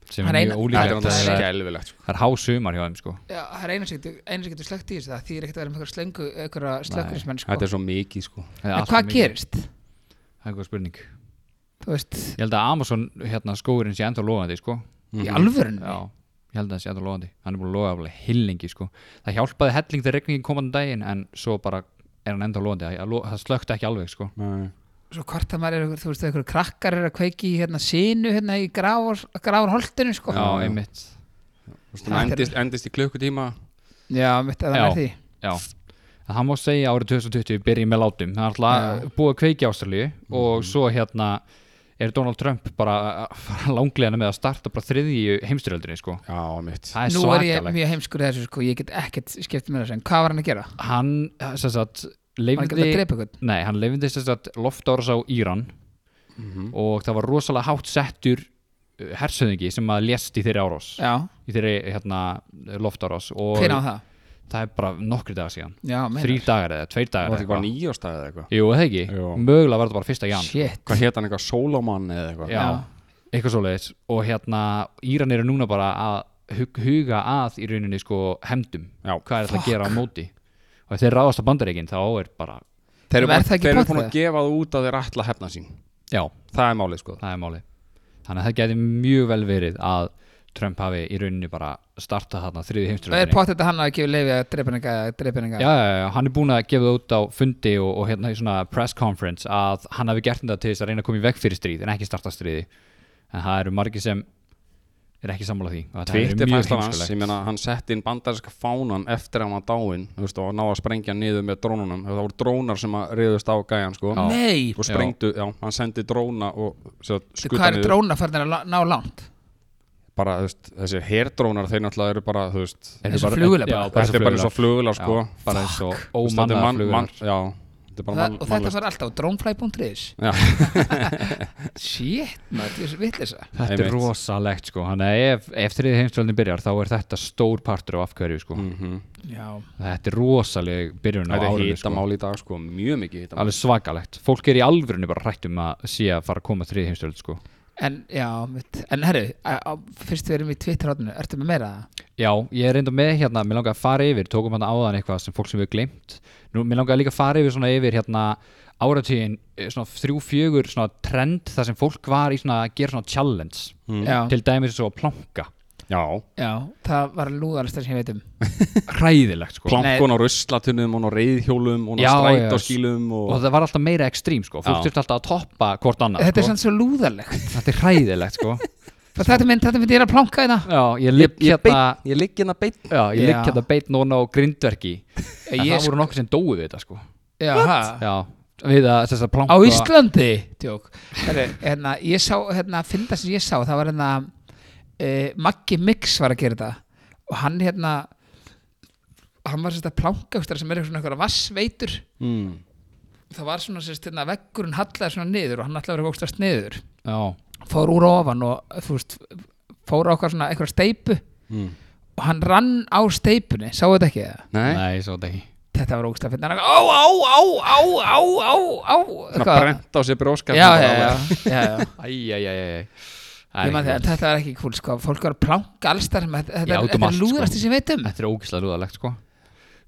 Speaker 1: Sem
Speaker 3: Hann
Speaker 1: er
Speaker 3: eina-
Speaker 1: mjög
Speaker 4: Þetta er
Speaker 1: ólíklegt
Speaker 4: náttúrulega
Speaker 1: að Það er-
Speaker 4: skelfilegt. sko.
Speaker 1: það er hásumar hjá þeim, sko
Speaker 3: já, það er einu sem getur- einu sem getur slögt í þessu það þýr ekkert að vera með einhverja slöngu einhverja slökkurismenn sko
Speaker 4: Þetta er svo mikið sko.
Speaker 1: Það er
Speaker 3: en
Speaker 1: allt of
Speaker 3: hvað
Speaker 1: mikið.
Speaker 3: gerist?
Speaker 1: Það er eitthvað spurning
Speaker 3: þú veist,
Speaker 1: Ég held að Amazon, hérna, skóurinn sé ennþá logandi, sko
Speaker 3: í alvörun
Speaker 1: Já, ég held að það sé ennþá logandi Hann er búin að loga alveg hillingi, sko Það hjálpaði helling þegar regningin kom hann daginn En svo bara er hann ennþá logandi Það, lo- það slökti ekki alveg, sko
Speaker 3: svo hvort að maður er einhver- þú veist, einhverju krakkar er að kveiki í hérna sínu hérna í gráar, gráar holdinu sko
Speaker 1: Já, einmitt
Speaker 4: Þú veist, hún
Speaker 3: Þetta er-
Speaker 4: endist, endist í klukkutíma.
Speaker 3: já mitt að það
Speaker 1: Já.
Speaker 3: er því
Speaker 1: Já, að hann má segja árið 2020 byrjið með látum það er alltaf ja. búið að kveiki ástralíu
Speaker 3: Mhm.
Speaker 1: og svo hérna er Donald Trump bara að fara langlegana með að starta bara þriðju heimstyröldinni sko
Speaker 4: Já, mitt
Speaker 1: það er
Speaker 3: Nú er ég
Speaker 1: svakalegt
Speaker 3: mjög heimskur í þessu sko, ég get ekkert skipt með þessu, en hvað var hann að gera?
Speaker 1: hann sem sagt
Speaker 3: Var hann ekki að
Speaker 1: leifindi
Speaker 3: drepa ykkur?
Speaker 1: nei, hann leifindi sem sagt loftáras á Íran og það var rosalega hátt settur uh, hersöðingi sem að lést í þeirri árás
Speaker 3: Já,
Speaker 1: í þeirri hérna, loftárás og
Speaker 3: hver á það?
Speaker 1: það er bara nokkri dagar síðan
Speaker 3: Já, meinar.
Speaker 1: þrýr dagar eða tveir
Speaker 4: Það
Speaker 1: dagar
Speaker 4: var
Speaker 1: eða
Speaker 4: ekki bara
Speaker 1: eitthvað.
Speaker 4: nýjóstæði eða eitthvað
Speaker 1: Jú, eða ekki,
Speaker 4: Jú.
Speaker 1: mögulega var þetta bara fyrsta jan
Speaker 3: Shit,
Speaker 4: Hvað hétt hann eitthvað? Solomon eða eitthvað?
Speaker 1: Já, eitthvað svoleiðis og hérna, Íran eru núna bara að hug- huga að í rauninni sko hemdum,
Speaker 4: Já.
Speaker 1: hvað er þetta að gera á móti og ef þeir ráðast á bandaríkin þá er bara,
Speaker 4: Þeir eru
Speaker 3: Verð það
Speaker 4: búin-
Speaker 3: ekki
Speaker 4: þeir eru
Speaker 3: pott
Speaker 4: búin
Speaker 3: það?
Speaker 4: að gefa það út að þeir ætla að hefna sín
Speaker 1: já,
Speaker 4: Það er málið sko
Speaker 1: það er máli þannig að það geti mjög vel verið að Trump hafi í rauninni bara startað þarna þriði
Speaker 3: það er
Speaker 1: heimsturöðinni
Speaker 3: pott þetta hann að gefa leifi að drepa hann eitthvað, drepa hann
Speaker 1: Já,
Speaker 3: eitthvað
Speaker 1: já, já, hann er búin að gefa það út á fundi og, og hérna í svona press conference að hann hafi gert þetta til þess að reyna að koma í veg fyrir stríð en ekki starta stríði en það eru margir sem er ekki sammála því og þetta hefur verið
Speaker 4: Twitter
Speaker 1: mjög
Speaker 4: fæslan hans,
Speaker 1: heimskulegt.
Speaker 4: ég meina hann setti inn bandarinska fánan eftir að hann var dáinn þú veist, og náði að sprengja hann niður með drónunum það voru drónar sem að reyðust á gæjan sko,
Speaker 3: Nei,
Speaker 4: og sprengdu, já. hann sendi dróna og svo,
Speaker 3: Þú, hvað
Speaker 4: skuta
Speaker 3: er
Speaker 4: niður
Speaker 3: dróna farin að la- ná langt?
Speaker 4: bara þú veist, þessi herdrónar þeir náttúrulega eru bara, þú veist
Speaker 1: Eru
Speaker 3: Eins og
Speaker 1: bara-
Speaker 3: flugvélar
Speaker 1: já,
Speaker 3: bara.
Speaker 1: bara
Speaker 4: þetta er bara eins og flugula
Speaker 1: Já,
Speaker 4: sko
Speaker 1: bara eins og
Speaker 4: Þú veist, þetta er
Speaker 1: ómannaðar
Speaker 4: mann- mann-
Speaker 1: flugvélar
Speaker 4: já, þetta er bara
Speaker 3: Það, og
Speaker 4: mann-
Speaker 3: þetta
Speaker 4: mannlaust
Speaker 3: var alltaf drónfly.is
Speaker 4: Já.
Speaker 3: Shit, maður, þú veist vitleysa
Speaker 1: Þetta er
Speaker 4: Einmitt.
Speaker 1: rosalegt sko Þannig að ef, ef þriði heimsturöldin byrjar þá er þetta stór partur af afhverju sko
Speaker 3: Já,
Speaker 1: Þetta er rosaleg byrjun á
Speaker 4: Mhm. þetta er
Speaker 1: árinu sko
Speaker 4: hitamál í dag sko, mjög mikið hitamál
Speaker 1: Alveg svakalegt Fólk er í alvörinu bara rætt um að sé að fara að koma þriði heimsturöld sko
Speaker 3: en, já, mitt, en herru á- á- fyrst við erum í Twitter-hátinu, ertu með meira?
Speaker 1: Já, ég er reynda með hérna, mér langaði að fara yfir, tókum hann áðan eitthvað sem fólk sem við glemt. Nú, mér langaði líka að fara yfir svona yfir hérna áratíðin, eh, svona þrjú, fjögur svona trend þar sem fólk var í svona að gera svona challenge.
Speaker 3: Já,
Speaker 1: Til dæmis svo að planka.
Speaker 4: já,
Speaker 3: já, það var lúðalista sem ég veit um
Speaker 1: Hræðilegt sko.
Speaker 4: plankun á ruslatunum og á reyðhjólum og
Speaker 1: Já,
Speaker 4: á
Speaker 1: já.
Speaker 4: strætóskýlum og,
Speaker 1: Og það var alltaf meira ekstrím sko, fólk
Speaker 4: Já.
Speaker 1: þurfti alltaf að toppa hvort annað
Speaker 3: Þetta er
Speaker 1: sko.
Speaker 3: sann svo lúðalegt
Speaker 1: Þetta er hræðilegt sko.
Speaker 3: Þetta mynd, þetta mynd ég er að plánka í það
Speaker 1: Já, ég ligg
Speaker 4: ég,
Speaker 1: hérna,
Speaker 4: beit, ég ligg hérna beitt
Speaker 1: já, ég ligg
Speaker 3: Já.
Speaker 1: hérna beitt núna á grindverki. En
Speaker 3: Ég
Speaker 1: það voru nokkur sem dói við þetta sko.
Speaker 3: Já, ha?
Speaker 1: Já, við að þess að planka.
Speaker 3: Á Íslandi Tjók Herru, hérna, ég sá, hérna, fynda sem ég sá Það var hérna uh, Maggi Mix var að gera þetta Og hann hérna Hann var sérst að plánka einhvers staðar sem er eitthvað svona eitthvað vassveitur
Speaker 4: mm.
Speaker 3: Það var svona sérst hérna veggurinn hallaði svona niður og hann ætlaði að vera vókstast niður
Speaker 1: Já.
Speaker 3: fór úr ofan og þú veist fór á okkar svona eitthvað steipu
Speaker 4: Mm.
Speaker 3: og hann rann á steipunni, sáu þetta ekki það?
Speaker 4: nei,
Speaker 1: Nei, svo þetta ekki.
Speaker 3: Þetta var ógst að finna hann á, á, á, á, á, á, á
Speaker 4: svona
Speaker 3: eitthvað.
Speaker 4: brent á sér
Speaker 3: Já,
Speaker 4: bróskar
Speaker 3: já, já, já, já.
Speaker 1: Æjæjæjæjæ
Speaker 3: Ég man þegar, þetta var ekki kúl, sko, fólk var að plánka alls þar, þetta, þetta,
Speaker 1: Já, út
Speaker 3: er-
Speaker 1: um
Speaker 3: þetta er
Speaker 1: allt,
Speaker 3: lúðrasti
Speaker 1: sko.
Speaker 3: sem ég veit um.
Speaker 1: Þetta er ógislega rúðalegt sko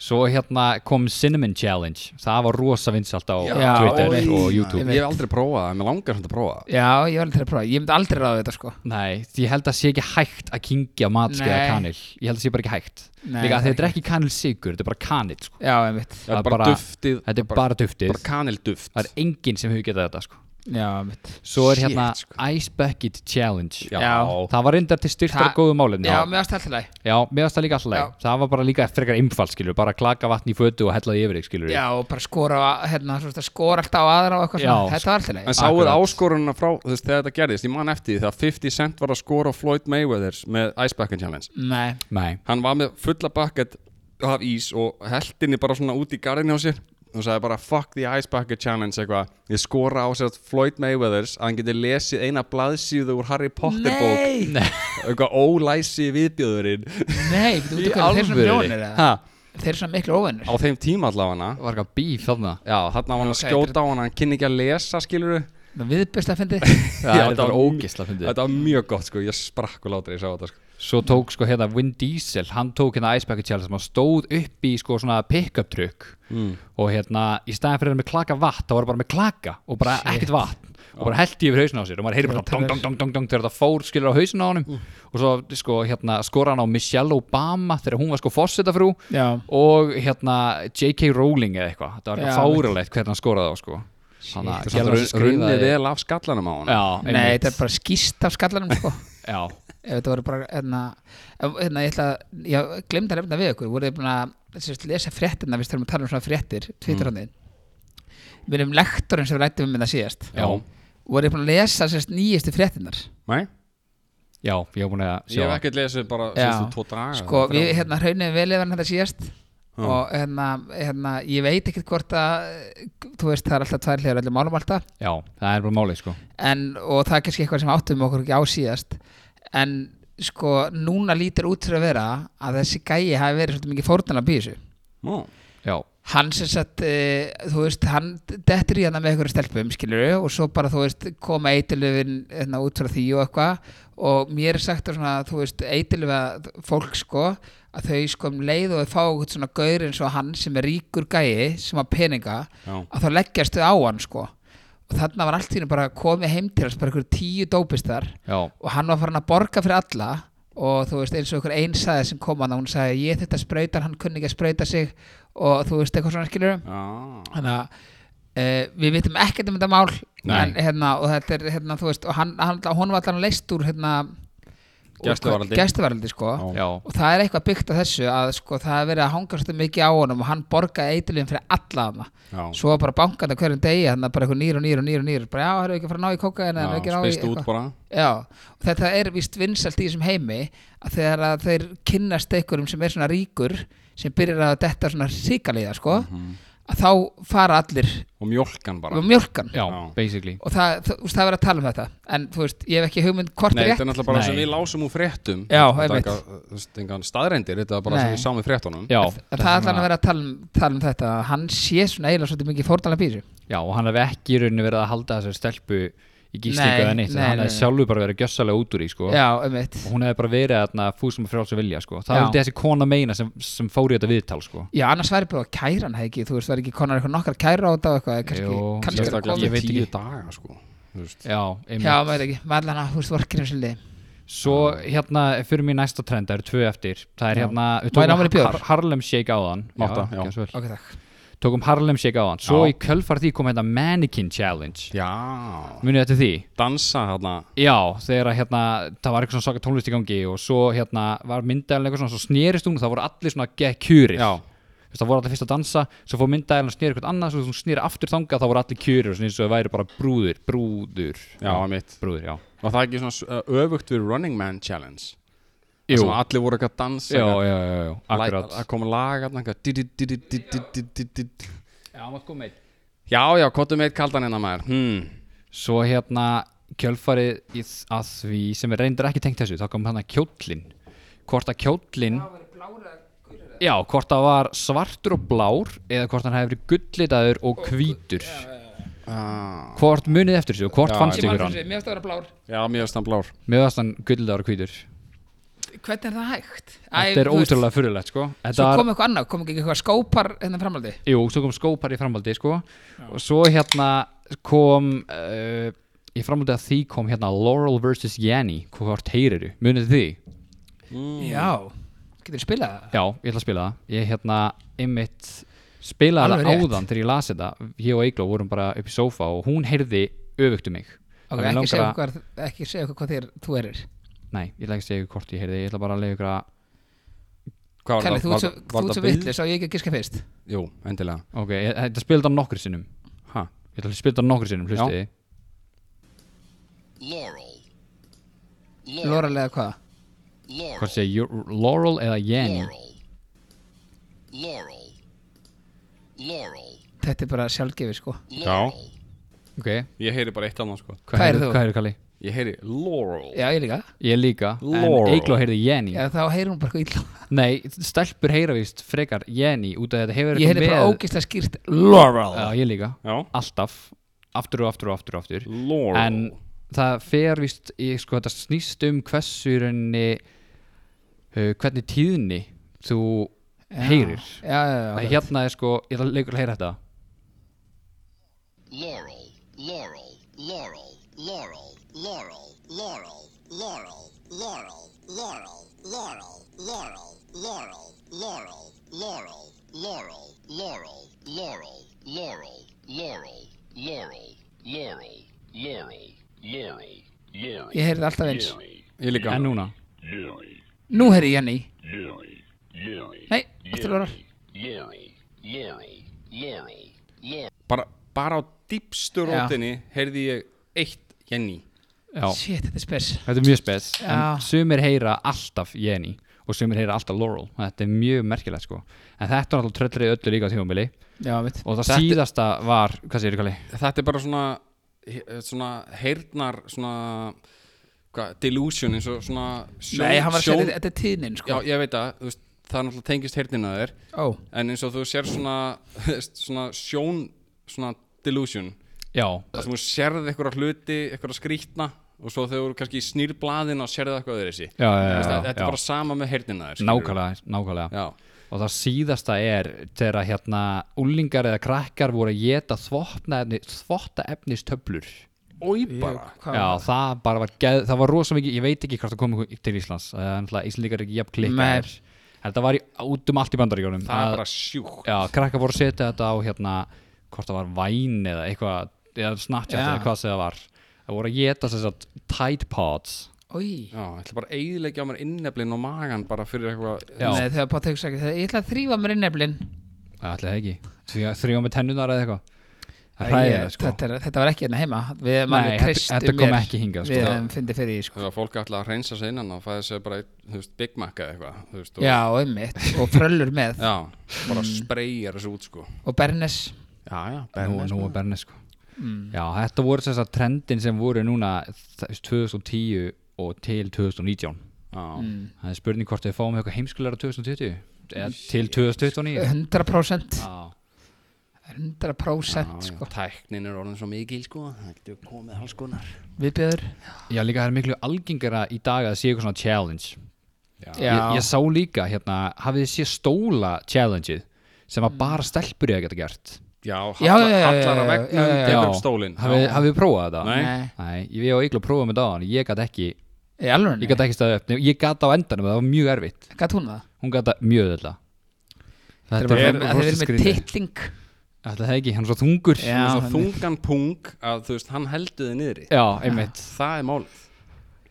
Speaker 1: Svo hérna kom Cinnamon Challenge Það var rosa vinsalt á
Speaker 3: Já,
Speaker 1: Twitter
Speaker 3: oi.
Speaker 1: og YouTube
Speaker 4: ég hef aldrei prófað það, en mér langar samt að prófa það
Speaker 3: Já, ég var aldrei að prófa, ég myndi aldrei ráða þetta, sko.
Speaker 1: Nei, því ég held að sé ekki hægt að kingja matskeiða
Speaker 3: Nei.
Speaker 1: kanil Ég held að sé bara ekki hægt
Speaker 3: Nei,
Speaker 1: Líka
Speaker 3: það
Speaker 1: að
Speaker 3: er
Speaker 1: þetta er ekki kanil sigur, þetta er bara kanil sko
Speaker 3: Já, ég mitt,
Speaker 4: þetta
Speaker 1: Það
Speaker 4: er bara duftið
Speaker 1: Þetta er bara duftið
Speaker 4: bara kanilduft
Speaker 1: Það er enginn sem hefur getað þetta sko
Speaker 3: já, mitt.
Speaker 1: Svo er
Speaker 4: Shit,
Speaker 1: hérna
Speaker 4: sko.
Speaker 1: Ice Bucket Challenge
Speaker 4: Já.
Speaker 1: Það var reyndar til styrktar
Speaker 3: Það-
Speaker 1: góðu málefni
Speaker 3: Já, mér varst alltaf leið.
Speaker 1: Já, mér varst það líka alltaf leið
Speaker 3: Já.
Speaker 1: Það var bara líka frekar einfalt skilur Bara klaka vatn í fötu og hella því yfir þig skilur
Speaker 3: Já, og bara skora, á- hérna, svona, skora alltaf á aðra og eitthvað
Speaker 1: Já,
Speaker 3: svona, þetta var alltaf leið.
Speaker 4: en sáuð
Speaker 1: Akkurat.
Speaker 4: áskorununa frá þú veist, þegar þetta gerðist, ég man eftir því þegar 50 Cent var að skora á Floyd Mayweather með Ice Bucket Challenge
Speaker 3: Nei,
Speaker 1: Nei
Speaker 4: hann var með fulla bucket af ís og heldinni bara svona út í garðinni á sér og sagði bara fuck the Ice Bucket Challenge eitthvað ég skora á sér Floyd Mayweathers að hann geti lesið eina blaðsíðu úr Harry Potter bók
Speaker 3: nei,
Speaker 4: eitthvað ólæsi viðbjöðurinn
Speaker 3: Nei, veitu
Speaker 1: Í
Speaker 3: hvað, þeir eru svona
Speaker 1: alvörunni?
Speaker 3: mjónir eða?
Speaker 4: ha,
Speaker 3: Þeir eru svona miklu óvinnir
Speaker 4: á þeim tíma allavega
Speaker 1: var eitthvað bíf þarna
Speaker 4: Já, þarna var hann að
Speaker 3: Ok,
Speaker 4: skjóta á hann, hann kynni ekki að lesa, skilur
Speaker 3: Það viðbjöðst að fyndi
Speaker 1: Já, þetta var ógeðslega fyndið.
Speaker 4: Þetta var mjög gott, sko, ég sprakk og látur ég sá þetta, sko
Speaker 1: Svo tók sko hérna Vin Diesel Hann tók hérna Ice Bucket Challenge sem hann stóð upp í sko svona pick-up trukk
Speaker 3: Mm.
Speaker 1: og hérna í staðan fyrir að vera með klaka vatn þá var hann bara með klaka og bara ekkert vatn og bara held yfir hausin á sér og maður heyri bara dong, dong, dong, dong, dong þegar það fór skilur á hausin á honum
Speaker 3: Mm.
Speaker 1: og svo sko hérna skora hann á Michelle Obama þegar hún var sko fórsetafrú
Speaker 3: Já.
Speaker 1: og hérna J.K. Rowling eða eitthvað þetta var
Speaker 3: Já,
Speaker 1: eitthvað fárulegt hvernig hann skoraði á sko Þannig að
Speaker 4: Run-
Speaker 1: Gerald
Speaker 4: Runnið
Speaker 1: skrifaði-
Speaker 4: vel af skallanum á hann
Speaker 1: Já,
Speaker 3: Nei,
Speaker 1: einmitt.
Speaker 3: þetta er bara skýst af skallanum sko.
Speaker 1: já,
Speaker 3: ef þetta voru bara hérna, ef- hérna ég ætla að ég glemd að nefna við ykkur voru þið búin að sérst, lesa fréttina við þurfum að tala um svona fréttir tvítrandir mm. við erum lektorinn sem við rættum um þetta síðast
Speaker 1: já,
Speaker 3: voru þið búin að lesa sérst, nýjustu fréttinnar
Speaker 4: Nei,
Speaker 1: já, ég hef búin að
Speaker 4: ég
Speaker 1: sjá
Speaker 4: hef
Speaker 1: það.
Speaker 4: ekkert lesið bara
Speaker 3: Já.
Speaker 4: síðustu tvo daga
Speaker 3: sko
Speaker 4: þrjá.
Speaker 3: við hérna hraunum vel yfir hann þetta síðast og hérna, hérna ég veit ekkert hvort að þú veist það er alltaf tvær hliður allir málum alltaf
Speaker 1: já, það er bara málið sko
Speaker 3: en, og það er kannski eitthvað sem áttum okkur ekki á síðast en sko núna lítir út fyrir að vera að þessi gæi hafi verið svolítið mikið fórnala bísu
Speaker 4: Ó,
Speaker 1: já,
Speaker 3: hann sem sagt, e, þú veist hann dettur í hana með einhverju stelpum skilur og svo bara þú veist koma eitilöfin hérna, út frá því og eitthvað og mér er sagt að svona, þú veist eitilöfa fólk sko að þau sko um leið og þau fá eitthvað svona gaur eins og hann sem er ríkur gæi sem að peninga
Speaker 4: Já.
Speaker 3: að þá leggjast þau á hann sko og þarna var allt í henni bara komið heim til hans bara einhverju tíu dópistar
Speaker 1: já,
Speaker 3: og hann var farin að borga fyrir alla og þú veist eins og einhver einn sagði sem kom hann og hún sagði ég þetta sprautar, hann kunni ekki að sprauta sig og þú veist eitthvað svona skilur
Speaker 4: Já.
Speaker 3: þannig að uh, við vitum ekkert um þetta mál
Speaker 4: Nei.
Speaker 3: en, hérna, og þetta er hérna þú veist og hann, hann, hún var allan leist úr hérna
Speaker 4: Gæsluvarðhaldi.
Speaker 3: gæstuvaraldi sko
Speaker 4: Já.
Speaker 1: já,
Speaker 3: og það er eitthvað byggt á þessu að sko það er verið að hanga svolítið mikið á honum og hann borgaði eitilum fyrir alla hana
Speaker 4: Já.
Speaker 3: svo var bara bankandi á hverjum degi þannig að bara eitthvað nýr og nýr og nýr og nýr bara já, það eru ekki að fara að ná í kóka en það
Speaker 4: Já,
Speaker 3: eru ekki að ná í
Speaker 4: spyrst út bara
Speaker 3: Já, og þetta er vist vinsalt í þessum heimi að þegar að þeir kynnast einhverjum sem er svona ríkur sem byrjar að detta svona ríkaliða sko, að þá fara allir
Speaker 4: og mjólkan Mhm. bara
Speaker 3: um mjölkan
Speaker 1: já,
Speaker 4: Já.
Speaker 1: basically
Speaker 3: og það, það, þú veist, það verður að tala um þetta en þú veist, ég hef ekki hugmynd hvort
Speaker 4: Nei,
Speaker 3: er
Speaker 4: þetta er
Speaker 3: rétt
Speaker 4: náttúrulega bara sem
Speaker 1: Nei.
Speaker 4: við lásum úr fréttum
Speaker 3: Já,
Speaker 4: Þetta er
Speaker 3: einmitt.
Speaker 4: eitthvað, þú veist, engan staðrendir, þetta er bara sem
Speaker 3: Nei.
Speaker 4: við sáum í fréttunum
Speaker 1: já,
Speaker 3: en það er þannig að vera að tala um, tala um þetta að hann sé svona eiginlega svolítið mikið fórnala bísu
Speaker 1: já, og hann hef ekki í rauninni verið að halda þessar stelpu í
Speaker 3: Nei,
Speaker 1: gíslingu eða neitt,
Speaker 3: nei,
Speaker 1: hann hef
Speaker 3: nei.
Speaker 1: sjálfur bara verið gjössalega út úr í sko
Speaker 3: Já, einmitt
Speaker 1: og hún hefði bara verið þarna fúsum og frjálsum vilja sko. það
Speaker 3: Já.
Speaker 1: er þessi kona meina sem, sem fór í þetta viðtal sko.
Speaker 3: Já, annars væri bara að kæra hann það ekki þú veist, það er ekki konar eitthvað nokkar kæra á þetta og eitthvað kannski,
Speaker 1: Jú,
Speaker 3: kannski er að
Speaker 4: Sérstaklega
Speaker 3: koma-
Speaker 1: ég
Speaker 4: eftir
Speaker 1: veit
Speaker 4: tíu
Speaker 1: ekki.
Speaker 4: daga sko Þú veist.
Speaker 1: já, einmitt
Speaker 3: Já, maður veit ekki, maður allan að, þú veist, vorkir um svolítið
Speaker 1: Svo hérna fyrir mér næsta trend, það eru tvö eftir Það er hérna, við
Speaker 3: Má ég ná mér í bjór?
Speaker 1: Harlem Shake áðan
Speaker 4: Máta, já.
Speaker 1: gjörðu svo vel.
Speaker 3: Ok, takk
Speaker 1: Tókum Harlem Shake áðan Svo
Speaker 4: Já.
Speaker 1: í kjölfar því kom hérna Mannequin Challenge
Speaker 4: Já,
Speaker 1: Munið þetta því?
Speaker 4: dansa hérna
Speaker 1: Já, þegar að hérna, það var eitthvað svona svaka tónlist í gangi og svo hérna var myndælinn eitthvað svona, svo snerist hún og það voru allir svona gekkjúrir
Speaker 4: Já.
Speaker 1: Þú veist, það voru allir fyrst að dansa, svo fór myndælinn að snera eitthvað annað, svo þú snera aftur þangað, þá voru allir kjúrir og svona eins og það væri bara brúður, brúður
Speaker 4: Já, mitt
Speaker 1: brúður, já
Speaker 4: Var það ekki svona s- öfugt við Running Man Challenge Það
Speaker 1: Jú.
Speaker 4: sem allir voru eitthvað að dansa
Speaker 1: Já,
Speaker 4: eitthvað.
Speaker 1: já, já, já,
Speaker 4: Læ-
Speaker 1: akkurat
Speaker 4: Það kom lag hérna eitthvað di- di- di- di- di- di- di- di- di- di.
Speaker 1: Já, maður kom meitt
Speaker 4: Já, já, kottum eitt kaldan hérna maður hmm.
Speaker 1: Svo hérna kjölfarið í þ- að því sem er reyndar ekki tengt þessu, þá kom hann að kjóllin hvort að kjóllin Já, hvort að var svartur og blár eða hvort hann hefði verið gullitaður og hvítur
Speaker 4: ah.
Speaker 1: Hvort munið eftir þessu og hvort
Speaker 4: Já,
Speaker 1: fannst
Speaker 4: ég
Speaker 1: ykkur hann?
Speaker 3: Mér finnst að vera blár
Speaker 4: Já, mjög stann blár
Speaker 1: Mér varst hann gullitaður og hvítur
Speaker 3: hvernig er það hægt?
Speaker 1: Þetta er ótrúlega fyrirlegt sko Þetta
Speaker 3: Svo
Speaker 1: var-
Speaker 3: kom eitthvað annað, kom ekki eitthvað skópar hérna framhaldi
Speaker 1: Jú, svo kom skópar í framhaldi sko og svo hérna kom uh, í framhaldi að því kom hérna Laurel vs. Yanni hvort heyriru, munið því? Mm.
Speaker 3: Já, getur spilað það?
Speaker 1: Já, ég ætla að spila það Ég hérna einmitt spilaði
Speaker 3: Alveg
Speaker 1: það
Speaker 3: rétt.
Speaker 1: áðan þegar ég las þetta Ég og Eigló vorum bara upp í sófa og hún heyrði öfugt um mig
Speaker 3: Ok,
Speaker 1: Þannig
Speaker 3: ekki
Speaker 1: langar
Speaker 3: segja,
Speaker 1: að-
Speaker 3: okkur, ekki segja okkur hvað þér þú erir
Speaker 1: Nei, ég ætla ekki að segja ykkur hvort ég heyrði Ég ætla bara að leiða ykkur að
Speaker 4: Hvað var
Speaker 3: Kalli,
Speaker 4: það-
Speaker 3: þú ert
Speaker 4: var
Speaker 3: svo,
Speaker 4: það-
Speaker 3: þú
Speaker 4: var
Speaker 3: ert
Speaker 4: það
Speaker 3: svo
Speaker 4: bill?
Speaker 3: vitlis á ég ekki að giska fyrst
Speaker 4: Jú, endilega
Speaker 1: Ok, ég, þetta spilaði það nokkur sinnum
Speaker 4: Ha,
Speaker 1: Ég ætla að spila það nokkur sinnum,
Speaker 4: Já.
Speaker 1: hlustiði
Speaker 6: Laurel. Laurel.
Speaker 3: Loralega hvað?
Speaker 6: Laurel.
Speaker 1: Hvort segja Yu- Laurel eða Jenny
Speaker 6: Laurel. Laurel. Laurel.
Speaker 3: Þetta er bara sjálfgefi sko
Speaker 6: Laurel.
Speaker 1: Ok,
Speaker 4: ég heyri bara eitt annað sko
Speaker 1: hvað heyrði-
Speaker 3: Hvað heyrði þú?
Speaker 1: hvað heyrði Kalli?
Speaker 4: Ég heyri Laurel
Speaker 3: Já, ég líka
Speaker 1: Ég líka,
Speaker 4: Laurel.
Speaker 1: en Eigló heyrði Jenny
Speaker 3: Já, þá heyrir hún bara eitthvað illa
Speaker 1: Nei, stelpur heyra víst frekar Jenny út af þetta hefur
Speaker 3: Ég
Speaker 1: eitthvað
Speaker 3: heyri bara
Speaker 1: með-
Speaker 3: ógislega skýrt Laurel
Speaker 1: Já, ég líka
Speaker 4: Já.
Speaker 1: Alltaf, aftur og aftur og aftur og aftur
Speaker 4: Laurel
Speaker 1: En það fer víst í, sko, þetta snýst um hversu í rauninni uh, hvernig tíðni þú heyrir
Speaker 3: Já, já, já,
Speaker 1: okay.
Speaker 3: já
Speaker 1: Hérna er sko, ég ætla leikur að heyra þetta
Speaker 6: Laurel. Laurel. Laurel. Laurel. Laurel. Laurel. Laurel. Laurel. Laurel. Laurel. Laurel. Laurel. Laurel. Laurel. Laurel. Laurel. Laurel. Laurel. Laurel. Laurel. Laurel. Laurel. Laurel. Laurel.
Speaker 3: Ég heyrði alltaf eins
Speaker 6: Laurel.
Speaker 4: Ég líka
Speaker 1: En núna
Speaker 3: Nú heyri ég Jenny Nei, aftur lórar
Speaker 4: bara, bara á dýpstu rótinni heyrði ég eitt Jenny
Speaker 1: Já,
Speaker 3: Shit, þetta er spes
Speaker 1: þetta er mjög spes
Speaker 3: Já.
Speaker 1: En sumir heyra alltaf Jenny Og sumir heyra alltaf Laurel Þetta er mjög merkilegt sko En þetta er alltaf tröllrið öllu líka á tímabili
Speaker 3: Já, mitt
Speaker 1: Og það
Speaker 4: Þetta-
Speaker 1: síðasta var, hvað segir Kalli?
Speaker 4: þetta er bara svona he- svona heyrnar svona hva, delusion eins og svona sjón,
Speaker 3: Nei, hann var að segja,
Speaker 4: sjón-
Speaker 3: þetta- þetta er tíðnin,
Speaker 4: já
Speaker 3: sko
Speaker 4: ég veit að þú veist, það er náttúrulega tengist heyrnin að þér
Speaker 3: Ó,
Speaker 4: en eins og þú sér svona þú veist, svona sjón svona delusion
Speaker 1: Já,
Speaker 4: það sem þú sérði einhverja hluti einhverja skrýtna og svo þegar þú eru kannski snýr blaðin og sérði eitthvað
Speaker 1: Já,
Speaker 4: öðru
Speaker 1: já, já,
Speaker 4: þetta
Speaker 1: já.
Speaker 4: er bara sama með heyrnin að þér skilurðu.
Speaker 1: nákvæmlega, nákvæmlega
Speaker 4: já
Speaker 1: Og það síðasta er þegar hérna Ullingar eða krakkar voru að geta þvotta efnistöflur
Speaker 4: Ói bara
Speaker 1: Já, það bara var geð, það var rosa mikið, ég veit ekki hvort það kom ykkur til Íslands Það er náttúrulega Íslandíkar ekki jafn klikkar
Speaker 3: Nei.
Speaker 1: Þetta var í, út um allt í bandaríkjónum
Speaker 4: það er bara sjúk
Speaker 1: Já, krakka voru að setja þetta á hérna hvort það var væn eða eitthvað eða Snapchat
Speaker 3: Já.
Speaker 1: eða hvað sem það var Það voru að geta þess að Tide Pods
Speaker 3: oi
Speaker 4: já ætla bara að eiginlega á mér inneflin og magan bara fyrir eitthvað
Speaker 1: Já.
Speaker 3: Nei, þegar bara tegur sagði Ég ætla að þrýfa mér inneflin
Speaker 1: Það ætlaði ekki Þrjá- Þrjá með tennunar eða eitthvað Það hræðir sko
Speaker 3: þetta, er- þetta var ekki hérna heima Við hefum
Speaker 1: Nei,
Speaker 3: alveg
Speaker 1: þetta-
Speaker 3: treyst
Speaker 1: þetta kom ekki hingað, sko.
Speaker 3: Við hefum fyndið fyrir því, sko
Speaker 4: þegar fólk ætla að reynsa sig innan og fæði sér bara einn, þú veist, Big Mac eða eitthvað þú veist, og-
Speaker 3: Já, einmitt Og fröllur með
Speaker 4: já, bara spreyjar þessu út sko
Speaker 3: Og Bernes
Speaker 4: Mm. já, já,
Speaker 1: Nú, nú er Bernes sko Já, þetta voru þess að trendin sem voru núna þú veist, 2010 og til 2019
Speaker 4: já,
Speaker 1: Það er spurning hvort við fáum eitthvað heimskulega 2020 eða til 2029
Speaker 3: 100%
Speaker 1: Já,
Speaker 3: 100%
Speaker 4: já,
Speaker 3: sko
Speaker 4: tæknin er orðin svo mikil sko það getur komið alls konar
Speaker 3: Við bjöður
Speaker 1: Já líka það er miklu algengara í dag að það sé eitthvað svona challenge
Speaker 3: Já,
Speaker 1: ég, ég sá líka hérna, hafið þið sé stóla challengeið sem að bara stelpur ég að geta gert
Speaker 4: já,
Speaker 3: Já,
Speaker 4: hallar,
Speaker 3: já, já,
Speaker 4: hallar
Speaker 3: já,
Speaker 4: að
Speaker 3: já,
Speaker 4: vegnum,
Speaker 3: já, já.
Speaker 4: tekur upp stólinn
Speaker 1: Hafið
Speaker 4: Já.
Speaker 1: hafið þið prófað þetta?
Speaker 4: Nei.
Speaker 3: Nei.
Speaker 1: Nei, ég var eiginlega að prófa með dagann ég gat ekki,
Speaker 3: í alveg
Speaker 1: ég gat ekki staðið upp Nei, ég gat á endanum, það var mjög erfitt
Speaker 3: Gat hún það?
Speaker 1: hún gat það mjög öðvölda
Speaker 3: Þetta er bara að
Speaker 1: rosa
Speaker 3: þeir verið með
Speaker 1: skrýtið.
Speaker 3: titling
Speaker 1: Ætli það ekki, hann er svo þungur
Speaker 3: Já.
Speaker 4: Með svo
Speaker 3: hann-
Speaker 4: þungan pung að þú veist, hann heldur þið niðri
Speaker 1: Já, einmitt
Speaker 4: það er málið,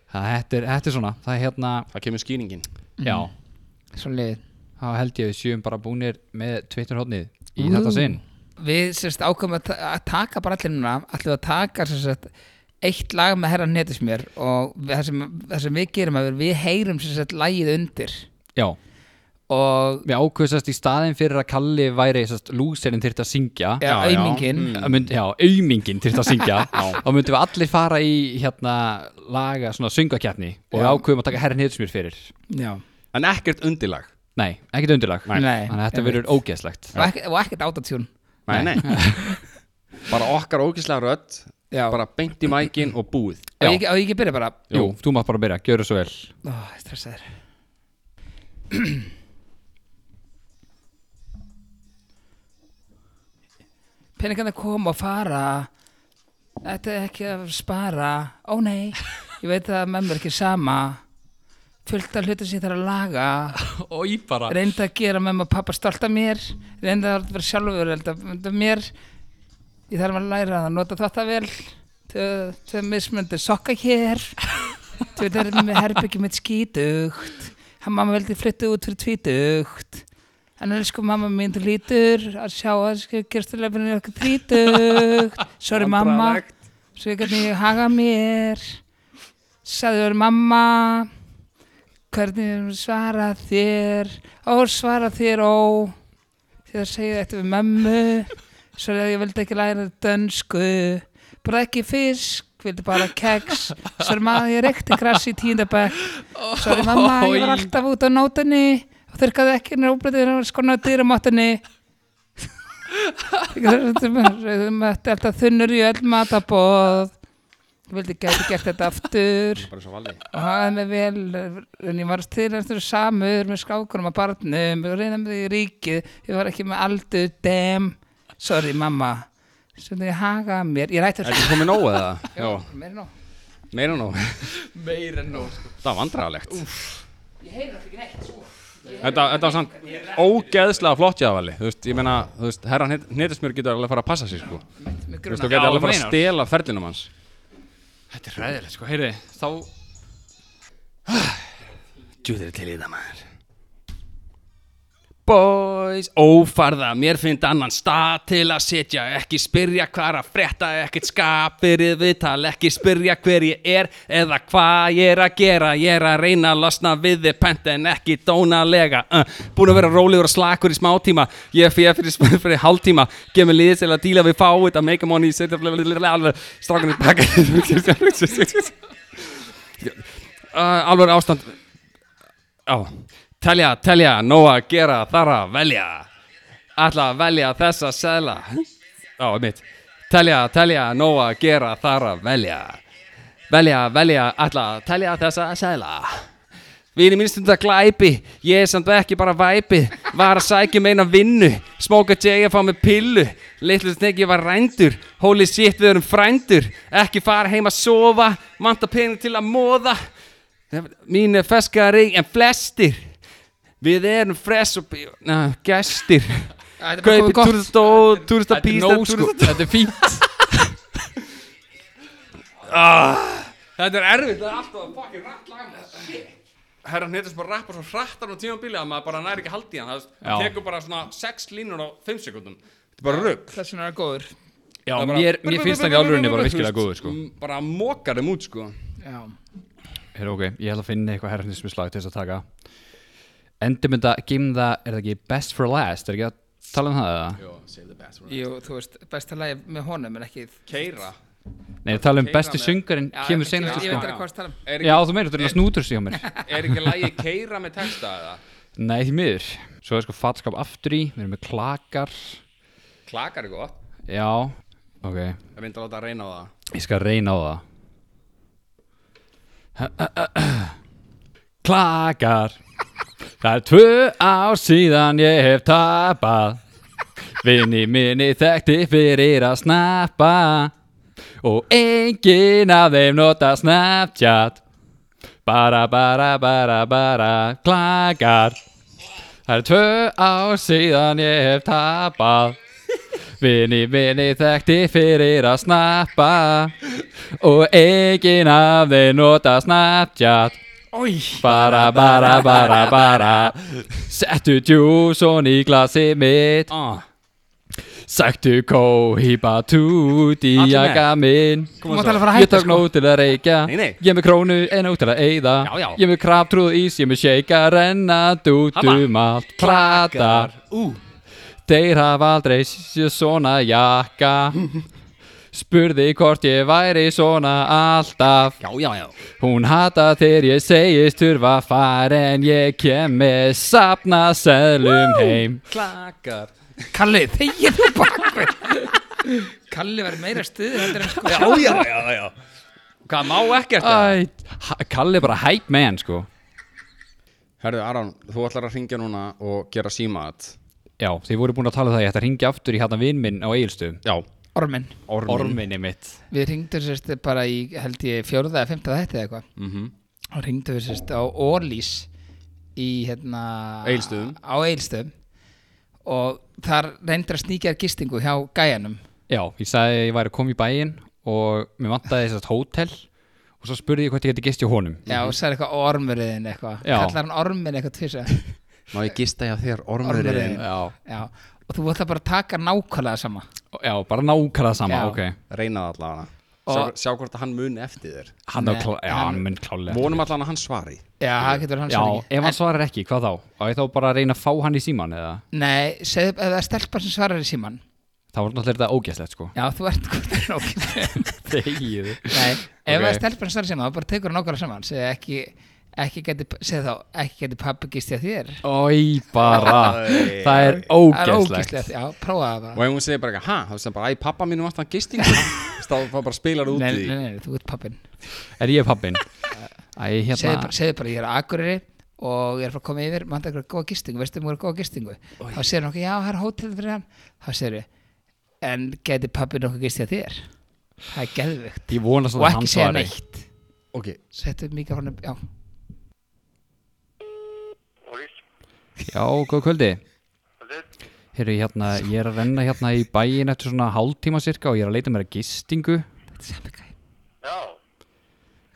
Speaker 1: Það þetta er, þetta er svona, það er hérna
Speaker 4: það kemur skýringin
Speaker 3: Mm.
Speaker 1: Já,
Speaker 3: Svo liðið
Speaker 1: þá held ég að við séum bara búnir með Twitterhóttnið í þetta sinn
Speaker 3: Við sérst ákveðum að, ta að taka bara allir núna Allir að taka sérst eitt lag með herra netismér og við- það sem, það sem við gerum er við heyrum sérst lagið undir
Speaker 1: Já,
Speaker 3: og
Speaker 1: við ákveðsast í staðin fyrir að Kalli væri sest, lúserinn þyrfti að syngja
Speaker 3: ja,
Speaker 4: já. Mm.
Speaker 3: aumingin
Speaker 1: Að mynd, Já, aumingin þyrfti að syngja þá myndum við allir fara í hérna laga, svona söngakjarni og við ákveðum að taka herra nýðsmjör fyrir
Speaker 3: já.
Speaker 4: en ekkert undirlag
Speaker 1: Nei, ekkert undirlag
Speaker 4: Nei.
Speaker 3: Nei,
Speaker 1: Þannig að þetta
Speaker 3: einmitt.
Speaker 1: verður ógeðslegt
Speaker 3: Og, ekkert, og ekkert átatjún
Speaker 4: nei, nei. bara okkar ógislega rödd
Speaker 3: Já.
Speaker 4: bara beint í mækin og búið
Speaker 3: og ég, og ég ekki byrja bara
Speaker 1: Jú, þú mátt bara byrja, gjör það svo vel
Speaker 3: Ó, ég stressaður Peningarnir koma og fara Þetta er ekki að spara Ó nei, ég veit að mömmu er ekki sama Fullt af hlutum sem ég þarf að laga
Speaker 1: Í bara
Speaker 3: Reynda að gera mömmu og pappa stolt af mér Reynda að vera sjálfur Reynda mér Ég þarf að læra að nota þáttavél Tvö tvö mismunandi sokka hér Tvö er með herbyggjum mitt skítugt Hann mamma veldi flyttu út fyrir tvítugt En elsku mamma mín, þú lítur að sjá að gerstulefinni okkur trítugt Sorry mamma, svo ég gæti haga mér Sæður mamma, hvernig svara þér Ó, svara þér, ó Þegar segja þetta við mömmu Svo að ég vildi ekki læra dönsku Bara ekki fisk Vildi bara keks Svo er maður að ég reykti grass í tíndabæk Svo er mamma, ég var alltaf út á nótunni Og þurrkaði ekki njóblætið Skona á dýramáttunni Ég mætti alltaf þunnur í öll matabóð Vildi gæti gert þetta aftur
Speaker 4: bara svo valdi
Speaker 3: og hagaði mig vel en ég var til eftir samur með skákunum að barnum og reyna með því í ríkið ég var ekki með aldur, dem sorry mamma sem þið hagaði mér, ég rætti
Speaker 4: Er þetta komið nóg eða? Já,
Speaker 3: mér nú
Speaker 4: meira en nóg Meira en
Speaker 3: sko.
Speaker 4: nóg Það var vandræðalegt Þetta, þetta var samt ógeðslega flott jáfali Þú veist, ég meina, þú veist, herran hnýtismjör getur alveg að fara að passa sig sko Þú
Speaker 3: Mig
Speaker 4: veist, þú
Speaker 3: grunar.
Speaker 4: getur alveg að fara að
Speaker 1: meinar.
Speaker 4: stela ferlinum hans
Speaker 1: Þetta er ræðilegt sko, heyrði, þá
Speaker 4: Djúður til í það maður Boys, ófarða, mér finnst annan stað til að sitja Ekki spyrja hvað er að frétta, ekkert skapirið viðtal Ekki spyrja hver ég er eða hvað ég er að gera Ég er að reyna að losna við þið pent en ekki dónalega uh, Búin að vera rólegur og slakur í smá tíma Ég er fyrir, fyrir, fyrir hálftíma Gef mér liðis til að díla við fáið að make a money Strákan í baka uh, alveg ástand já, telja, telja nóa, gera, þara, velja ætla að velja þessa seðla já, mitt telja, telja, nóa, gera, þara, velja velja, velja, ætla að telja þessa seðla Vini mín stundar glæpi, ég er samt ekki bara væpi Var að sækja meina vinnu, smóka J að fá mig pillu Litlu sneggi var rændur, holy shit við erum frændur Ekki fara heim að sofa, vanta pening til að móða Mín er feskari en flestir Við erum fresh og bí- na, gestir
Speaker 3: Þetta er bara komið
Speaker 4: Kaupi
Speaker 3: gott.
Speaker 4: túristóð,
Speaker 1: Þetta er
Speaker 4: túristabísta,
Speaker 1: nóg sko, þetta er fínt
Speaker 4: Þetta er erfitt, það er alltaf að fucking rætt lag maður. Shit. Herra hann heitir sem bara rappar svo hrattar á tímabili að maður bara næri ekki haldi hann Það
Speaker 1: Já.
Speaker 4: tekur bara svona 6 línur á 5 sekundum Þetta er bara rugg
Speaker 3: Þess vegna er það góður
Speaker 1: Já,
Speaker 4: Það er bara-
Speaker 1: mér, mér finnst hann í alvörunni bara virkilega góður sko
Speaker 4: Mm, Bara mókar þeim út sko
Speaker 3: Já,
Speaker 1: Hér ok, ég ætla að finna eitthvað herrnismislag til þess að taka Endum þetta, geim það, er það ekki best for last, er ekki að tala um það eða?
Speaker 3: Jú, þú veist, besta lagi með honum en ekki
Speaker 4: Keira
Speaker 1: Nei, ég tala um
Speaker 4: Keira
Speaker 1: besti
Speaker 4: með-
Speaker 1: sungarinn
Speaker 3: Já,
Speaker 1: kemur
Speaker 3: ég-
Speaker 1: senast í
Speaker 3: ég- Ég veit
Speaker 1: sko
Speaker 3: ekki hvað það tala um
Speaker 4: Er
Speaker 1: Já,
Speaker 4: ekki,
Speaker 1: þú meinar, þú er að snútur sig á mér
Speaker 4: er ekki lagi keira með texta eða?
Speaker 1: Nei, því miður Svo er sko fatskap aftur í, við erum með klakar
Speaker 4: Klakar er gott
Speaker 1: Já, ok,
Speaker 4: Ég myndi að láta að reyna á það
Speaker 1: ég skal reyna á það Klakar Það er tvö ár síðan ég hef tapað Vinni minni þekkti fyrir að snappa Og enginn af þeim nota Snapchat Bara, bara, bara, bara Klakar Það er tvö ár síðan ég hef tapað Vinni, vinni þekkti fyrir að snappa Og enginn af þeim nota Snapchat
Speaker 4: Ói
Speaker 1: Bara, bara, bara, bara Settu djúson í glasi mitt
Speaker 4: ah,
Speaker 1: Sæktu kóhýpa tút í
Speaker 4: Allir með.
Speaker 1: jaka minn
Speaker 3: Þú mátt alveg fara að
Speaker 1: Ég
Speaker 3: hætta sko.
Speaker 1: tók nóg til að reykja
Speaker 4: Nei, nei.
Speaker 1: Ég er með krónu en nóg til að eyða
Speaker 4: Já, já.
Speaker 1: Ég er með krabtrúð ís, ég er með shake að renna Dút
Speaker 4: Haba.
Speaker 1: um allt platar
Speaker 4: Ú
Speaker 1: Þeir hafa aldrei séð svona jakka Spurði hvort ég væri svona alltaf
Speaker 4: Já, já, já
Speaker 1: Hún hata þegar ég segist þurfa að fara en ég kem með sapna seðlum heim
Speaker 4: Klakar
Speaker 3: Kalli, þegið þú bakvið Kalli var í meira stuð heldur en sko
Speaker 4: Já, já, já, já Hvað má ekkert eða?
Speaker 1: Æ, ha- Kalli er bara hype man sko
Speaker 4: Herðu Aron, þú ætlar að ringja núna og gera símaat
Speaker 1: Já, þið voru búin að tala um það ég ætti að ringja aftur í hérna vinn minn á Egilstu
Speaker 4: Já,
Speaker 3: Orminn
Speaker 4: ormin,
Speaker 1: Orminni mitt
Speaker 3: Við ringdum sérst bara í, held ég, fjórða eða fymta þetta eða eitthvað mm -hmm. og ringdum við sérst á Orlís í hérna
Speaker 4: Egilsstöðum.
Speaker 3: á Eilstöðum og þar reyndir að sníkja þér gistingu hjá gæjanum
Speaker 1: Já, ég sagði að ég væri að koma í bæinn og mér vantaði þess að hótel og svo spurði ég hvort ég geti gist hjá honum
Speaker 3: Já, og sagði eitthvað ormurinn eitthvað
Speaker 1: Já.
Speaker 3: kallar hann orminn eitthvað tvisa
Speaker 4: Má ég gista hjá þér
Speaker 3: Ormurinn.
Speaker 1: Já,
Speaker 3: Já, og þú ætla bara að taka nákvæmlega sama
Speaker 1: já bara nákvæmlega sama,
Speaker 3: Já.
Speaker 1: ok
Speaker 4: Reyna það allavega
Speaker 3: Og-
Speaker 4: sjá, sjá hvort að hann muni eftir þér
Speaker 1: Hann
Speaker 3: Nei,
Speaker 1: á klá, já,
Speaker 3: hann-
Speaker 1: hann mun klálega
Speaker 4: Vonum allavega að hann svari
Speaker 3: Já, það getur hann
Speaker 1: Já,
Speaker 3: svo
Speaker 1: ef hann svarar ekki, hvað þá? Á ég þá bara að reyna að fá hann í síman eða?
Speaker 3: Nei, segðu, ef það er stelpa sem svarar í síman
Speaker 1: Það var náttúrulega þetta ógæslegt sko
Speaker 3: Já, þú ert góður nákvæmlega
Speaker 1: Þegið
Speaker 3: Nei, ef
Speaker 1: Ok.
Speaker 3: það er stelpa sem svarar í síman þá bara tekur hann nákvæmlega saman segðu ekki, ekki geti, segðu þá ekki geti pappi gist hjá þér
Speaker 1: Ói bara
Speaker 4: Æ.
Speaker 1: Það er
Speaker 3: Það er
Speaker 1: ógeðslegt
Speaker 3: ógislegt, já, prófa það
Speaker 4: Og
Speaker 3: bara
Speaker 4: ef hún segir bara eitthvað, ha, þú veist bara, æ, pappa mínu vant hann gistingu Þá þá bara spilar þú út
Speaker 3: Nei,
Speaker 4: í
Speaker 3: nei,
Speaker 4: því
Speaker 3: nei, nei, þú ert pappin
Speaker 1: Er ég pappin? Æ,
Speaker 3: segðu,
Speaker 1: hérna
Speaker 3: bara, segðu bara, ég er akureyri og ég er frá að koma yfir, maður eitthvað góða gistingu veistu mér góða gistingu þá segir hann okkur, já, það er hótel fyrir hann þá segir ég en geti pappi nokkuð gist hjá þér það er geðvögt
Speaker 1: Ég vona
Speaker 3: og
Speaker 1: svona að hann
Speaker 3: ekki segja
Speaker 1: svari
Speaker 3: neitt
Speaker 4: Ok,
Speaker 3: settu mikið honum, já,
Speaker 2: Ólís,
Speaker 1: Já, góð kvöldi
Speaker 2: haldið,
Speaker 1: Heyrðu, hérna, ég er að renna hérna í bæin eftir svona hálftíma cirka og ég er að leita mér að gistingu
Speaker 3: þetta er sami gæ
Speaker 2: já,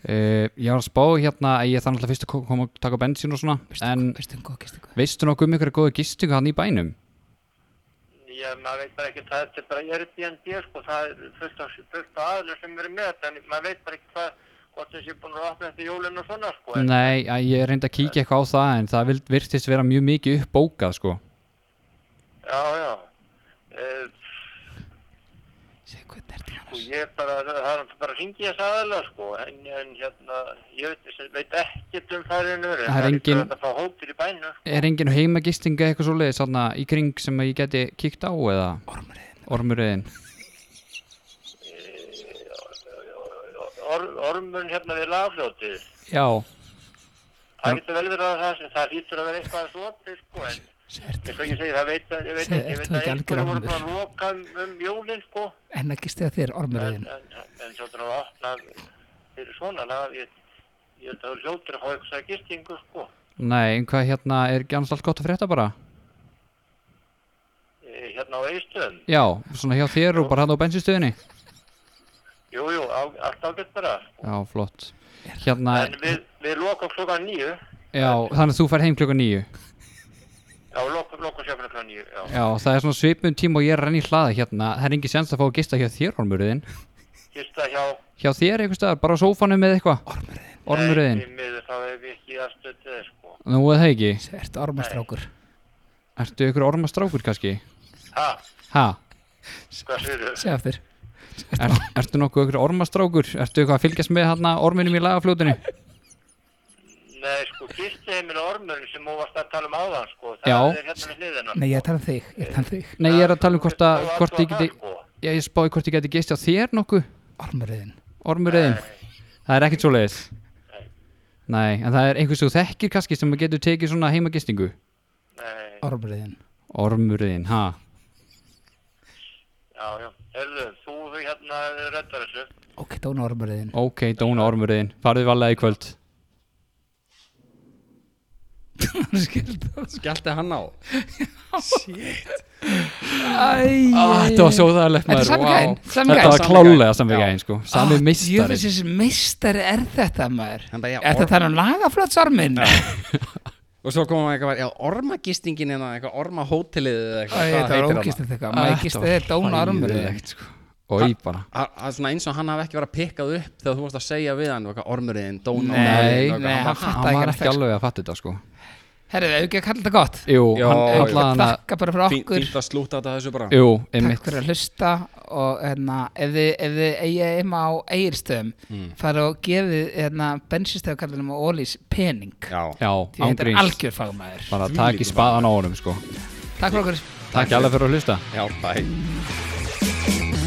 Speaker 1: Uh, ég var að spá hérna að ég þarf alltaf fyrst að ko- koma að taka bensín og svona En
Speaker 3: veistu um góð gistingu
Speaker 1: veistu nokkuð um ykkur góða gistingu hann í bænum?
Speaker 2: Ég, maður veit bara ekki, það er bara Airbnb, sko, það er fullt af, fullt af aðlur sem eru með þetta, en maður veit bara ekki hvað, hvort þessi er búin að opna eftir jólinn og svona, sko. En,
Speaker 1: Nei, að ég reyndi að kíkja eitthvað á það en það vild- virtist vera mjög mikið uppbókað sko
Speaker 2: já, já. Uh,
Speaker 3: segðu hvað þetta er til
Speaker 2: sko,
Speaker 3: annars
Speaker 2: ég er bara, það er bara hringi þess aðla, sko, en, en hérna, ég veit, sem- veit ekkert um það reynur.
Speaker 1: Það er engin-
Speaker 2: Það er bara hópir í bænum, sko.
Speaker 1: Er engin heimagistinga eitthvað svoleiðis þarna í kring sem að ég geti kíkt á eða? Ormurriðin Ormurriðin
Speaker 2: Or, ormun hérna við lagfljótið.
Speaker 1: Já
Speaker 2: Það getur vel verið að það sem það hlýtur að vera eitthvað að svoti, sko, en...
Speaker 3: Segðu
Speaker 2: Eins og ég segi, það veit að, ég veit
Speaker 3: Segðu,
Speaker 2: að, ég
Speaker 3: ert
Speaker 2: veit
Speaker 3: þú
Speaker 2: að
Speaker 3: ekki algjör
Speaker 2: einhverjum voru
Speaker 3: ormur?
Speaker 2: bara að loka um, um jólinn, sko,
Speaker 3: hennar gistu að þér
Speaker 2: en,
Speaker 3: ormurðin
Speaker 2: en, en svo þannig að opna fyrir svona, það, ég, ég held að það hljótur að hafa eitthvað gistingu, sko.
Speaker 1: Nei, en hvað hérna, er ekki annars allt gott að frétta bara?
Speaker 2: E, hérna á Eistöðum,
Speaker 1: Já, svona hjá þér og bara hann á bensinstöðinni
Speaker 2: jú, jú, á, allt ágætt bara.
Speaker 1: Já, flott Hérna,
Speaker 2: En við, við lokum klokkan nýju,
Speaker 1: já, þannig að þú fær heim klukkan nýju
Speaker 2: já, lokum, lokum sjöfnum klokkan nýju, já.
Speaker 1: Já, það er svona svipum tíma og ég er að renna í hlaða hérna Það er engin sens að fá að gista hjá þér ormurriðin
Speaker 2: Gista hjá...
Speaker 1: Hjá þér einhvers staðar, bara á sófanum eða eitthvað
Speaker 3: ormurðin
Speaker 1: Ormurriðin
Speaker 2: Nei, því miður, þá hef ég ekki aðstöð til þess, sko.
Speaker 1: Nú eða það ekki
Speaker 3: segðu þetta ormastrákur
Speaker 1: Ertu ykkur ormastrákur kannski?
Speaker 2: Ha,
Speaker 1: Ha?
Speaker 2: hvað fyrir þau?
Speaker 3: segðu aftur
Speaker 1: Er, ertu nokkuð ykkur ormastrákur? Ertu eitthvað að fylgjast með hérna orminum í lagafljótinu?
Speaker 2: Nei, sko, gistiheimil og ormurinn sem þú varst að tala um áðan, sko, það
Speaker 1: Já.
Speaker 2: er hérna með hliðina.
Speaker 3: nei ég er að tala um þig ég er að tala um þig
Speaker 1: Nei, ég er að tala um hvort að,
Speaker 2: Þú
Speaker 1: hvort ég
Speaker 2: athugar
Speaker 1: geti,
Speaker 2: það, sko.
Speaker 1: ég, ég spáði hvort ég geti gist á þér nokkuð,
Speaker 3: ormurðin
Speaker 1: ormurriðin. Það er ekkert svo leiðis. Nei, en það er einhvers þú þekkir kannski sem getur tekið svona heimagistingu.
Speaker 2: Nei,
Speaker 3: ormurðin
Speaker 1: Ormurriðin, ha?
Speaker 2: já, já. Herðu, þú hérna reddar þessu.
Speaker 3: ok dóna ormurðin
Speaker 1: Ok, dóna ormurriðin. Farðu valega í kvöld.
Speaker 3: skild
Speaker 4: Skjálti hann á
Speaker 3: æj
Speaker 1: Ah, þetta var svo þaðalegt
Speaker 3: Þetta er
Speaker 1: maður.
Speaker 3: sami
Speaker 1: vá.
Speaker 3: gæinn, sami
Speaker 1: Þetta
Speaker 3: gæinn. Ah,
Speaker 1: var klálega sami gæinn, sko. Sami mistari.
Speaker 3: Jöfis, þessi meistari er þetta maður
Speaker 4: Hann bara, já,
Speaker 3: Er
Speaker 4: orm-
Speaker 3: þetta þannig lagaflötsormin?
Speaker 4: Og svo komum við eitthvað, já, ormagistingin eða eitthvað, ormahótelið eða eitthvað hvað
Speaker 3: Þetta var
Speaker 4: heitir Ah,
Speaker 3: ógist
Speaker 4: þarna?
Speaker 3: þetta eitthvað Maður gist þetta er dóna ormurðin
Speaker 1: Hræðilegt, sko. Ói, bara.
Speaker 4: Að- að Svona eins og hann hafði ekki verið að pikkað upp þegar þú varst að segja við hann, eitthvað, ormurinn, dóna
Speaker 3: Nei,
Speaker 4: ormurinn,
Speaker 3: nei,
Speaker 4: eitthvað,
Speaker 3: hann
Speaker 4: ha, ha.
Speaker 3: fatt-
Speaker 1: Hann
Speaker 3: ekki
Speaker 1: var
Speaker 3: alveg,
Speaker 1: ekki alveg að fatta þetta, sko.
Speaker 3: Herðu, hefur ekki að kalla þetta gott?
Speaker 1: Jú,
Speaker 4: Já,
Speaker 1: hann
Speaker 4: já.
Speaker 1: kallaði hann að,
Speaker 3: Þakka bara fyrir
Speaker 4: Fínt-
Speaker 3: okkur
Speaker 4: Fínt að slúta þetta þessu bara
Speaker 1: jú,
Speaker 3: Takk
Speaker 1: einmitt.
Speaker 3: fyrir að hlusta og hérna, ef þið, ef þið eigið heima á eigilstöðum mm. fara og gefið hérna, bensinstöðakallinum og ólís pening
Speaker 4: Já,
Speaker 1: Já,
Speaker 3: því þetta er
Speaker 1: ángríns.
Speaker 3: algjör fagmaður
Speaker 1: Bara takk í spaðan á honum, sko.
Speaker 3: Takk fyrir okkur
Speaker 1: Takk alveg fyrir að hlusta.
Speaker 4: já, bæ
Speaker 5: Sjónvarpið.